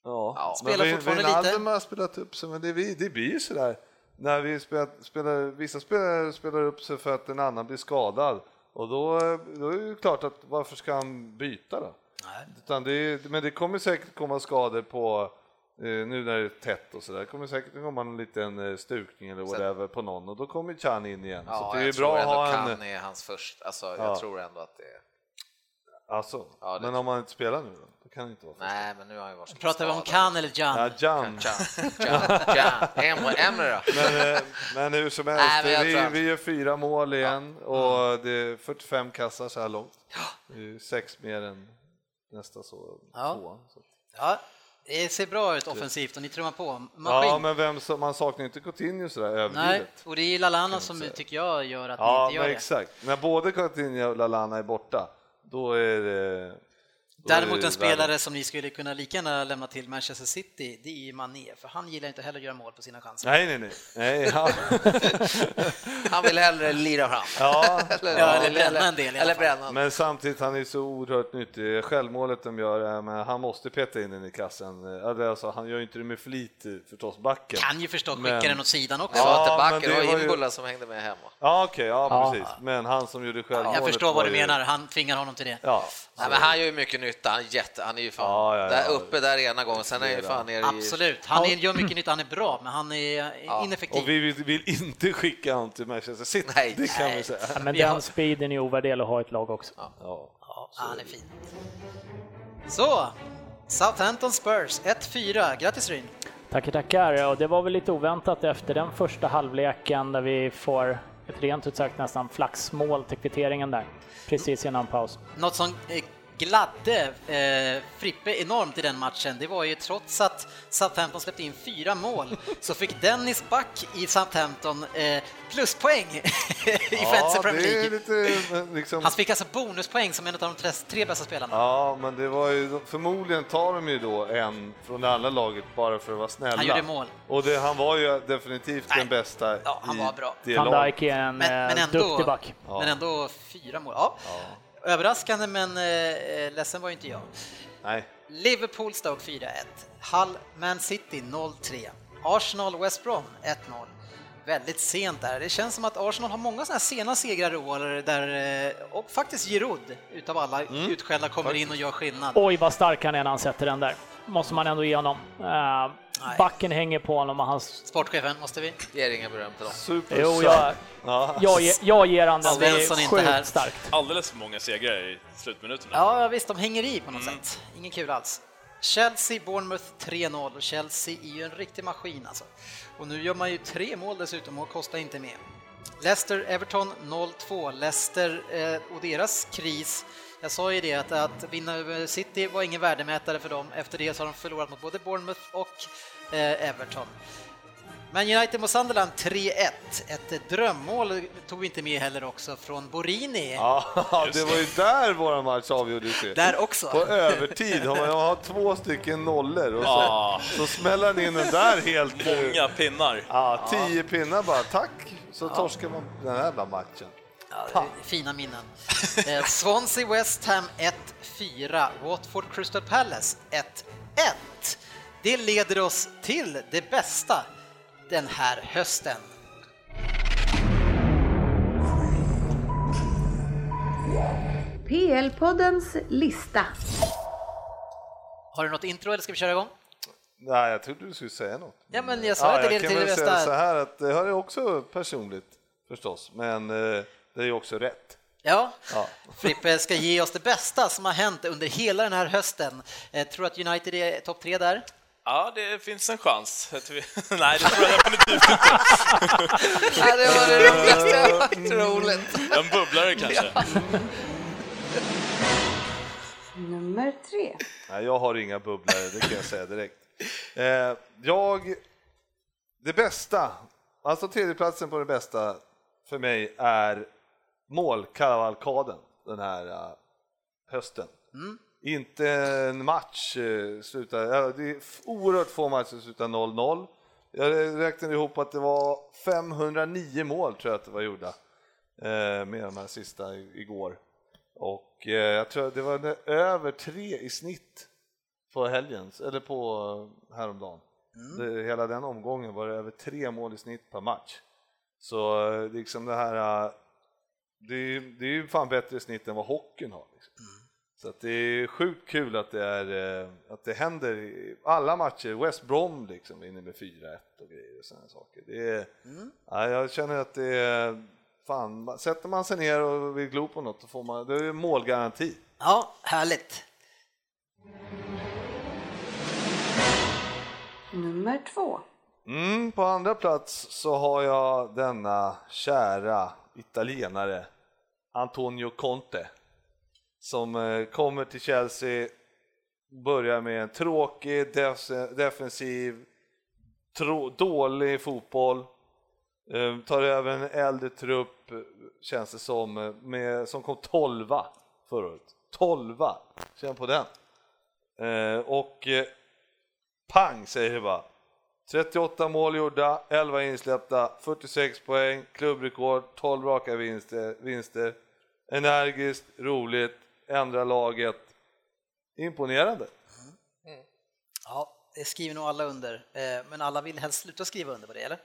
Speaker 3: ja.
Speaker 2: spelar
Speaker 3: men
Speaker 2: fortfarande
Speaker 3: Wijnaldum
Speaker 2: lite.
Speaker 3: har spelat upp sig, men det, blir- det blir ju sådär. när vi spelar, spelar, vissa spelare spelar upp sig för att en annan blir skadad och då, då är det ju klart att varför ska han byta då? Utan det, är- men det kommer säkert komma skador på eh, nu när det är tätt och sådär, det kommer säkert komma en liten eh, stukning eller whatever på någon och då kommer Chan in igen.
Speaker 6: Ja,
Speaker 3: så Alltså, det
Speaker 6: jag
Speaker 3: är
Speaker 6: tror
Speaker 3: bra att
Speaker 6: ändå
Speaker 3: ha en...
Speaker 6: Kan är hans först. Alltså,
Speaker 3: Ja.
Speaker 6: Jag tror ändå att det är...
Speaker 3: Alltså,
Speaker 6: Ja, det
Speaker 3: men
Speaker 6: tror
Speaker 3: om man inte spelar nu då? Det kan det inte vara. Nej.
Speaker 6: Nej, men nu har han ju varit
Speaker 2: Pratar vi om
Speaker 6: skadad.
Speaker 2: Kan eller Jan?
Speaker 3: Ja, Jan.
Speaker 6: Chan, Chan, Chan. Emre, Emre då?
Speaker 3: Men, eh, men hur som
Speaker 6: Nej,
Speaker 3: helst,
Speaker 6: men jag tror
Speaker 3: vi,
Speaker 6: han-
Speaker 3: vi gör fyra mål igen och det är 45 kassar så här långt. Det är ju sex mer än nästa så.
Speaker 2: Ja.
Speaker 3: tvåan, så.
Speaker 2: Ja, det ser bra ut offensivt och ni trummar på. Maskin.
Speaker 3: ja men vem som, man saknar ju inte Coutinho sådär
Speaker 2: Nej,
Speaker 3: överdrivet.
Speaker 2: och det är Lalana
Speaker 3: man
Speaker 2: som
Speaker 3: säga.
Speaker 2: tycker jag gör att
Speaker 3: Ja,
Speaker 2: ni inte
Speaker 3: men
Speaker 2: gör det.
Speaker 3: exakt. När både Coutinho och Lallana är borta, då är det... då är
Speaker 2: Däremot
Speaker 3: det
Speaker 2: en spelare
Speaker 3: värre.
Speaker 2: som ni skulle kunna lika gärna lämna till Manchester City, det är ju Mané, för han gillar inte heller att göra mål på sina chanser.
Speaker 3: Nej, nej, nej. nej ja.
Speaker 6: Han vill hellre lira fram.
Speaker 3: ja.
Speaker 2: Ja, eller bränna en del i alla
Speaker 6: Eller
Speaker 2: fall.
Speaker 6: bränna.
Speaker 3: Men samtidigt, han är så oerhört nyttig. Självmålet de gör, eh, men han måste peta in den i kassen. Eh, Alltså, han gör ju inte det med flit eh, förstås, backen.
Speaker 2: Kan ju förstås skicka
Speaker 3: Men-
Speaker 2: den åt sidan också.
Speaker 6: Det var
Speaker 3: Ja,
Speaker 6: inte
Speaker 3: men
Speaker 6: backen,
Speaker 3: det
Speaker 6: det
Speaker 3: var
Speaker 6: var
Speaker 3: ju-
Speaker 6: Imbula som hängde med hemma.
Speaker 3: Ja, okej, ja,
Speaker 5: Ja.
Speaker 3: precis. Men han som gjorde självmålet.
Speaker 2: jag förstår vad
Speaker 3: var
Speaker 2: du
Speaker 3: ju-
Speaker 2: menar, han tvingar honom till det.
Speaker 3: Ja,
Speaker 6: Nej, men han gör ju mycket nytta, han är, jätte, han är ju fan
Speaker 3: Ja, ja, ja.
Speaker 6: där uppe där ena gången, sen är han ju fan nere i...
Speaker 2: Absolut, han är, gör mycket nytta, han är bra, men han är ineffektiv.
Speaker 3: och vi vill, vill inte skicka honom till Manchester City,
Speaker 6: Nej.
Speaker 3: det kan vi
Speaker 6: Nej.
Speaker 3: säga.
Speaker 5: Ja, men
Speaker 2: Vi har-
Speaker 5: den speeden är ovärderlig att ha i ett lag också.
Speaker 3: Ja.
Speaker 2: Ja, han är fin. Så, Southampton Spurs 1-4, grattis Ryn.
Speaker 5: Tackar, tackar. Ja, Och det var väl lite oväntat efter den första halvleken där vi får ett rent ut sagt nästan flaxmål till kvitteringen där, precis innan paus.
Speaker 2: Något som eh, gladde eh, Frippe enormt i den matchen, det var ju trots att Southampton släppte in fyra mål så fick Dennis Back i Southampton eh, pluspoäng i Fantasy
Speaker 3: ja,
Speaker 2: Premier
Speaker 3: det är
Speaker 2: League.
Speaker 3: lite... men Liksom,
Speaker 2: Han fick alltså bonuspoäng som en av de tre, tre bästa spelarna.
Speaker 3: ja, men det var ju... Förmodligen tar de ju då en från det andra laget bara för att vara snälla.
Speaker 2: Han gjorde mål.
Speaker 3: Och det, han var ju definitivt
Speaker 2: Nej.
Speaker 3: den bästa
Speaker 2: Ja, han
Speaker 3: i
Speaker 2: var bra.
Speaker 3: det
Speaker 5: Van
Speaker 3: laget.
Speaker 5: Dijk är
Speaker 2: Men,
Speaker 5: en
Speaker 2: men,
Speaker 5: eh,
Speaker 2: ändå,
Speaker 5: duktig back.
Speaker 2: men ändå fyra mål. Ja. Överraskande, men eh, ledsen var ju inte jag.
Speaker 3: Nej.
Speaker 2: Liverpool Stoke 4-1. Hull Man City 0-3. Arsenal West Brom 1-0. Väldigt sent där. Det känns som att Arsenal har många sådana här sena segrar i år där, eh, och faktiskt Giroud utav alla utskällda kommer in och gör skillnad.
Speaker 5: Oj, vad stark han är när han sätter den där. Måste man ändå ge honom. Eh, backen hänger på honom och han...
Speaker 2: Sportchefen, måste vi?
Speaker 6: Ger inga beröm till dem.
Speaker 3: Super
Speaker 5: Jo,
Speaker 3: sub.
Speaker 5: jag,
Speaker 3: Ja.
Speaker 5: jag, ge- jag ger han den. Det
Speaker 2: Svensson är
Speaker 5: är
Speaker 2: inte här.
Speaker 5: sjukt starkt.
Speaker 4: Alldeles för många segrar i slutminuterna.
Speaker 2: Ja, visst, de hänger i på något sätt. Ingen kul alls. Chelsea, Bournemouth 3-0. Chelsea är ju en riktig maskin alltså. Och nu gör man ju tre mål dessutom och kostar inte mer. Leicester, Everton 0-2. Leicester eh, och deras kris. Jag sa ju det att, att vinna över City var ingen värdemätare för dem. Efter det så har de förlorat mot både Bournemouth och eh, Everton. Man United mot Sunderland 3-1. Ett drömmål tog vi inte med heller också från Borini.
Speaker 3: Ja, det var ju där vår match avgjordes ju.
Speaker 2: Där också.
Speaker 3: På övertid. Har man man har två stycken nollor och så,
Speaker 4: Ah.
Speaker 3: så smäller han in den där helt...
Speaker 4: Många pinnar.
Speaker 3: Ja, tio pinnar bara. Tack! Så torskar man den här jävla matchen.
Speaker 2: Ja, det är fina minnen. Eh, Swansea West Ham 1-4, Watford Crystal Palace 1-1. Det leder oss till det bästa den här hösten.
Speaker 7: PL-poddens lista.
Speaker 2: Har du något intro eller ska vi köra igång?
Speaker 3: Nej, jag trodde du skulle säga något.
Speaker 2: Ja, men jag sa att det
Speaker 3: jag
Speaker 2: leder
Speaker 3: kan
Speaker 2: till det
Speaker 3: väl
Speaker 2: bästa.
Speaker 3: säga så här att det här är också personligt förstås, men eh, det är ju också rätt.
Speaker 2: Ja.
Speaker 3: Ja.
Speaker 2: Frippe ska ge oss det bästa som har hänt under hela den här hösten. Eh, tror du att United är topp tre där?
Speaker 4: Ja, det finns en chans. att vi- Nej, det tror jag definitivt inte.
Speaker 6: Ja, det var det roligaste jag har hört, roligt.
Speaker 4: En bubblare kanske.
Speaker 7: Nummer tre.
Speaker 3: Nej, jag har inga bubblor, det kan jag säga direkt. Eh, jag, det bästa, alltså tredjeplatsen på det bästa för mig är målkavalkaden den här eh, hösten. Inte en match eh, slutar, ja, det är f- oerhört få matcher som slutar 0-0. Jag räknade ihop att det var 509 mål tror jag att det var gjorda eh, med de här sista i- igår. Och eh, jag tror att det var nä- över tre i snitt på helgens, eller på eh, häromdagen. Det, hela den omgången var det över tre mål i snitt per match. Så eh, liksom det här, eh, det är, ju- det är ju fan bättre snitt än vad hockeyn har. Liksom. Så att det är sjukt kul att det, är, eh, att det händer i alla matcher. West Brom liksom vinner med 4-1 och grejer och sådana saker. Det är, ja, jag känner att det är, fan, ma- sätter man sig ner och vill glo på något, då får man, det är ju målgaranti.
Speaker 2: Ja, härligt.
Speaker 7: Nummer två.
Speaker 3: Mm, på andra plats så har jag denna kära italienare Antonio Conte som eh, kommer till Chelsea, börjar med en tråkig def- defensiv, tro- dålig fotboll, eh, tar över en äldre trupp eh, känns det som, eh, med, som kom tolva förra året. Tolva, känn på den. Eh, och eh, pang säger det bara. 38 mål gjorda, 11 insläppta, 46 poäng, klubbrekord, 12 raka vinster. vinster. Energiskt, roligt, ändra laget. Imponerande.
Speaker 2: Ja, det skriver nog alla under, eh, men alla vill helst sluta skriva under på det, eller?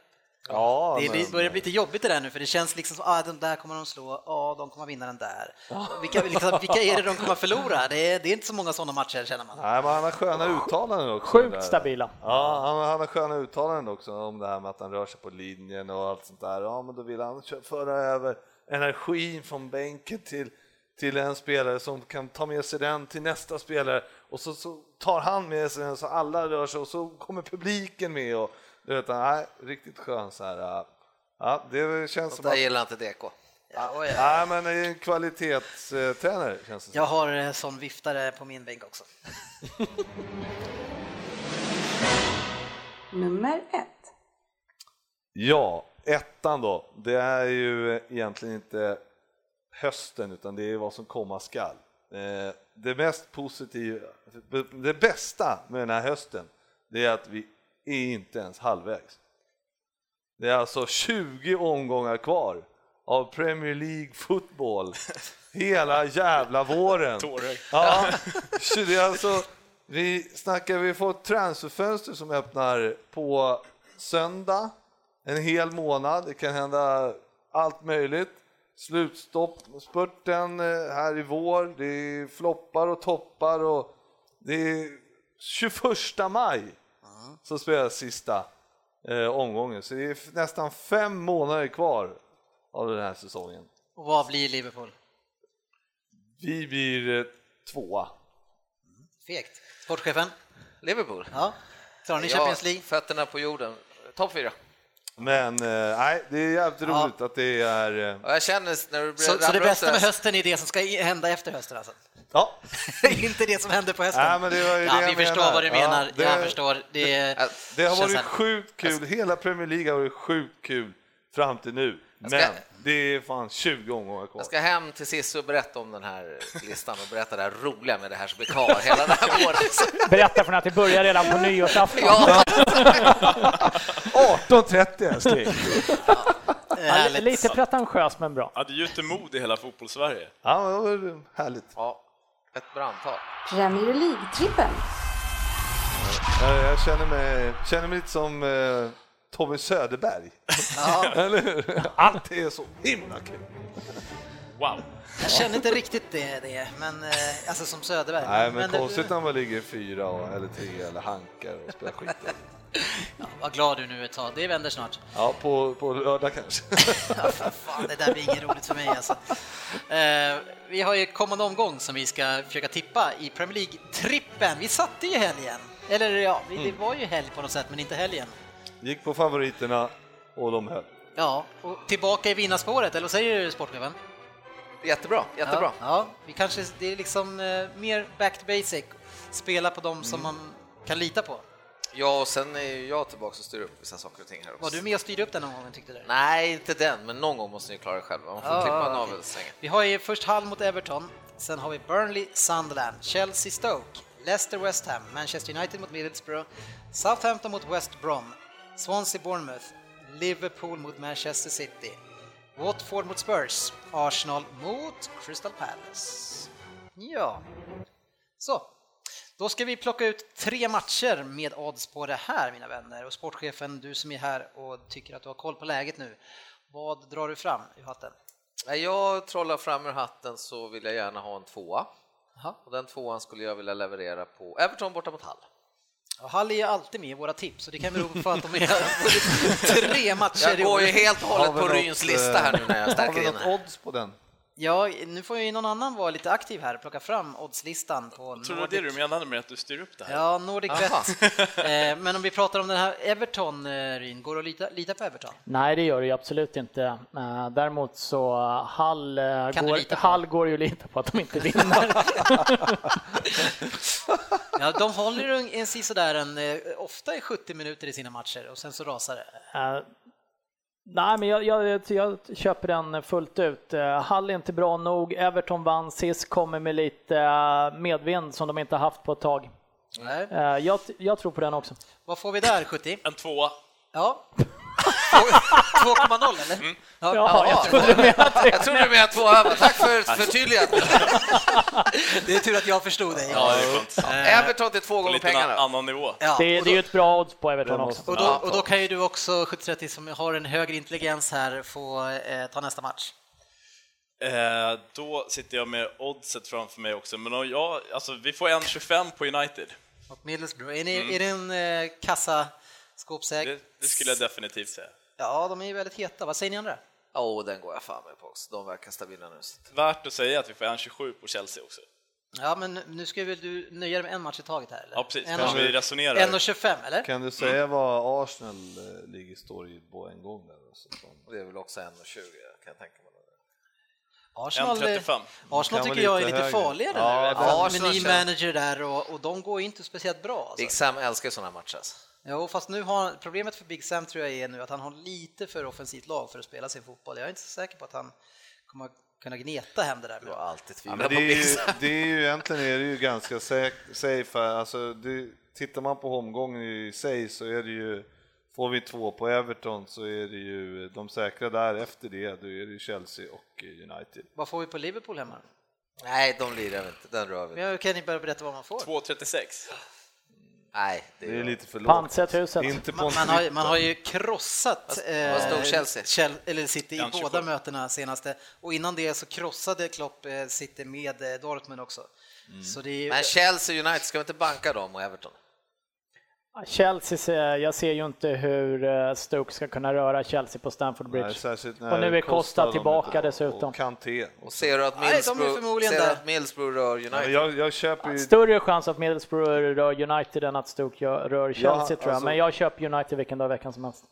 Speaker 3: Ja,
Speaker 2: Det är- det
Speaker 3: men,
Speaker 2: börjar bli lite jobbigt det där nu för det känns liksom som ah, den där kommer de slå, ja de kommer vinna den där. Vilka, liksom, vilka är det de kommer förlora? Det är, det är inte så många sådana matcher känner man.
Speaker 3: nej, men han har sköna uttalanden också. där.
Speaker 5: Sjukt stabila.
Speaker 3: Ja, han, han har sköna uttalanden också om det här med att han rör sig på linjen och allt sånt där. Ja, men då vill han kö- föra över energin från bänken till, till en spelare som kan ta med sig den till nästa spelare och så, så tar han med sig den så alla rör sig och så kommer publiken med och du vet, nej, riktigt skön så här. ja. Ja, det känns som
Speaker 6: Där
Speaker 3: att,
Speaker 6: gillar inte DK.
Speaker 2: Ja, ja.
Speaker 3: nej men det är en kvalitetstränare känns det som.
Speaker 2: Jag har eh, sån viftare på min bänk också.
Speaker 7: Nummer ett.
Speaker 3: Ja, ettan då. Det är ju egentligen inte hösten utan det är vad som komma skall. Eh, Det mest positiva, det bästa med den här hösten, det är att vi är inte ens halvvägs. Det är alltså 20 omgångar kvar av Premier League football hela jävla våren.
Speaker 4: Tårögd.
Speaker 3: Ja, så det är alltså, vi snackar, vi får ett transferfönster som öppnar på söndag, en hel månad, det kan hända allt möjligt. Slutstopp, spurten eh, här i vår, det är floppar och toppar och det är 21 maj så spelas sista eh, omgången. Så det är f- nästan fem månader kvar av den här säsongen.
Speaker 2: Och vad blir Liverpool?
Speaker 3: Vi blir eh, tvåa.
Speaker 2: Fegt. Sportchefen?
Speaker 6: Liverpool.
Speaker 2: Ja. Klarar ni Champions League?
Speaker 6: fötterna på jorden. Topp fyra.
Speaker 3: Men eh, nej, det är jävligt roligt att det är... Eh,
Speaker 6: Och jag känner när du
Speaker 2: Så, så
Speaker 6: rabblar
Speaker 2: det
Speaker 6: upp
Speaker 2: bästa
Speaker 6: här
Speaker 2: med hösten är det som ska i- hända efter hösten alltså?
Speaker 3: ja,
Speaker 2: inte det som händer på hösten?
Speaker 3: Nej, men det var ju
Speaker 2: ja,
Speaker 3: det
Speaker 2: vi
Speaker 3: jag
Speaker 2: förstår
Speaker 3: menar.
Speaker 2: vad du menar.
Speaker 3: Ja, det-
Speaker 2: Jag förstår. Det,
Speaker 3: det har
Speaker 2: känns
Speaker 3: varit
Speaker 2: härligt.
Speaker 3: sjukt kul. Hela Premier League har varit sjukt kul fram till nu. Men
Speaker 6: ska-
Speaker 3: det är fan 20 omgångar kvar.
Speaker 6: Jag ska hem till Cissi och berätta om den här listan och berätta det här roliga med det här som blir kvar hela den här våren.
Speaker 5: Berätta för henne att det börjar redan på nyårsafton.
Speaker 6: Ja,
Speaker 3: 18.30 älskling!
Speaker 5: Ja,
Speaker 2: härligt.
Speaker 5: lite pretentiös men bra.
Speaker 4: Ja, det gjuter mod i hela fotbollssverige.
Speaker 3: ja, men det var härligt.
Speaker 6: ja ett brandtal.
Speaker 7: Premier League-trippen.
Speaker 3: Jag, jag känner, mig, känner mig lite som eh, Tommy Söderberg. Eller hur? Allt är så himla kul.
Speaker 4: Wow!
Speaker 2: Jag känner inte riktigt det, det men eh, alltså som Söderberg.
Speaker 3: Nej, men
Speaker 2: det-
Speaker 3: konstigt när man ligger fyra och- eller tre eller hankar och spelar skit.
Speaker 2: Vad glad du nu är ett tag, det vänder snart.
Speaker 3: Ja, på, på lördag kanske.
Speaker 2: Ja, för fan, det där blir inget roligt för mig alltså. Eh, vi har ju kommande omgång som vi ska försöka tippa i Premier League-trippen. Vi satte ju helgen, eller ja, vi, det var ju helg på något sätt, men inte helgen.
Speaker 3: Gick på favoriterna och de höll.
Speaker 2: Ja, och tillbaka i vinnarspåret, eller vad säger du sportchefen?
Speaker 6: Jättebra, jättebra.
Speaker 2: Ja, ja, vi kanske, det är liksom eh, mer back to basic, spela på dem som man kan lita på.
Speaker 6: Ja, och sen är ju jag tillbaka och styr upp vissa saker och ting här också.
Speaker 2: Var du med och styrde upp den omgången tyckte du?
Speaker 6: Nej, inte den, men någon gång måste ni klara er själva. Man får
Speaker 2: Ja,
Speaker 6: klippa
Speaker 2: okej.
Speaker 6: navelsträngen.
Speaker 2: Ah. Vi har ju först Hull mot Everton, sen har vi Burnley, Sunderland, Chelsea, Stoke, Leicester, West Ham, Manchester United mot Middlesbrough, Southampton mot West Brom, Swansea, Bournemouth, Liverpool mot Manchester City, Watford mot Spurs, Arsenal mot Crystal Palace. Ja, så. Då ska vi plocka ut tre matcher med odds på det här mina vänner. Och sportchefen, du som är här och tycker att du har koll på läget nu, vad drar du fram ur hatten?
Speaker 6: Nej, jag trollar fram ur hatten så vill jag gärna ha en tvåa.
Speaker 2: Jaha.
Speaker 6: Och den tvåan skulle jag vilja leverera på Everton borta mot Hall.
Speaker 2: Ja, Hall är ju alltid med i våra tips och det kan bero på att de har vunnit tre matcher
Speaker 6: Jag
Speaker 2: i
Speaker 6: går
Speaker 2: år.
Speaker 6: ju helt och
Speaker 3: Har
Speaker 6: hållet
Speaker 3: vi
Speaker 6: på
Speaker 3: något, eh,
Speaker 6: Ryns lista här nu när jag
Speaker 3: Har
Speaker 6: stärker
Speaker 3: vi
Speaker 6: in
Speaker 3: något
Speaker 6: här.
Speaker 3: odds på den?
Speaker 2: Ja, nu får ju någon annan vara lite aktiv här och plocka fram oddslistan på
Speaker 4: Tror du det du menade med att du styr upp det här?
Speaker 2: Ja, Nordic
Speaker 6: Jaha.
Speaker 2: Bet. Eh, Men om vi pratar om den här Everton, eh, Ryn, går det att lita, lita på Everton?
Speaker 5: Nej, det gör det ju absolut inte. Eh, Däremot så eh, Hall, eh,
Speaker 2: Kan du
Speaker 5: går,
Speaker 2: lita på?
Speaker 5: Hall går ju att lita på att de inte vinner.
Speaker 2: Ja, de håller en, en sisådär en, eh, ofta i 70 minuter i sina matcher och sen så rasar det.
Speaker 5: Eh, Nej, men jag, jag, jag köper den fullt ut. Eh, Hall är inte bra nog. Everton vann sist, kommer med lite eh, medvind som de inte haft på ett tag.
Speaker 2: Nej.
Speaker 5: Eh, Jag, jag tror på den också.
Speaker 2: Vad får vi där, 70?
Speaker 4: En tvåa.
Speaker 2: Ja. 2,0 eller? Ja,
Speaker 5: Ja, jag trodde du menade det.
Speaker 6: Jag tror du menar tvåa, men tack för förtydligandet.
Speaker 2: Det är tur att jag förstod dig.
Speaker 4: Ja, det är skönt.
Speaker 6: Everton till två
Speaker 4: På
Speaker 6: gånger
Speaker 4: lite en
Speaker 6: pengarna.
Speaker 4: annan nivå.
Speaker 2: Ja,
Speaker 5: Det,
Speaker 2: och
Speaker 5: det är
Speaker 2: då-
Speaker 5: ju ett bra odds på Everton också.
Speaker 2: Och då, och då kan ju du också, 730 som har en högre intelligens här, få eh, ta nästa match.
Speaker 4: Eh, då sitter jag med oddset framför mig också, men om jag, alltså, vi får 1,25 på United.
Speaker 2: Och Middlesbrough, är, ni, är det en eh, kassaskåpsäg?
Speaker 4: Mm. Det, det skulle jag definitivt säga.
Speaker 2: Ja, de är ju väldigt heta. Vad säger ni andra?
Speaker 6: Åh, oh, den går jag fan med på också. De verkar stabila nu.
Speaker 4: Värt att säga att vi får 1,27 på Chelsea också.
Speaker 2: Ja, men nu ska väl du nöja dig med en match i taget här? Eller?
Speaker 4: Ja, precis.
Speaker 2: En
Speaker 4: Kanske
Speaker 2: och-
Speaker 4: vi resonerar.
Speaker 2: en och 25 eller?
Speaker 3: Kan du säga vad Arsenal eh, ligger står i på en gång där? Alltså, som-
Speaker 6: Det är väl också 1,20 kan jag tänka mig.
Speaker 2: Arsenal, eh,
Speaker 4: 1,35.
Speaker 2: Arsenal
Speaker 3: Kan
Speaker 2: tycker
Speaker 3: vara
Speaker 2: jag är
Speaker 3: lite
Speaker 2: lite
Speaker 3: högre.
Speaker 2: farligare
Speaker 3: Ja,
Speaker 2: nu,
Speaker 3: det-
Speaker 2: eftersom med
Speaker 6: Arsenal
Speaker 2: ny
Speaker 6: känns-
Speaker 2: manager där och, och de går ju inte speciellt bra.
Speaker 6: Big
Speaker 2: Alltså.
Speaker 6: Sam älskar ju sådana matcher. Alltså.
Speaker 2: Jo, fast nu har problemet för Big Sam tror jag är nu att han har lite för offensivt lag för att spela sin fotboll. Jag är inte så säker på att han kommer kunna gneta hem det där.
Speaker 6: Du har alltid
Speaker 3: Ja,
Speaker 6: tvivlat
Speaker 3: men det,
Speaker 6: på
Speaker 3: är
Speaker 6: Big
Speaker 3: ju,
Speaker 6: Sam.
Speaker 3: det är ju egentligen är det ju ganska säk- safe. här. Alltså, det, tittar man på omgången i sig så är det ju, får vi två på Everton så är det ju de säkra där efter det, då är det ju Chelsea och United.
Speaker 2: Vad får vi på Liverpool hemma?
Speaker 6: Nej, de lirar vi inte. Den rör vi
Speaker 2: Men
Speaker 6: inte.
Speaker 2: jag kan inte börja berätta vad man får.
Speaker 4: 2,36.
Speaker 6: Nej, det
Speaker 3: Det är
Speaker 6: är
Speaker 3: lite för lågt.
Speaker 5: Pantsätt huset.
Speaker 3: Inte på
Speaker 2: Man, man, har, ju- man har ju krossat eh,
Speaker 6: vad stod Chelsea?
Speaker 2: Chel- eller City i
Speaker 4: Kanske
Speaker 2: båda
Speaker 4: på-
Speaker 2: mötena senaste och innan det så krossade Klopp eh, City med eh, Dortmund också. Så det är ju,
Speaker 6: Men Mm. Chelsea United, ska vi inte banka dem och Everton?
Speaker 5: Chelsea, ser- jag ser ju inte hur eh, Stoke ska kunna röra Chelsea på Stamford Bridge.
Speaker 3: Nej, särskilt när
Speaker 5: Och nu är Costa
Speaker 3: de
Speaker 5: tillbaka
Speaker 3: inte-
Speaker 5: dessutom.
Speaker 3: Och Kanté.
Speaker 6: Och ser du att
Speaker 2: Nej, de är
Speaker 6: Middlesbrough,
Speaker 2: förmodligen
Speaker 6: ser
Speaker 2: där.
Speaker 6: du att Middlesbrough rör United?
Speaker 3: Men Jag, jag köper ju...
Speaker 5: Större chans att Middlesbrough rör United än att Stoke gör- rör Chelsea tror jag,
Speaker 3: alltså-
Speaker 5: men jag köper United vilken dag i veckan som helst.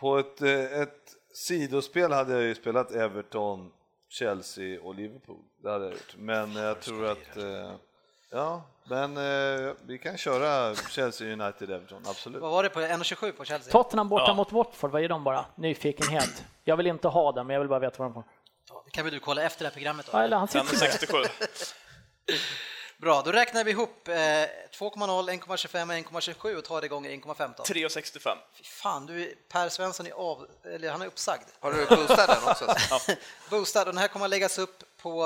Speaker 3: På ett, eh, ett sidospel hade jag ju spelat Everton, Chelsea och Liverpool. Det hade jag gjort. Men jag tror att... eh, Ja, men eh, vi kan köra Chelsea, United, Everton, absolut.
Speaker 2: vad var det på 1,27 på Chelsea?
Speaker 5: Tottenham borta
Speaker 4: Ja.
Speaker 5: mot Watford, vad är de bara? Nyfikenhet. Jag vill inte ha den, men jag vill bara veta vad de får.
Speaker 2: Det kan väl du kolla efter det här programmet då?
Speaker 5: Ja, eller han sitter med
Speaker 4: 1,67.
Speaker 2: Bra, då räknar vi ihop eh, 2,0, 1,25 och 1,27 och tar det gånger 1,15.
Speaker 4: 3,65.
Speaker 2: Fy Fan, du, är- Per Svensson är av, eller han är uppsagd.
Speaker 6: Har du boostat den också?
Speaker 2: Boostad, och den här kommer att läggas upp på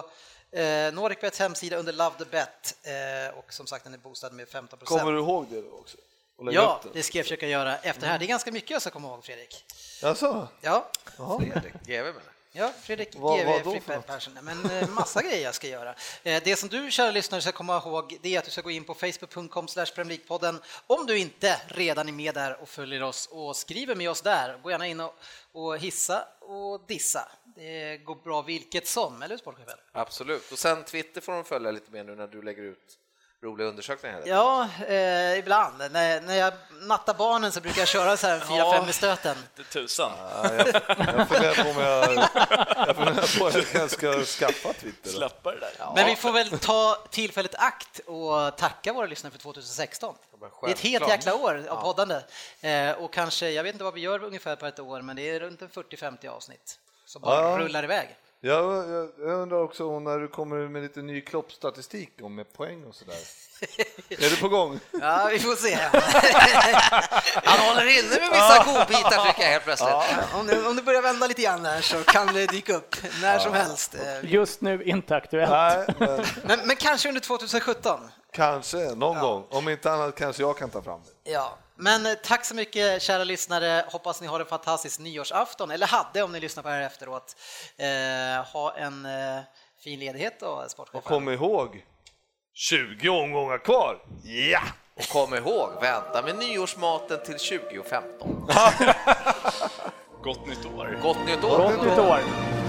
Speaker 2: eh, Nordicbets hemsida under Love the Bet eh, och som sagt den är boostad med 15
Speaker 3: Kommer du ihåg det då också? Och lägga
Speaker 2: Ja,
Speaker 3: upp Mm. det?
Speaker 2: det ska jag försöka göra efter det här. Det är ganska mycket jag ska komma ihåg, Fredrik.
Speaker 3: Alltså,
Speaker 2: Ja,
Speaker 6: Fredrik, GW menar jag.
Speaker 2: ja Fredrik
Speaker 3: Vad-
Speaker 2: GW
Speaker 3: vad då för
Speaker 2: Frippe
Speaker 3: något?
Speaker 2: Persson. Nej, Men eh, massa grejer jag ska göra. Eh, Det som du, kära lyssnare, ska komma ihåg det är att du ska gå in på facebook.com podden om du inte redan är med där och följer oss och skriver med oss där. Gå gärna in och, och hissa och dissa. Det går bra vilket som, eller hur sportchefen?
Speaker 6: Absolut. Och sen Twitter får de följa lite mer nu när du lägger ut roliga undersökningar. hela tiden.
Speaker 2: Ja, eh, ibland. När, när jag nattar barnen så brukar jag köra så här 4-5 i stöten.
Speaker 4: Det tusan.
Speaker 3: jag funderar på om jag, jag, funderar på om jag ska skaffa Twitter. då.
Speaker 4: Släppa det där.
Speaker 2: Men vi får väl ta tillfället i akt och tacka våra lyssnare för 2016.
Speaker 6: men
Speaker 2: Det är ett helt
Speaker 6: självklart.
Speaker 2: jäkla år av poddande. Eh, Och kanske, jag vet inte vad vi gör ungefär på ett år, men det är runt en 40-50 avsnitt som bara
Speaker 3: Ja.
Speaker 2: rullar iväg.
Speaker 3: Jag, jag, jag undrar också när du kommer med lite ny kloppstatistik om med poäng och sådär. är du på gång?
Speaker 2: Ja, vi får se.
Speaker 6: Han håller inne med vissa godbitar tycker jag helt plötsligt.
Speaker 2: Om det, om det börjar vända lite grann här så kan det dyka upp när som helst. Eh,
Speaker 5: Just nu inte aktuellt.
Speaker 3: Nej, men
Speaker 2: Men, men kanske under 2017.
Speaker 3: kanske någon gång. Om inte annat kanske jag kan ta fram det.
Speaker 2: Ja. Men eh, tack så mycket kära lyssnare. Hoppas ni har en fantastisk nyårsafton, eller hade om ni lyssnar på det här efteråt. Eh, ha en eh, fin ledighet då,
Speaker 3: Och
Speaker 2: sportchefen.
Speaker 3: kom ihåg, 20 omgångar kvar! Ja!
Speaker 6: Och kom ihåg, vänta med nyårsmaten till 2015.
Speaker 4: Gott nytt år!
Speaker 6: Gott nytt år!
Speaker 5: Gott nytt år!
Speaker 6: Gott